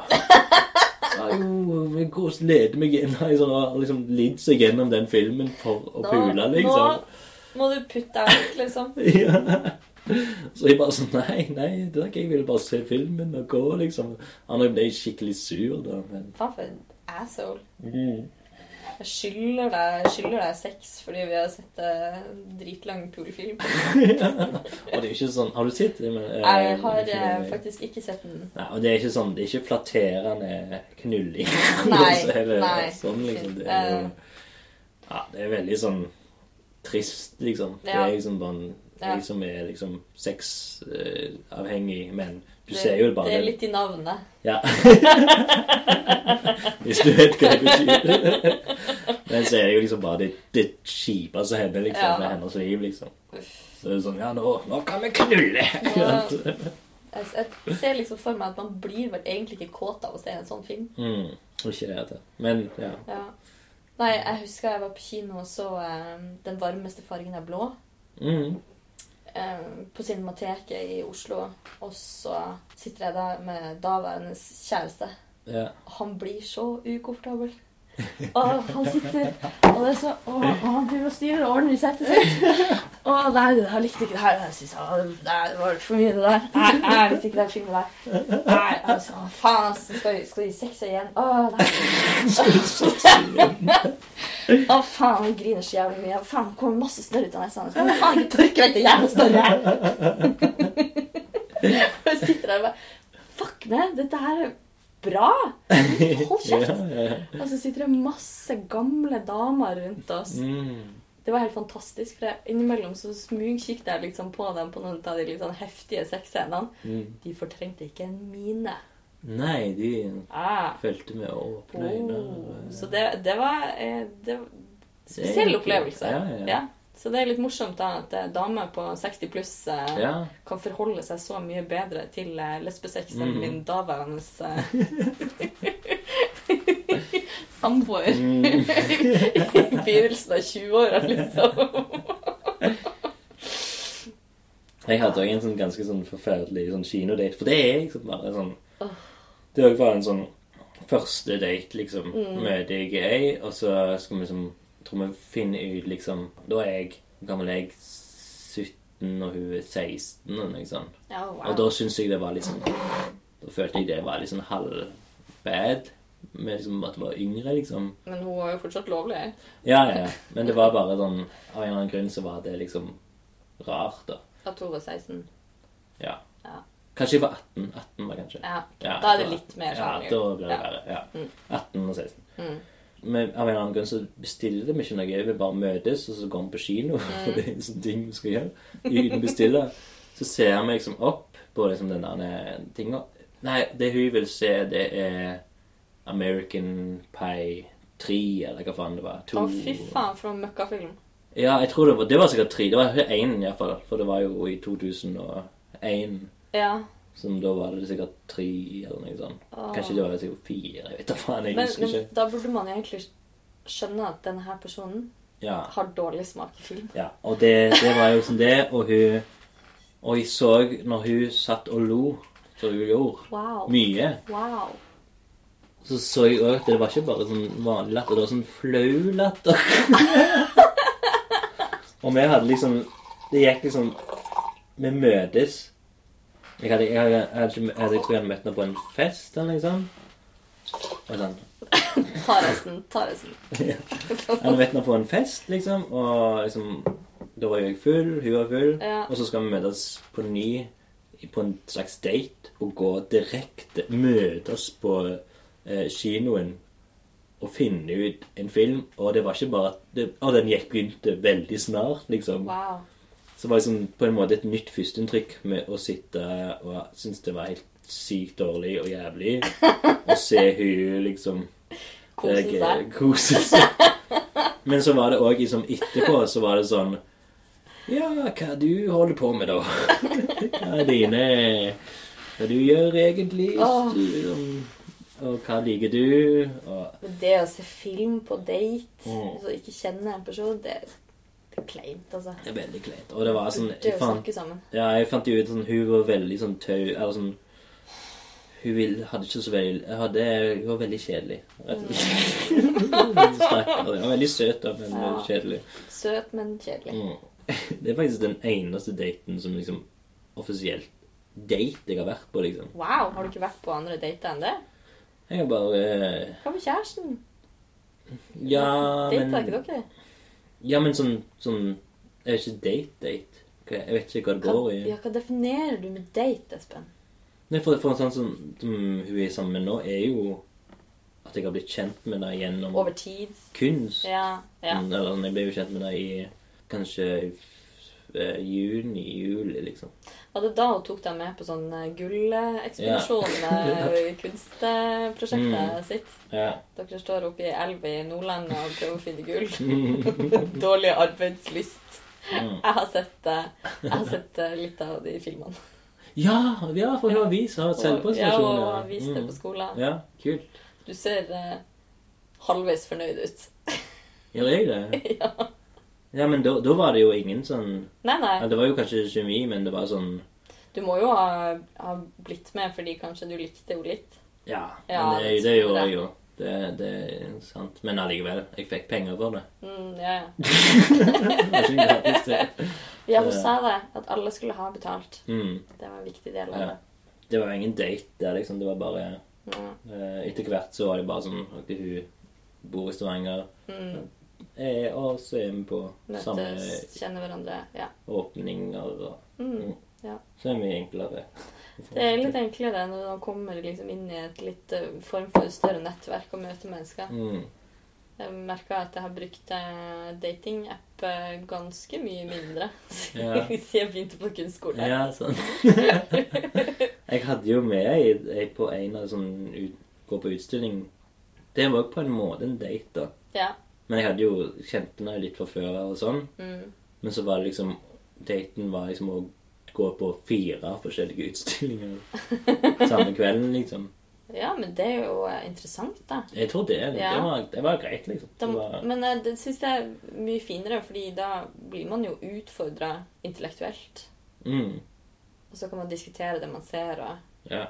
Speaker 1: [laughs] Ja, jo, men gå og lede meg inn [laughs] Nei, sånn, og liksom lidd seg gjennom den filmen for å pule, liksom.
Speaker 2: nå må du putte deg ut, liksom.
Speaker 1: Ja. Så jeg bare sånn Nei, nei, det er ikke jeg vil bare se filmen og gå, liksom. Han ble skikkelig sur da, men
Speaker 2: Faen for en asshole.
Speaker 1: Mm.
Speaker 2: Jeg skylder deg, jeg skylder deg sex fordi vi har sett eh, dritlang pulefilm.
Speaker 1: Og det er jo ikke sånn Har du sett det? Men, eh,
Speaker 2: Jeg har eh,
Speaker 1: filmen?
Speaker 2: faktisk ikke sett den.
Speaker 1: Nei, og det er ikke sånn Det er ikke flatterende knulling.
Speaker 2: Nei,
Speaker 1: Så er [laughs] det
Speaker 2: nei. Eh.
Speaker 1: Sånn, liksom. Det er jo Ja, det er veldig sånn trist, liksom. Det
Speaker 2: Ja.
Speaker 1: er liksom sånn
Speaker 2: Ja.
Speaker 1: Jeg som er liksom sexavhengig, men du
Speaker 2: Det,
Speaker 1: ser jo bare
Speaker 2: det er litt i navnet.
Speaker 1: Ja. [laughs] Hvis du vet hva det betyr. Men så er det jo liksom bare det, det kjipe som hender liksom,
Speaker 2: Ja.
Speaker 1: med hennes liv, liksom. Så det er sånn Ja, nå, nå kan vi knulle!
Speaker 2: Ja. Jeg, jeg ser liksom for meg at man blir vel egentlig ikke kåt av å se en sånn film.
Speaker 1: Mm, ikke det, det. Men ja.
Speaker 2: Ja. Nei, jeg husker jeg var på kino og så eh, Den varmeste fargen er blå.
Speaker 1: Mm.
Speaker 2: eh, på Cinemateket i Oslo. Og så sitter jeg der med daværende kjæreste.
Speaker 1: ja.
Speaker 2: Han blir så ukomfortabel. Og han sitter og, det er så, og, og han driver og styrer og ordner i setet sitt. Og nei, det her likte ikke det her. Jeg synes, ah, det der var for mye, det der. Nei, nei, jeg likte ikke den filmen der. Nei, altså, faen, altså, skal, vi- skal de sexe igjen? Å, nei. Å, faen, han griner så jævlig mye. Faen, det kommer masse snørr ut av nesa. Kan du faen ikke tørke vekk det jævla snørret? Og jeg sitter der og bare Fuck meg, dette her er bra. Hold kjeft.
Speaker 1: [laughs] Ja, ja.
Speaker 2: Og så sitter det masse gamle damer rundt oss.
Speaker 1: Mm.
Speaker 2: Det var helt fantastisk, for jeg- innimellom så smugkikket jeg liksom på dem på noen av de litt sånn heftige sexscenene.
Speaker 1: Mm.
Speaker 2: De fortrengte ikke en mine.
Speaker 1: Nei, de
Speaker 2: Ah.
Speaker 1: fulgte med åpne øyne.
Speaker 2: Oh. Så det, det var eh, det, var- Spesiell
Speaker 1: egentlig-
Speaker 2: opplevelse.
Speaker 1: ja, ja.
Speaker 2: Så det er litt morsomt da at eh, damer på 60 pluss eh,
Speaker 1: Ja.
Speaker 2: kan forholde seg så mye bedre til eh, lesbesex enn
Speaker 1: Mhm.
Speaker 2: min daværende
Speaker 1: [laughs]
Speaker 2: eh, samboer.
Speaker 1: Mm.
Speaker 2: [laughs] I begynnelsen av 20-åra, liksom.
Speaker 1: Jeg hadde òg en sånn ganske sånn forferdelig sånn kinodate. For det er liksom bare sånn Det er jo bare en sånn første date, liksom. Møter jeg ei, og så skal vi liksom Tror vi finner ut, liksom Da er jeg hvor gammel er jeg 17, og hun er 16, eller noe sånt.
Speaker 2: Ja,
Speaker 1: Og da syns jeg det var litt sånn Da følte jeg det var litt sånn halvbad. med liksom at det var yngre, liksom.
Speaker 2: Men hun var jo fortsatt lovlig.
Speaker 1: Ja, ja, ja. Men det var bare sånn Av en eller annen grunn så var det liksom rart, da.
Speaker 2: At hun var 16.
Speaker 1: Ja.
Speaker 2: Ja.
Speaker 1: Kanskje jeg var 18. 18 var kanskje.
Speaker 2: Ja.
Speaker 1: Ja,
Speaker 2: Da er det litt mer
Speaker 1: Ja,
Speaker 2: sjanger.
Speaker 1: da blir det
Speaker 2: Ja.
Speaker 1: verre. Ja.
Speaker 2: Mm.
Speaker 1: 18 og 16.
Speaker 2: Mm.
Speaker 1: Men av en eller annen grunn så bestiller vi ikke noe. Vi bare møtes, og så går vi på kino. [laughs] For det er en sånn ting vi skal gjøre. Uten å bestille. Så ser vi liksom opp på liksom den der tinga. Nei, det hun vil se, det er American Pie 3, eller hva faen det var.
Speaker 2: Å, fy faen, for en møkkafilm.
Speaker 1: Ja, jeg tror det var, det var sikkert tre. Det var ikke én, iallfall. For det var jo i 2001.
Speaker 2: Ja.
Speaker 1: Som da var det sikkert tre, eller noe sånt.
Speaker 2: Åh.
Speaker 1: Kanskje det var sikkert fire. Jeg vet da faen. Jeg
Speaker 2: Men,
Speaker 1: husker
Speaker 2: men
Speaker 1: ikke.
Speaker 2: da burde man egentlig skjønne at denne her personen
Speaker 1: Ja.
Speaker 2: har dårlig smak i film.
Speaker 1: Ja, og det, det var jo som det, og hun Og jeg så når hun satt og lo, som hun gjorde,
Speaker 2: Wow.
Speaker 1: mye,
Speaker 2: Wow.
Speaker 1: så så jeg òg at det var ikke bare sånn vanlig latter, det var sånn flau latter. [laughs] og vi hadde liksom Det gikk liksom Vi møtes Jeg hadde, jeg hadde, jeg hadde, ikke- jeg hadde jeg tror jeg hadde møtt henne på en fest eller noe sånt. Og sånn
Speaker 2: Ta resten. Ta resten.
Speaker 1: Jeg hadde møtt henne på en fest, liksom, og liksom Da var jeg full, hun var full,
Speaker 2: Ja.
Speaker 1: og så skal vi møtes på ny på en slags date og gå direkte Møtes på eh, kinoen og finne ut en film, og det var ikke bare at det, Og den gikk begynte veldig snart, liksom.
Speaker 2: Wow.
Speaker 1: Så var det liksom på en måte et nytt førsteinntrykk med å sitte og synes det var helt sykt dårlig og jævlig,
Speaker 2: [laughs]
Speaker 1: og se hun liksom
Speaker 2: Kose
Speaker 1: jeg, eh,
Speaker 2: seg.
Speaker 1: Kose seg.
Speaker 2: [laughs]
Speaker 1: Men så var det òg liksom etterpå så var det sånn Ja, hva du holder på med, da? [laughs] Hva er dine Hva du gjør egentlig?
Speaker 2: Åh.
Speaker 1: Liksom, Og hva liker du? Og
Speaker 2: Men det å se film på date,
Speaker 1: Mm.
Speaker 2: så ikke kjenne en person, det, det er kleint, altså.
Speaker 1: Det er veldig kleint. Og det var sånn
Speaker 2: Burde
Speaker 1: jeg
Speaker 2: jo
Speaker 1: fant,
Speaker 2: snakke sammen.
Speaker 1: Ja, jeg fant jo ut sånn Hun var veldig sånn tau Eller sånn Hun vil, hadde ikke så veldig hadde, Hun var veldig kjedelig. Rett og slett.
Speaker 2: [laughs]
Speaker 1: Stakkar. Hun var veldig søt, da, men
Speaker 2: Ja.
Speaker 1: kjedelig.
Speaker 2: Søt, men kjedelig.
Speaker 1: Mm. Det er faktisk den eneste daten som liksom offisielt date jeg har vært på, liksom.
Speaker 2: Wow, har du ikke vært på andre dater enn det?
Speaker 1: Jeg har bare eh,
Speaker 2: Hva med kjæresten?
Speaker 1: Ja,
Speaker 2: Data er
Speaker 1: men
Speaker 2: ikke dere?
Speaker 1: Ja, men sånn, sånn Jeg vet ikke date-date. Hva- Jeg vet ikke hva det
Speaker 2: Hva,
Speaker 1: går i.
Speaker 2: ja, hva definerer du med date, Espen?
Speaker 1: Nei, for, for en sånn som, som hun er sammen med nå, er jo at jeg har blitt kjent med henne gjennom
Speaker 2: Over tid?
Speaker 1: kunst.
Speaker 2: Ja. ja.
Speaker 1: Mm, Eller sånn, jeg ble jo kjent med henne i kanskje i f- eh, juni-juli, liksom.
Speaker 2: Var det da hun tok deg med på sånn eh, gullekspedisjon
Speaker 1: Ja. [laughs] Mm.
Speaker 2: eh, i kunstprosjektet sitt?
Speaker 1: Ja.
Speaker 2: Dere står oppe i elva i Nordland og prøver å finne gull. [laughs] Dårlig arbeidslyst.
Speaker 1: Mm.
Speaker 2: Jeg har sett, eh, jeg har sett eh, litt av de filmene.
Speaker 1: Ja, ja, for hun har vist har hatt
Speaker 2: ja,
Speaker 1: selvpresentasjon.
Speaker 2: og vist det
Speaker 1: Mm.
Speaker 2: på skolen.
Speaker 1: Ja, kult.
Speaker 2: Du ser eh, halvveis fornøyd ut.
Speaker 1: Gjør jeg
Speaker 2: [laughs]
Speaker 1: det? ja. men da, da var det jo ingen sånn
Speaker 2: Nei,
Speaker 1: ja,
Speaker 2: nei.
Speaker 1: Det var jo kanskje kjemi, men det var sånn
Speaker 2: Du må jo ha, ha blitt med fordi kanskje du likte henne litt.
Speaker 1: Ja.
Speaker 2: Ja,
Speaker 1: men det, det
Speaker 2: det
Speaker 1: gjorde
Speaker 2: tror jeg.
Speaker 1: jeg jo. Det, det er sant. Men allikevel. Jeg fikk penger
Speaker 2: [laughs]
Speaker 1: for det.
Speaker 2: Mm, ja,
Speaker 1: [laughs]
Speaker 2: ja.
Speaker 1: Det var ikke gratis, det.
Speaker 2: ja, hun sa det. At alle skulle ha betalt.
Speaker 1: Mm.
Speaker 2: Det var en viktig del av
Speaker 1: Ja.
Speaker 2: det.
Speaker 1: Det var jo ingen date der, liksom. Det var bare
Speaker 2: Ja.
Speaker 1: eh, Etter hvert så var det bare sånn Ok, hun bor i Stavanger,
Speaker 2: Mm,
Speaker 1: eh, og så er vi på samme
Speaker 2: møtes, kjenne hverandre. Ja.
Speaker 1: åpninger og
Speaker 2: Mm.
Speaker 1: Mm.
Speaker 2: ja.
Speaker 1: Så er vi enklere.
Speaker 2: Det er litt enklere når man kommer liksom inn i et litt eh, form for større nettverk og møter mennesker.
Speaker 1: mm.
Speaker 2: Jeg merker at jeg har brukt eh, datingapp eh, ganske mye mindre [laughs]
Speaker 1: Ja.
Speaker 2: siden jeg begynte på kunstskole.
Speaker 1: Ja,
Speaker 2: [laughs]
Speaker 1: sant. jeg hadde jo med ei ei på en av sånn ut, gå på utstilling. Det var jo på en måte en date, da.
Speaker 2: Ja.
Speaker 1: Men jeg hadde jo kjente henne litt fra før og sånn.
Speaker 2: Mm.
Speaker 1: Men så var det liksom Daten var liksom å gå på fire forskjellige
Speaker 2: [laughs]
Speaker 1: utstillinger samme kvelden, liksom.
Speaker 2: ja, men det er jo eh, interessant, da.
Speaker 1: Jeg tror det. Det,
Speaker 2: Ja.
Speaker 1: var, det var greit, liksom.
Speaker 2: da
Speaker 1: Det var,
Speaker 2: men eh, det syns jeg er mye finere, fordi da blir man jo utfordra intellektuelt.
Speaker 1: mm,
Speaker 2: Og så kan man diskutere det man ser, og,
Speaker 1: ja,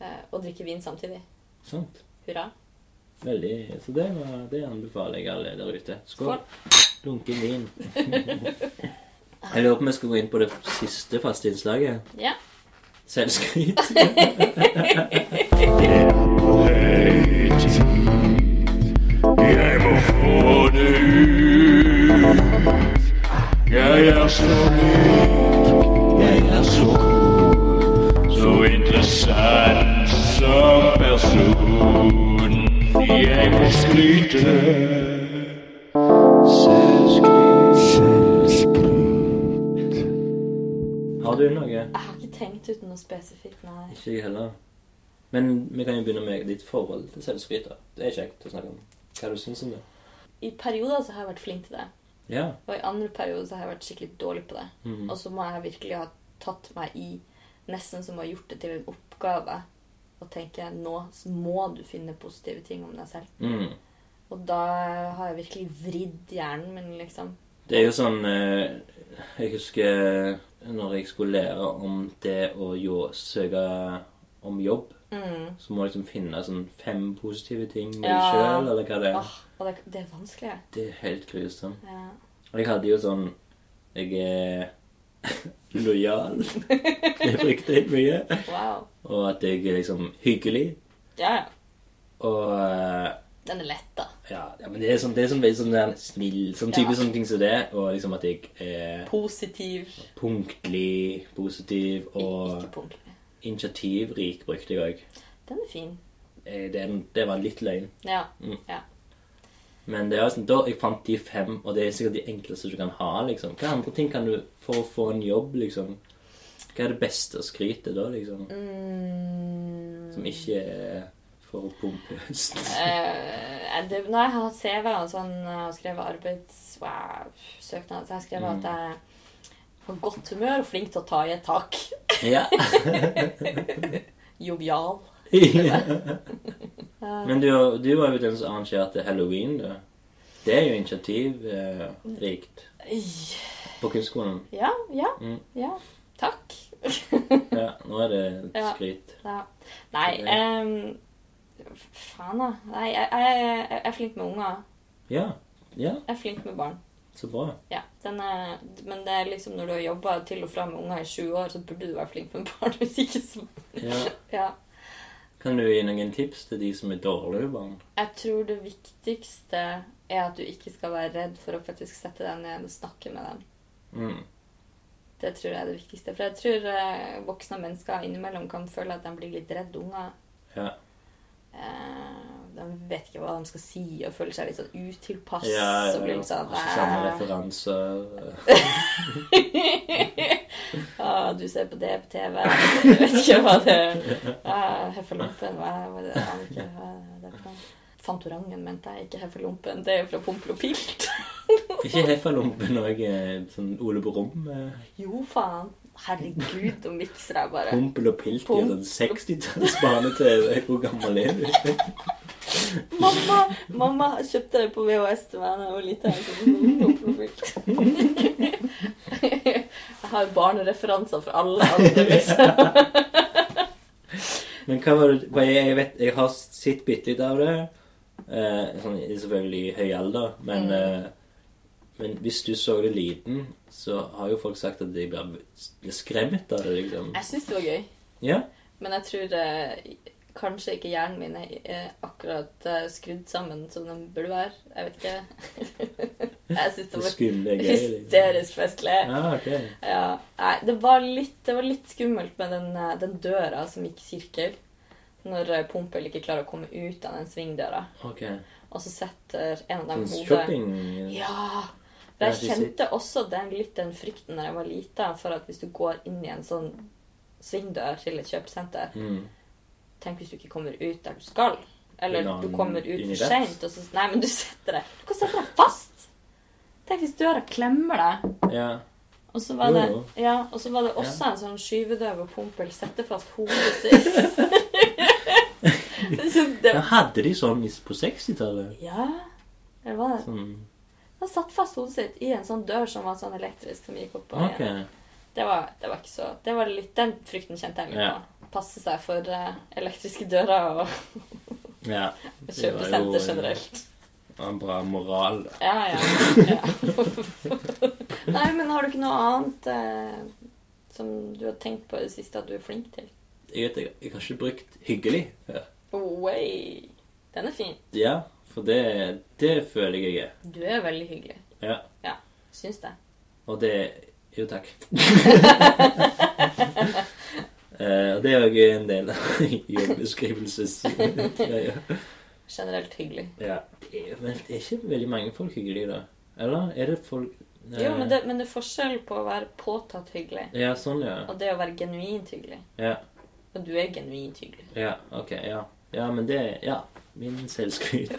Speaker 2: eh, og drikke vin samtidig.
Speaker 1: sant.
Speaker 2: Hurra.
Speaker 1: Veldig. Så det, var, det anbefaler jeg alle der ute. Skål. Dunken vin. [laughs] Jeg lurer på om vi skal gå inn på det siste faste innslaget.
Speaker 2: Ja. [laughs]
Speaker 1: Selvskryt.
Speaker 8: Høyt Egersund. Jeg må skryte.
Speaker 1: Har du noe?
Speaker 2: Jeg har ikke tenkt ut noe spesifikt, nei.
Speaker 1: Ikke jeg heller. Men vi kan jo begynne med ditt forhold til selvskryt. da. Det er kjekt å snakke om. Hva du syns om det?
Speaker 2: I perioder så har jeg vært flink til det.
Speaker 1: Ja.
Speaker 2: Og i andre perioder så har jeg vært skikkelig dårlig på det.
Speaker 1: Mm.
Speaker 2: Og så må jeg virkelig ha tatt meg i nesten som å ha gjort det til en oppgave. Og tenke nå må du finne positive ting om deg selv.
Speaker 1: Mm.
Speaker 2: Og da har jeg virkelig vridd hjernen min, liksom.
Speaker 1: Det er jo sånn eh, Jeg husker når jeg skulle lære om det å jo, søke om jobb,
Speaker 2: Mm.
Speaker 1: så må jeg liksom finne sånn fem positive ting med deg
Speaker 2: Ja.
Speaker 1: sjøl, eller hva det er.
Speaker 2: Åh, og det, det er vanskelig.
Speaker 1: Det er helt grusomt.
Speaker 2: Ja.
Speaker 1: Jeg hadde jo sånn Jeg er [laughs] lojal. Jeg frykter helt mye.
Speaker 2: Wow.
Speaker 1: Og at jeg er liksom hyggelig.
Speaker 2: Ja, ja.
Speaker 1: Og eh,
Speaker 2: Den er lett, da.
Speaker 1: ja, ja, men det er sånn, det er sånn, veldig sånn der snill Sånn type
Speaker 2: Ja.
Speaker 1: sånne ting som det. Og liksom at jeg er
Speaker 2: Positiv.
Speaker 1: punktlig, positiv og
Speaker 2: Ikke punktlig.
Speaker 1: initiativrik, brukte jeg òg.
Speaker 2: Den er fin.
Speaker 1: Det, det var litt løgn.
Speaker 2: Ja.
Speaker 1: Mm.
Speaker 2: ja.
Speaker 1: Men det er jo sånn, da jeg fant de fem, og det er sikkert de enkleste du kan ha. liksom. Hva andre ting kan du for å få en jobb, liksom? Hva er det beste å skryte da, liksom?
Speaker 2: Mm.
Speaker 1: Som ikke er for
Speaker 2: [laughs]
Speaker 1: pompøst.
Speaker 2: Eh, det, når jeg har CV og sånn eh, og skrevet arbeidssøknad, så har jeg skrevet at
Speaker 1: Mm.
Speaker 2: jeg har godt humør og flink til å ta i et tak. [laughs]
Speaker 1: ja.
Speaker 2: Jovial.
Speaker 1: Men du, du var jo den som arrangerte halloween, da. Det er jo initiativrikt på kunstskolen.
Speaker 2: Ja, ja,
Speaker 1: Mm.
Speaker 2: ja. Takk. [laughs]
Speaker 1: Ja, nå er det
Speaker 2: Ja.
Speaker 1: skryt.
Speaker 2: Ja. Nei
Speaker 1: Det-
Speaker 2: ehm, Faen, da. Nei, jeg, jeg, jeg er flink med unger.
Speaker 1: Ja. Ja,
Speaker 2: Jeg er flink med barn.
Speaker 1: så bra.
Speaker 2: Ja, den er, men det er liksom når du har jobba til og fra med unger i sju år, så burde du være flink med barn. [laughs] Hvis ikke så
Speaker 1: Ja.
Speaker 2: Ja.
Speaker 1: Kan du gi noen tips til de som er dårlige barn?
Speaker 2: Jeg tror det viktigste er at du ikke skal være redd for å faktisk sette deg ned og snakke med dem.
Speaker 1: Mm.
Speaker 2: Det tror jeg er det viktigste. For jeg tror eh, voksne mennesker innimellom kan føle at de blir litt redd unger.
Speaker 1: Ja.
Speaker 2: Eh, de vet ikke hva de skal si og føler seg litt sånn utilpass.
Speaker 1: Ja, ja,
Speaker 2: og blir litt sånn
Speaker 1: og så samme
Speaker 2: "Æ,
Speaker 1: referanser.
Speaker 2: ah, du ser på det på TV. [laughs] Jeg vet ikke hva det ah, Heffalumpen, hva hva er det? Jeg aner ikke hva det er for noe. Fantorangen, mente jeg. Ikke Heffalumpen. Det er jo fra Pompel og Pilt.
Speaker 1: Ikke heffalumpen òg. Sånn Ole Brumm. eh,
Speaker 2: Jo, faen. Herregud, nå mikser jeg bare.
Speaker 1: Pompel og pilt i
Speaker 2: Pom-
Speaker 1: sånn 60-talls barne-TV. eh, Hvor gammel er du?
Speaker 2: Mamma, mamma kjøpte det på VHS til meg da jeg var liten. så det var noe Jeg har barnereferanser fra alle andre. Liksom.
Speaker 1: Men hva var det hva jeg, jeg vet Jeg har sett bitte litt av det. Eh, sånn, i- selvfølgelig i høy alder, men
Speaker 2: Mm.
Speaker 1: eh, men hvis du så det liten, så har jo folk sagt at de blir blir skremt av det, liksom.
Speaker 2: Jeg syns det var gøy,
Speaker 1: Ja.
Speaker 2: men jeg tror eh, kanskje ikke hjernen min er akkurat eh, skrudd sammen som den burde være. Jeg vet
Speaker 1: [laughs]
Speaker 2: ikke. Jeg syns det
Speaker 1: Det
Speaker 2: var
Speaker 1: skumle er gøy. Liksom.
Speaker 2: hysterisk festlig.
Speaker 1: Ja, ok.
Speaker 2: Ja, nei, det var litt, det var litt skummelt med den, eh, den døra som gikk i sirkel. Når eh, Pompel ikke klarer å komme ut av den svingdøra.
Speaker 1: ok.
Speaker 2: Og så setter en av dem
Speaker 1: Sånn
Speaker 2: hodet
Speaker 1: shopping
Speaker 2: Ja!
Speaker 1: Ja,
Speaker 2: Jeg
Speaker 1: de
Speaker 2: kjente også den, litt den frykten da jeg var lita, for at hvis du går inn i en sånn svingdør til et kjøpesenter
Speaker 1: mm.
Speaker 2: Tenk hvis du ikke kommer ut der du skal. Eller
Speaker 1: Vil han
Speaker 2: du kommer ut
Speaker 1: inn i
Speaker 2: for
Speaker 1: rett?
Speaker 2: seint, og så Nei, men du setter deg Du kan sette deg fast! Tenk hvis døra klemmer deg.
Speaker 1: Ja.
Speaker 2: Og så var,
Speaker 1: Jo,
Speaker 2: det,
Speaker 1: jo.
Speaker 2: ja, og så var det også en sånn skyvedøv og pompel sette fast hodet
Speaker 1: [laughs]
Speaker 2: sitt. så det,
Speaker 1: Ja, hadde de sånn i- på 60-tallet?
Speaker 2: ja, eller hva det?
Speaker 1: Sånn,
Speaker 2: Han satt fast hodet sitt i en sånn dør som var sånn elektrisk som gikk opp og
Speaker 1: ok.
Speaker 2: igjen. Det var, det var ikke så Det var litt Den frykten kjente jeg litt
Speaker 1: Ja.
Speaker 2: på. Passe seg for eh, elektriske dører og
Speaker 1: Ja. Det var jo
Speaker 2: kjøpesenter
Speaker 1: en-
Speaker 2: generelt.
Speaker 1: En bra moral. da.
Speaker 2: Ja,
Speaker 1: [laughs]
Speaker 2: ja. ja. [laughs] Nei, men har du ikke noe annet eh, som du har tenkt på i det siste at du er flink til?
Speaker 1: Jeg vet ikke, jeg har ikke brukt hyggelig før.
Speaker 2: Oi, den er fin.
Speaker 1: Ja, for det, det føler jeg jeg er.
Speaker 2: Du er veldig hyggelig.
Speaker 1: Ja.
Speaker 2: Syns det.
Speaker 1: Og det Jo, takk. Eh, Og det Det er jo en del av [laughs] jobbeskrivelses-greia.
Speaker 2: [laughs] Generelt hyggelig.
Speaker 1: Ja. Men det er ikke veldig mange folk hyggelige, da? Eller er det folk Eh,
Speaker 2: Jo, men det, men det er forskjell på å være påtatt hyggelig
Speaker 1: Ja, sånn, ja.
Speaker 2: og det å være genuint hyggelig.
Speaker 1: Ja,
Speaker 2: Og du er genuint hyggelig.
Speaker 1: ja ok. Ja. ja, men det Ja. Min
Speaker 2: [laughs]
Speaker 1: selvskryt.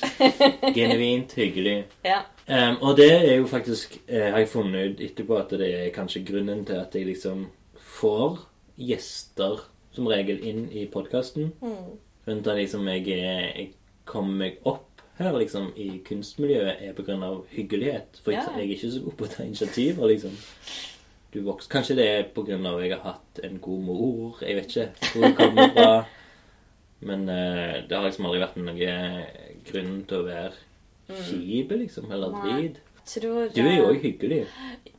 Speaker 1: Genuint hyggelig.
Speaker 2: Ja.
Speaker 1: Ehm, og det er jo faktisk eh, Har jeg funnet ut etterpå at det er kanskje grunnen til at jeg liksom får gjester som regel inn i podkasten.
Speaker 2: Mm.
Speaker 1: Grunnen til at liksom jeg, er- jeg kommer meg opp her liksom i kunstmiljøet, er på grunn av hyggelighet. For jeg,
Speaker 2: Ja.
Speaker 1: jeg er ikke så god på å ta initiativ. Og liksom du vokser. Kanskje det er på grunn av at jeg har hatt en god mor. Jeg vet ikke hvor det kommer fra.
Speaker 2: [laughs]
Speaker 1: Men eh, det har liksom aldri vært noen grunn til å være kjip, liksom. Eller
Speaker 2: Mm. Nei.
Speaker 1: drit.
Speaker 2: Tror
Speaker 1: Du er jo òg hyggelig,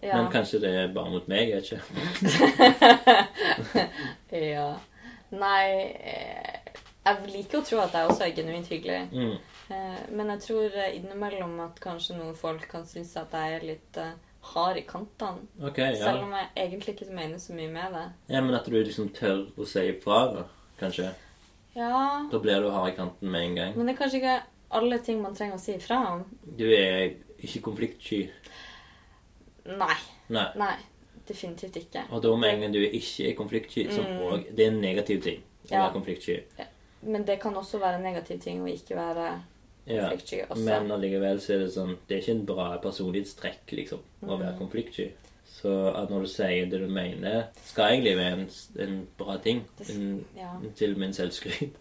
Speaker 2: ja.
Speaker 1: men kanskje det er bare mot meg. jeg vet ikke.
Speaker 2: ja. Nei eh, Jeg liker å tro at jeg også er genuint hyggelig.
Speaker 1: Mm.
Speaker 2: Eh, Men jeg tror eh, innimellom at kanskje noen folk kan synes at jeg er litt eh, hard i kantene.
Speaker 1: Ok, ja.
Speaker 2: Selv om jeg egentlig ikke mener så mye med det.
Speaker 1: ja. Men at du liksom tør å si ifra, da. Kanskje.
Speaker 2: Ja,
Speaker 1: Da blir du hard i kanten med en gang.
Speaker 2: men det er kanskje ikke alle ting man trenger å si ifra om.
Speaker 1: Du er ikke konfliktsky.
Speaker 2: Nei.
Speaker 1: Nei.
Speaker 2: Nei. Definitivt ikke.
Speaker 1: Og da med en gang du ikke er konfliktsky, som òg Det er en negativ ting å
Speaker 2: Mm. Ja.
Speaker 1: være konfliktsky.
Speaker 2: Men det kan også være en negativ ting å ikke være
Speaker 1: Ja.
Speaker 2: konfliktsky også.
Speaker 1: Men allikevel så er det sånn Det er ikke en bra personlighetstrekk liksom, å
Speaker 2: Mm.
Speaker 1: være konfliktsky. Så at når du sier det du mener, skal egentlig være en, en bra ting.
Speaker 2: Det s-
Speaker 1: En,
Speaker 2: ja.
Speaker 1: Til min
Speaker 2: [laughs]
Speaker 1: selvskryt.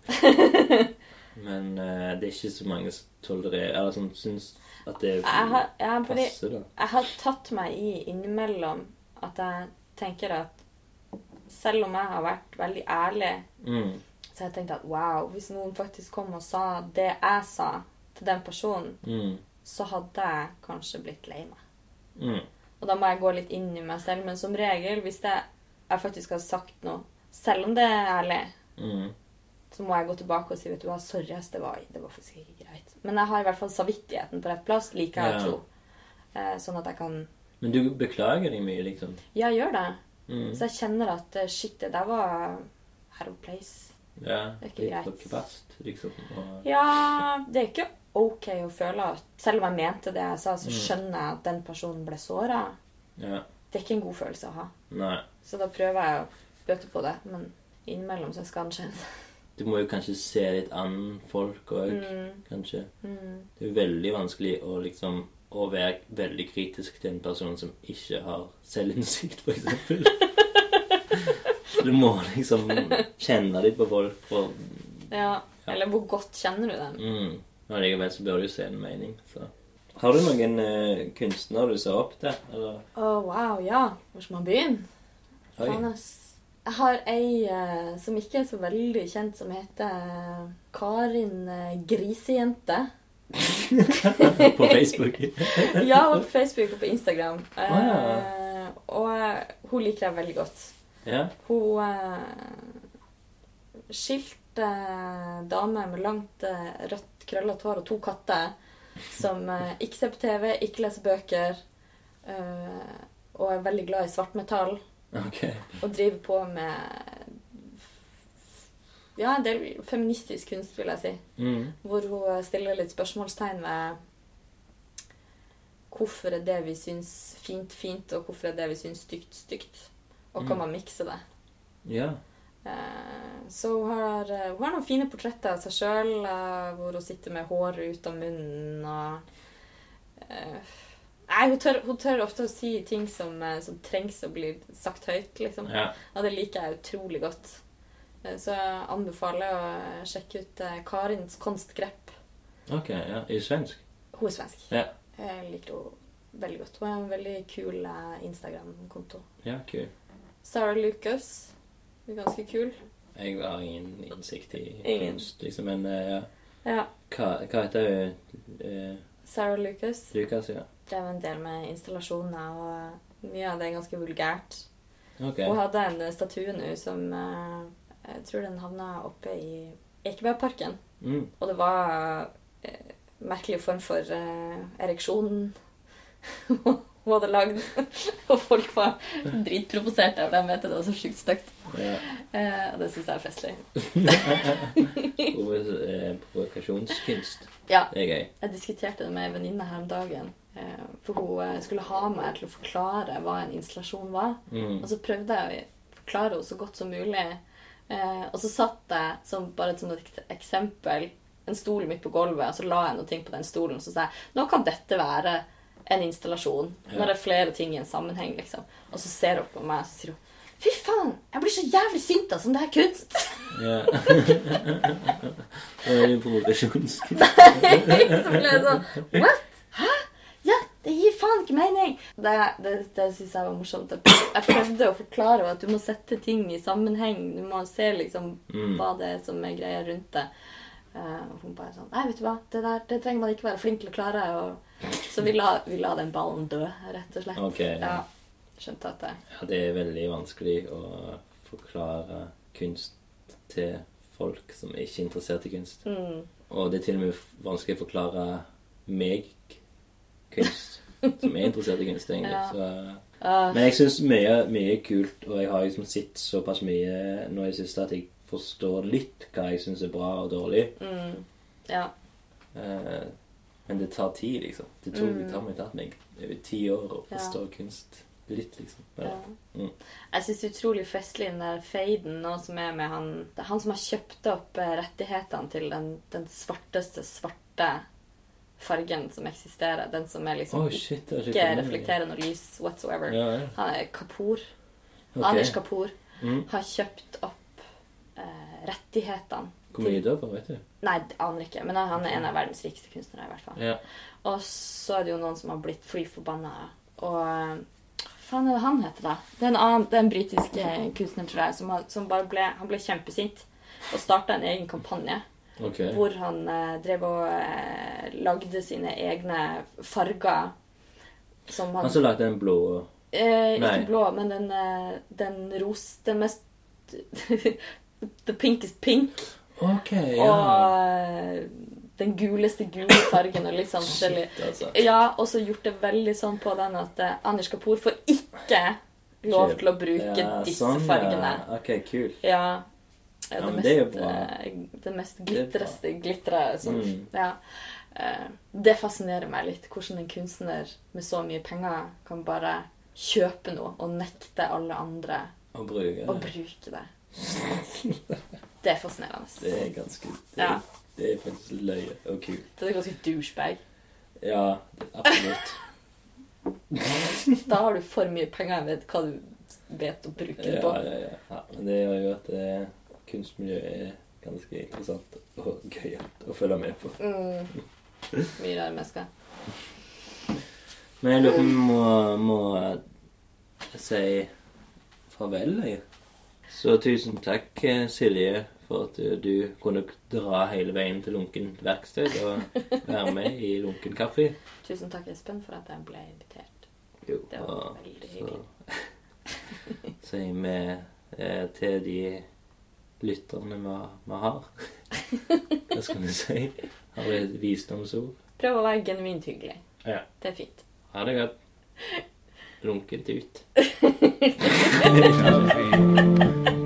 Speaker 1: Men eh, det er ikke så mange som tolererer Eller som syns at det
Speaker 2: Jeg har, jeg, har, fordi,
Speaker 1: passer, da.
Speaker 2: jeg har tatt meg i innimellom at jeg tenker at selv om jeg har vært veldig ærlig,
Speaker 1: Mm.
Speaker 2: så har jeg tenkt at wow, hvis noen faktisk kom og sa det jeg sa til den personen,
Speaker 1: Mm.
Speaker 2: så hadde jeg kanskje blitt lei meg.
Speaker 1: Mm.
Speaker 2: Og da må jeg gå litt inn i meg selv. Men som regel, hvis det, jeg faktisk har sagt noe, selv om det er ærlig,
Speaker 1: Mm.
Speaker 2: så må jeg gå tilbake og si vet du hva, sorry, ass, det var, det var faktisk ikke greit. Men jeg har i hvert fall samvittigheten på rett plass, liker jeg å
Speaker 1: Ja.
Speaker 2: tro. Eh, sånn at jeg kan
Speaker 1: Men du beklager deg mye, liksom.
Speaker 2: Ja, gjør det.
Speaker 1: Mm.
Speaker 2: Så jeg kjenner at eh, shit, det der var out of place.
Speaker 1: Ja,
Speaker 2: Det er ikke
Speaker 1: litt
Speaker 2: greit.
Speaker 1: på kvast, liksom. Og,
Speaker 2: Ja, det er ikke OK å føle at Selv om jeg mente det jeg sa, så
Speaker 1: Mm.
Speaker 2: skjønner jeg at den personen ble såra.
Speaker 1: ja.
Speaker 2: Det er ikke en god følelse å ha.
Speaker 1: Nei.
Speaker 2: Så da prøver jeg å bøte på det. Men innimellom så skal den skje.
Speaker 1: Du må jo kanskje se litt an folk òg,
Speaker 2: Mm.
Speaker 1: kanskje. Det er veldig vanskelig å liksom å være veldig kritisk til en person som ikke har selvinnsikt, for
Speaker 2: [laughs]
Speaker 1: eksempel. Så du må liksom kjenne litt på folk, og
Speaker 2: Ja. Eller hvor godt kjenner du dem?
Speaker 1: mm, men likevel så bør du jo se en mening. Så. Har du noen eh, kunstnere du ser opp til? Eller?
Speaker 2: Å, wow, ja. Hvor skal man begynne? Faen,
Speaker 1: Oi.
Speaker 2: ass. Jeg har ei eh, som ikke er så veldig kjent, som heter eh, Karin eh, Grisejente.
Speaker 1: [laughs] På Facebook.
Speaker 2: Ja, hun er på Facebook og på Instagram. Eh,
Speaker 1: Ah,
Speaker 2: Og eh, hun liker jeg veldig godt.
Speaker 1: ja.
Speaker 2: Hun eh, skilt eh, dame med langt eh, rødt, krøllete hår og to katter som eh, ikke ser på TV, ikke leser bøker eh, og er veldig glad i svartmetall
Speaker 1: Ok.
Speaker 2: og driver på med ja, en del feministisk kunst, vil jeg si.
Speaker 1: Mm.
Speaker 2: Hvor hun eh, stiller litt spørsmålstegn ved hvorfor er det vi syns fint, fint, og hvorfor er det vi syns stygt, stygt. Og kan man mikse det?
Speaker 1: Ja.
Speaker 2: Eh, Så hun har, eh, hun har noen fine portretter av seg sjøl, hvor hun sitter med håret ut av munnen og eh, Nei, hun tør, hun tør ofte å si ting som, eh, som trengs å bli sagt høyt, liksom.
Speaker 1: ja.
Speaker 2: Og det liker jeg utrolig godt. Eh, Så jeg anbefaler å sjekke ut eh, Karins kunstgrep.
Speaker 1: Ok, ja. I svensk?
Speaker 2: Hun er svensk.
Speaker 1: Ja.
Speaker 2: Jeg liker henne veldig godt. Hun har en veldig kul eh, Instagram-konto.
Speaker 1: Ja, kult.
Speaker 2: Sarah Lucas. Hun er ganske kul.
Speaker 1: Jeg har ingen innsikt i
Speaker 2: Ingen.
Speaker 1: kunst, liksom, men eh, ja.
Speaker 2: Ja.
Speaker 1: Hva, hva heter hun? Eh,
Speaker 2: Sarah Lucas
Speaker 1: Lukas, ja.
Speaker 2: drev en del med installasjoner, og mye av det er ganske vulgært.
Speaker 1: Ok.
Speaker 2: Hun hadde en statue nå som eh, Jeg tror den havna oppe i Ekebergparken.
Speaker 1: Mm.
Speaker 2: Og det var eh, merkelig form for eh, ereksjon [laughs] hun hadde lagd. [laughs] Og folk var dritprovoserte av det. Jeg vet det var så sjukt stygt.
Speaker 1: Ja.
Speaker 2: Eh, og det syns jeg er festlig.
Speaker 1: Provos- eh, Provokasjonskunst.
Speaker 2: Ja,
Speaker 1: Det er gøy.
Speaker 2: Jeg diskuterte det med ei venninne her om dagen. eh, For hun eh, skulle ha meg til å forklare hva en installasjon var.
Speaker 1: Mm.
Speaker 2: Og så prøvde jeg å forklare henne så godt som mulig. Eh, og så satt jeg, som bare som et ek- eksempel, en stol midt på gulvet, og så la jeg noe ting på den stolen, og så sa jeg nå kan dette være en installasjon. Når det er flere ting i en sammenheng, liksom. Og så ser hun på meg, og så sier hun Fy faen! Jeg blir så jævlig sint av sånn der kunst! [laughs]
Speaker 1: Ja. [laughs] det er jo provokasjonskunst.
Speaker 2: [laughs] Så ble jeg sånn What? Hæ? Ja, det gir faen ikke mening! Det, det, det syns jeg var morsomt. Jeg prøv- Jeg prøvde å forklare henne at du må sette ting i sammenheng. Du må se liksom
Speaker 1: Mm.
Speaker 2: hva det er som er greia rundt det. Eh, og hun bare sånn Nei, vet du hva, det der det trenger man ikke være flink til å klare. Og så vi la, vi la den ballen dø, rett og slett.
Speaker 1: Ok,
Speaker 2: ja.
Speaker 1: ja.
Speaker 2: Skjønte at det
Speaker 1: Ja, det er veldig vanskelig å forklare kunst til folk som ikke er interessert i kunst.
Speaker 2: mm,
Speaker 1: Og det er til og med f- vanskelig å forklare meg kunst, som er interessert i kunst, egentlig.
Speaker 2: [laughs] Ja.
Speaker 1: Så,
Speaker 2: ah,
Speaker 1: men jeg syns mye, mye er kult, og jeg har liksom sett såpass mye nå i det siste at jeg forstår litt hva jeg syns er bra og dårlig.
Speaker 2: mm, ja.
Speaker 1: Eh, men det tar tid, liksom. Det tok
Speaker 2: Mm.
Speaker 1: det tar meg tatt meg over ti år å forstå kunst litt, liksom.
Speaker 2: Ja.
Speaker 1: Men, Mm.
Speaker 2: Jeg syns det er utrolig festlig den der faden nå som er med han Det er han som har kjøpt opp eh, rettighetene til den, den svarteste svarte fargen som eksisterer. Den som er liksom
Speaker 1: Å, shit, det har jeg ikke
Speaker 2: ikke
Speaker 1: fått med meg.
Speaker 2: reflekterer noe lys whatsoever.
Speaker 1: Ja, ja.
Speaker 2: Han er Kapoor.
Speaker 1: Ok.
Speaker 2: Anders Kapoor
Speaker 1: Mm.
Speaker 2: har kjøpt opp eh, rettighetene.
Speaker 1: Hvor mye da, på, vet du?
Speaker 2: Nei, det aner ikke, men han er en av verdens rikeste kunstnere. i hvert fall.
Speaker 1: Ja.
Speaker 2: Og så er det jo noen som har blitt fly forbanna. Og eh, hva faen er det han heter, da? Det er en, annen, det er en britisk eh, kunstner, tror jeg, som, har, som bare ble, han ble kjempesint og starta en egen kampanje
Speaker 1: Ok.
Speaker 2: hvor han eh, drev og eh, lagde sine egne farger. Som han
Speaker 1: Han som lagde den blå
Speaker 2: eh,
Speaker 1: Altså, Nei.
Speaker 2: Ikke blå, men den, eh, den ros... Den mest [laughs] The pinkest pink.
Speaker 1: Ok, ja.
Speaker 2: Og eh, den guleste gule fargen og litt sånn forskjellig.
Speaker 1: Shit, altså.
Speaker 2: Ja, og så gjort det veldig sånn på den at eh, Anders Kapoor får ikke lov til å bruke
Speaker 1: Ja,
Speaker 2: disse
Speaker 1: sånn, ja.
Speaker 2: fargene.
Speaker 1: Ok, kult.
Speaker 2: Ja. eh,
Speaker 1: Ja,
Speaker 2: det,
Speaker 1: men
Speaker 2: mest,
Speaker 1: det er jo bra.
Speaker 2: eh, det mest
Speaker 1: Det er bra.
Speaker 2: glitreste glitteret som
Speaker 1: Mm.
Speaker 2: Ja. Eh, Det fascinerer meg litt, hvordan en kunstner med så mye penger kan bare kjøpe noe og nekte alle andre
Speaker 1: Å bruke
Speaker 2: å
Speaker 1: det.
Speaker 2: bruke det. Det er fascinerende.
Speaker 1: [laughs] Det er ganske det,
Speaker 2: Ja.
Speaker 1: det er faktisk løye og kult.
Speaker 2: Det er ganske douchebag.
Speaker 1: Ja,
Speaker 2: [laughs]
Speaker 1: absolutt.
Speaker 2: Da har du for mye penger enn vet hva du vet å bruke det på.
Speaker 1: Ja, ja, ja. ja. Men det gjør jo at eh, kunstmiljøet er ganske interessant og gøyalt å følge med på.
Speaker 2: Mm. Mye rare mennesker.
Speaker 1: Men jeg lurer på om vi må, må si farvel, jeg. Så tusen takk, eh, Silje, for at eh, du kunne dra hele veien til Lunken verksted og [laughs] være med i Lunken kaffe.
Speaker 2: Tusen takk, Espen, for at jeg ble invitert.
Speaker 1: Jo,
Speaker 2: Det var
Speaker 1: og
Speaker 2: veldig
Speaker 1: Ah, så sier
Speaker 2: hyggelig.
Speaker 1: vi eh, til de lytterne vi, vi [laughs] har Hva skal vi si? Har vi et visdomsord?
Speaker 2: Prøv å være genuint hyggelig.
Speaker 1: Ja.
Speaker 2: Det er fint.
Speaker 1: Ha det godt. Lunkent ut.
Speaker 9: Kaffe.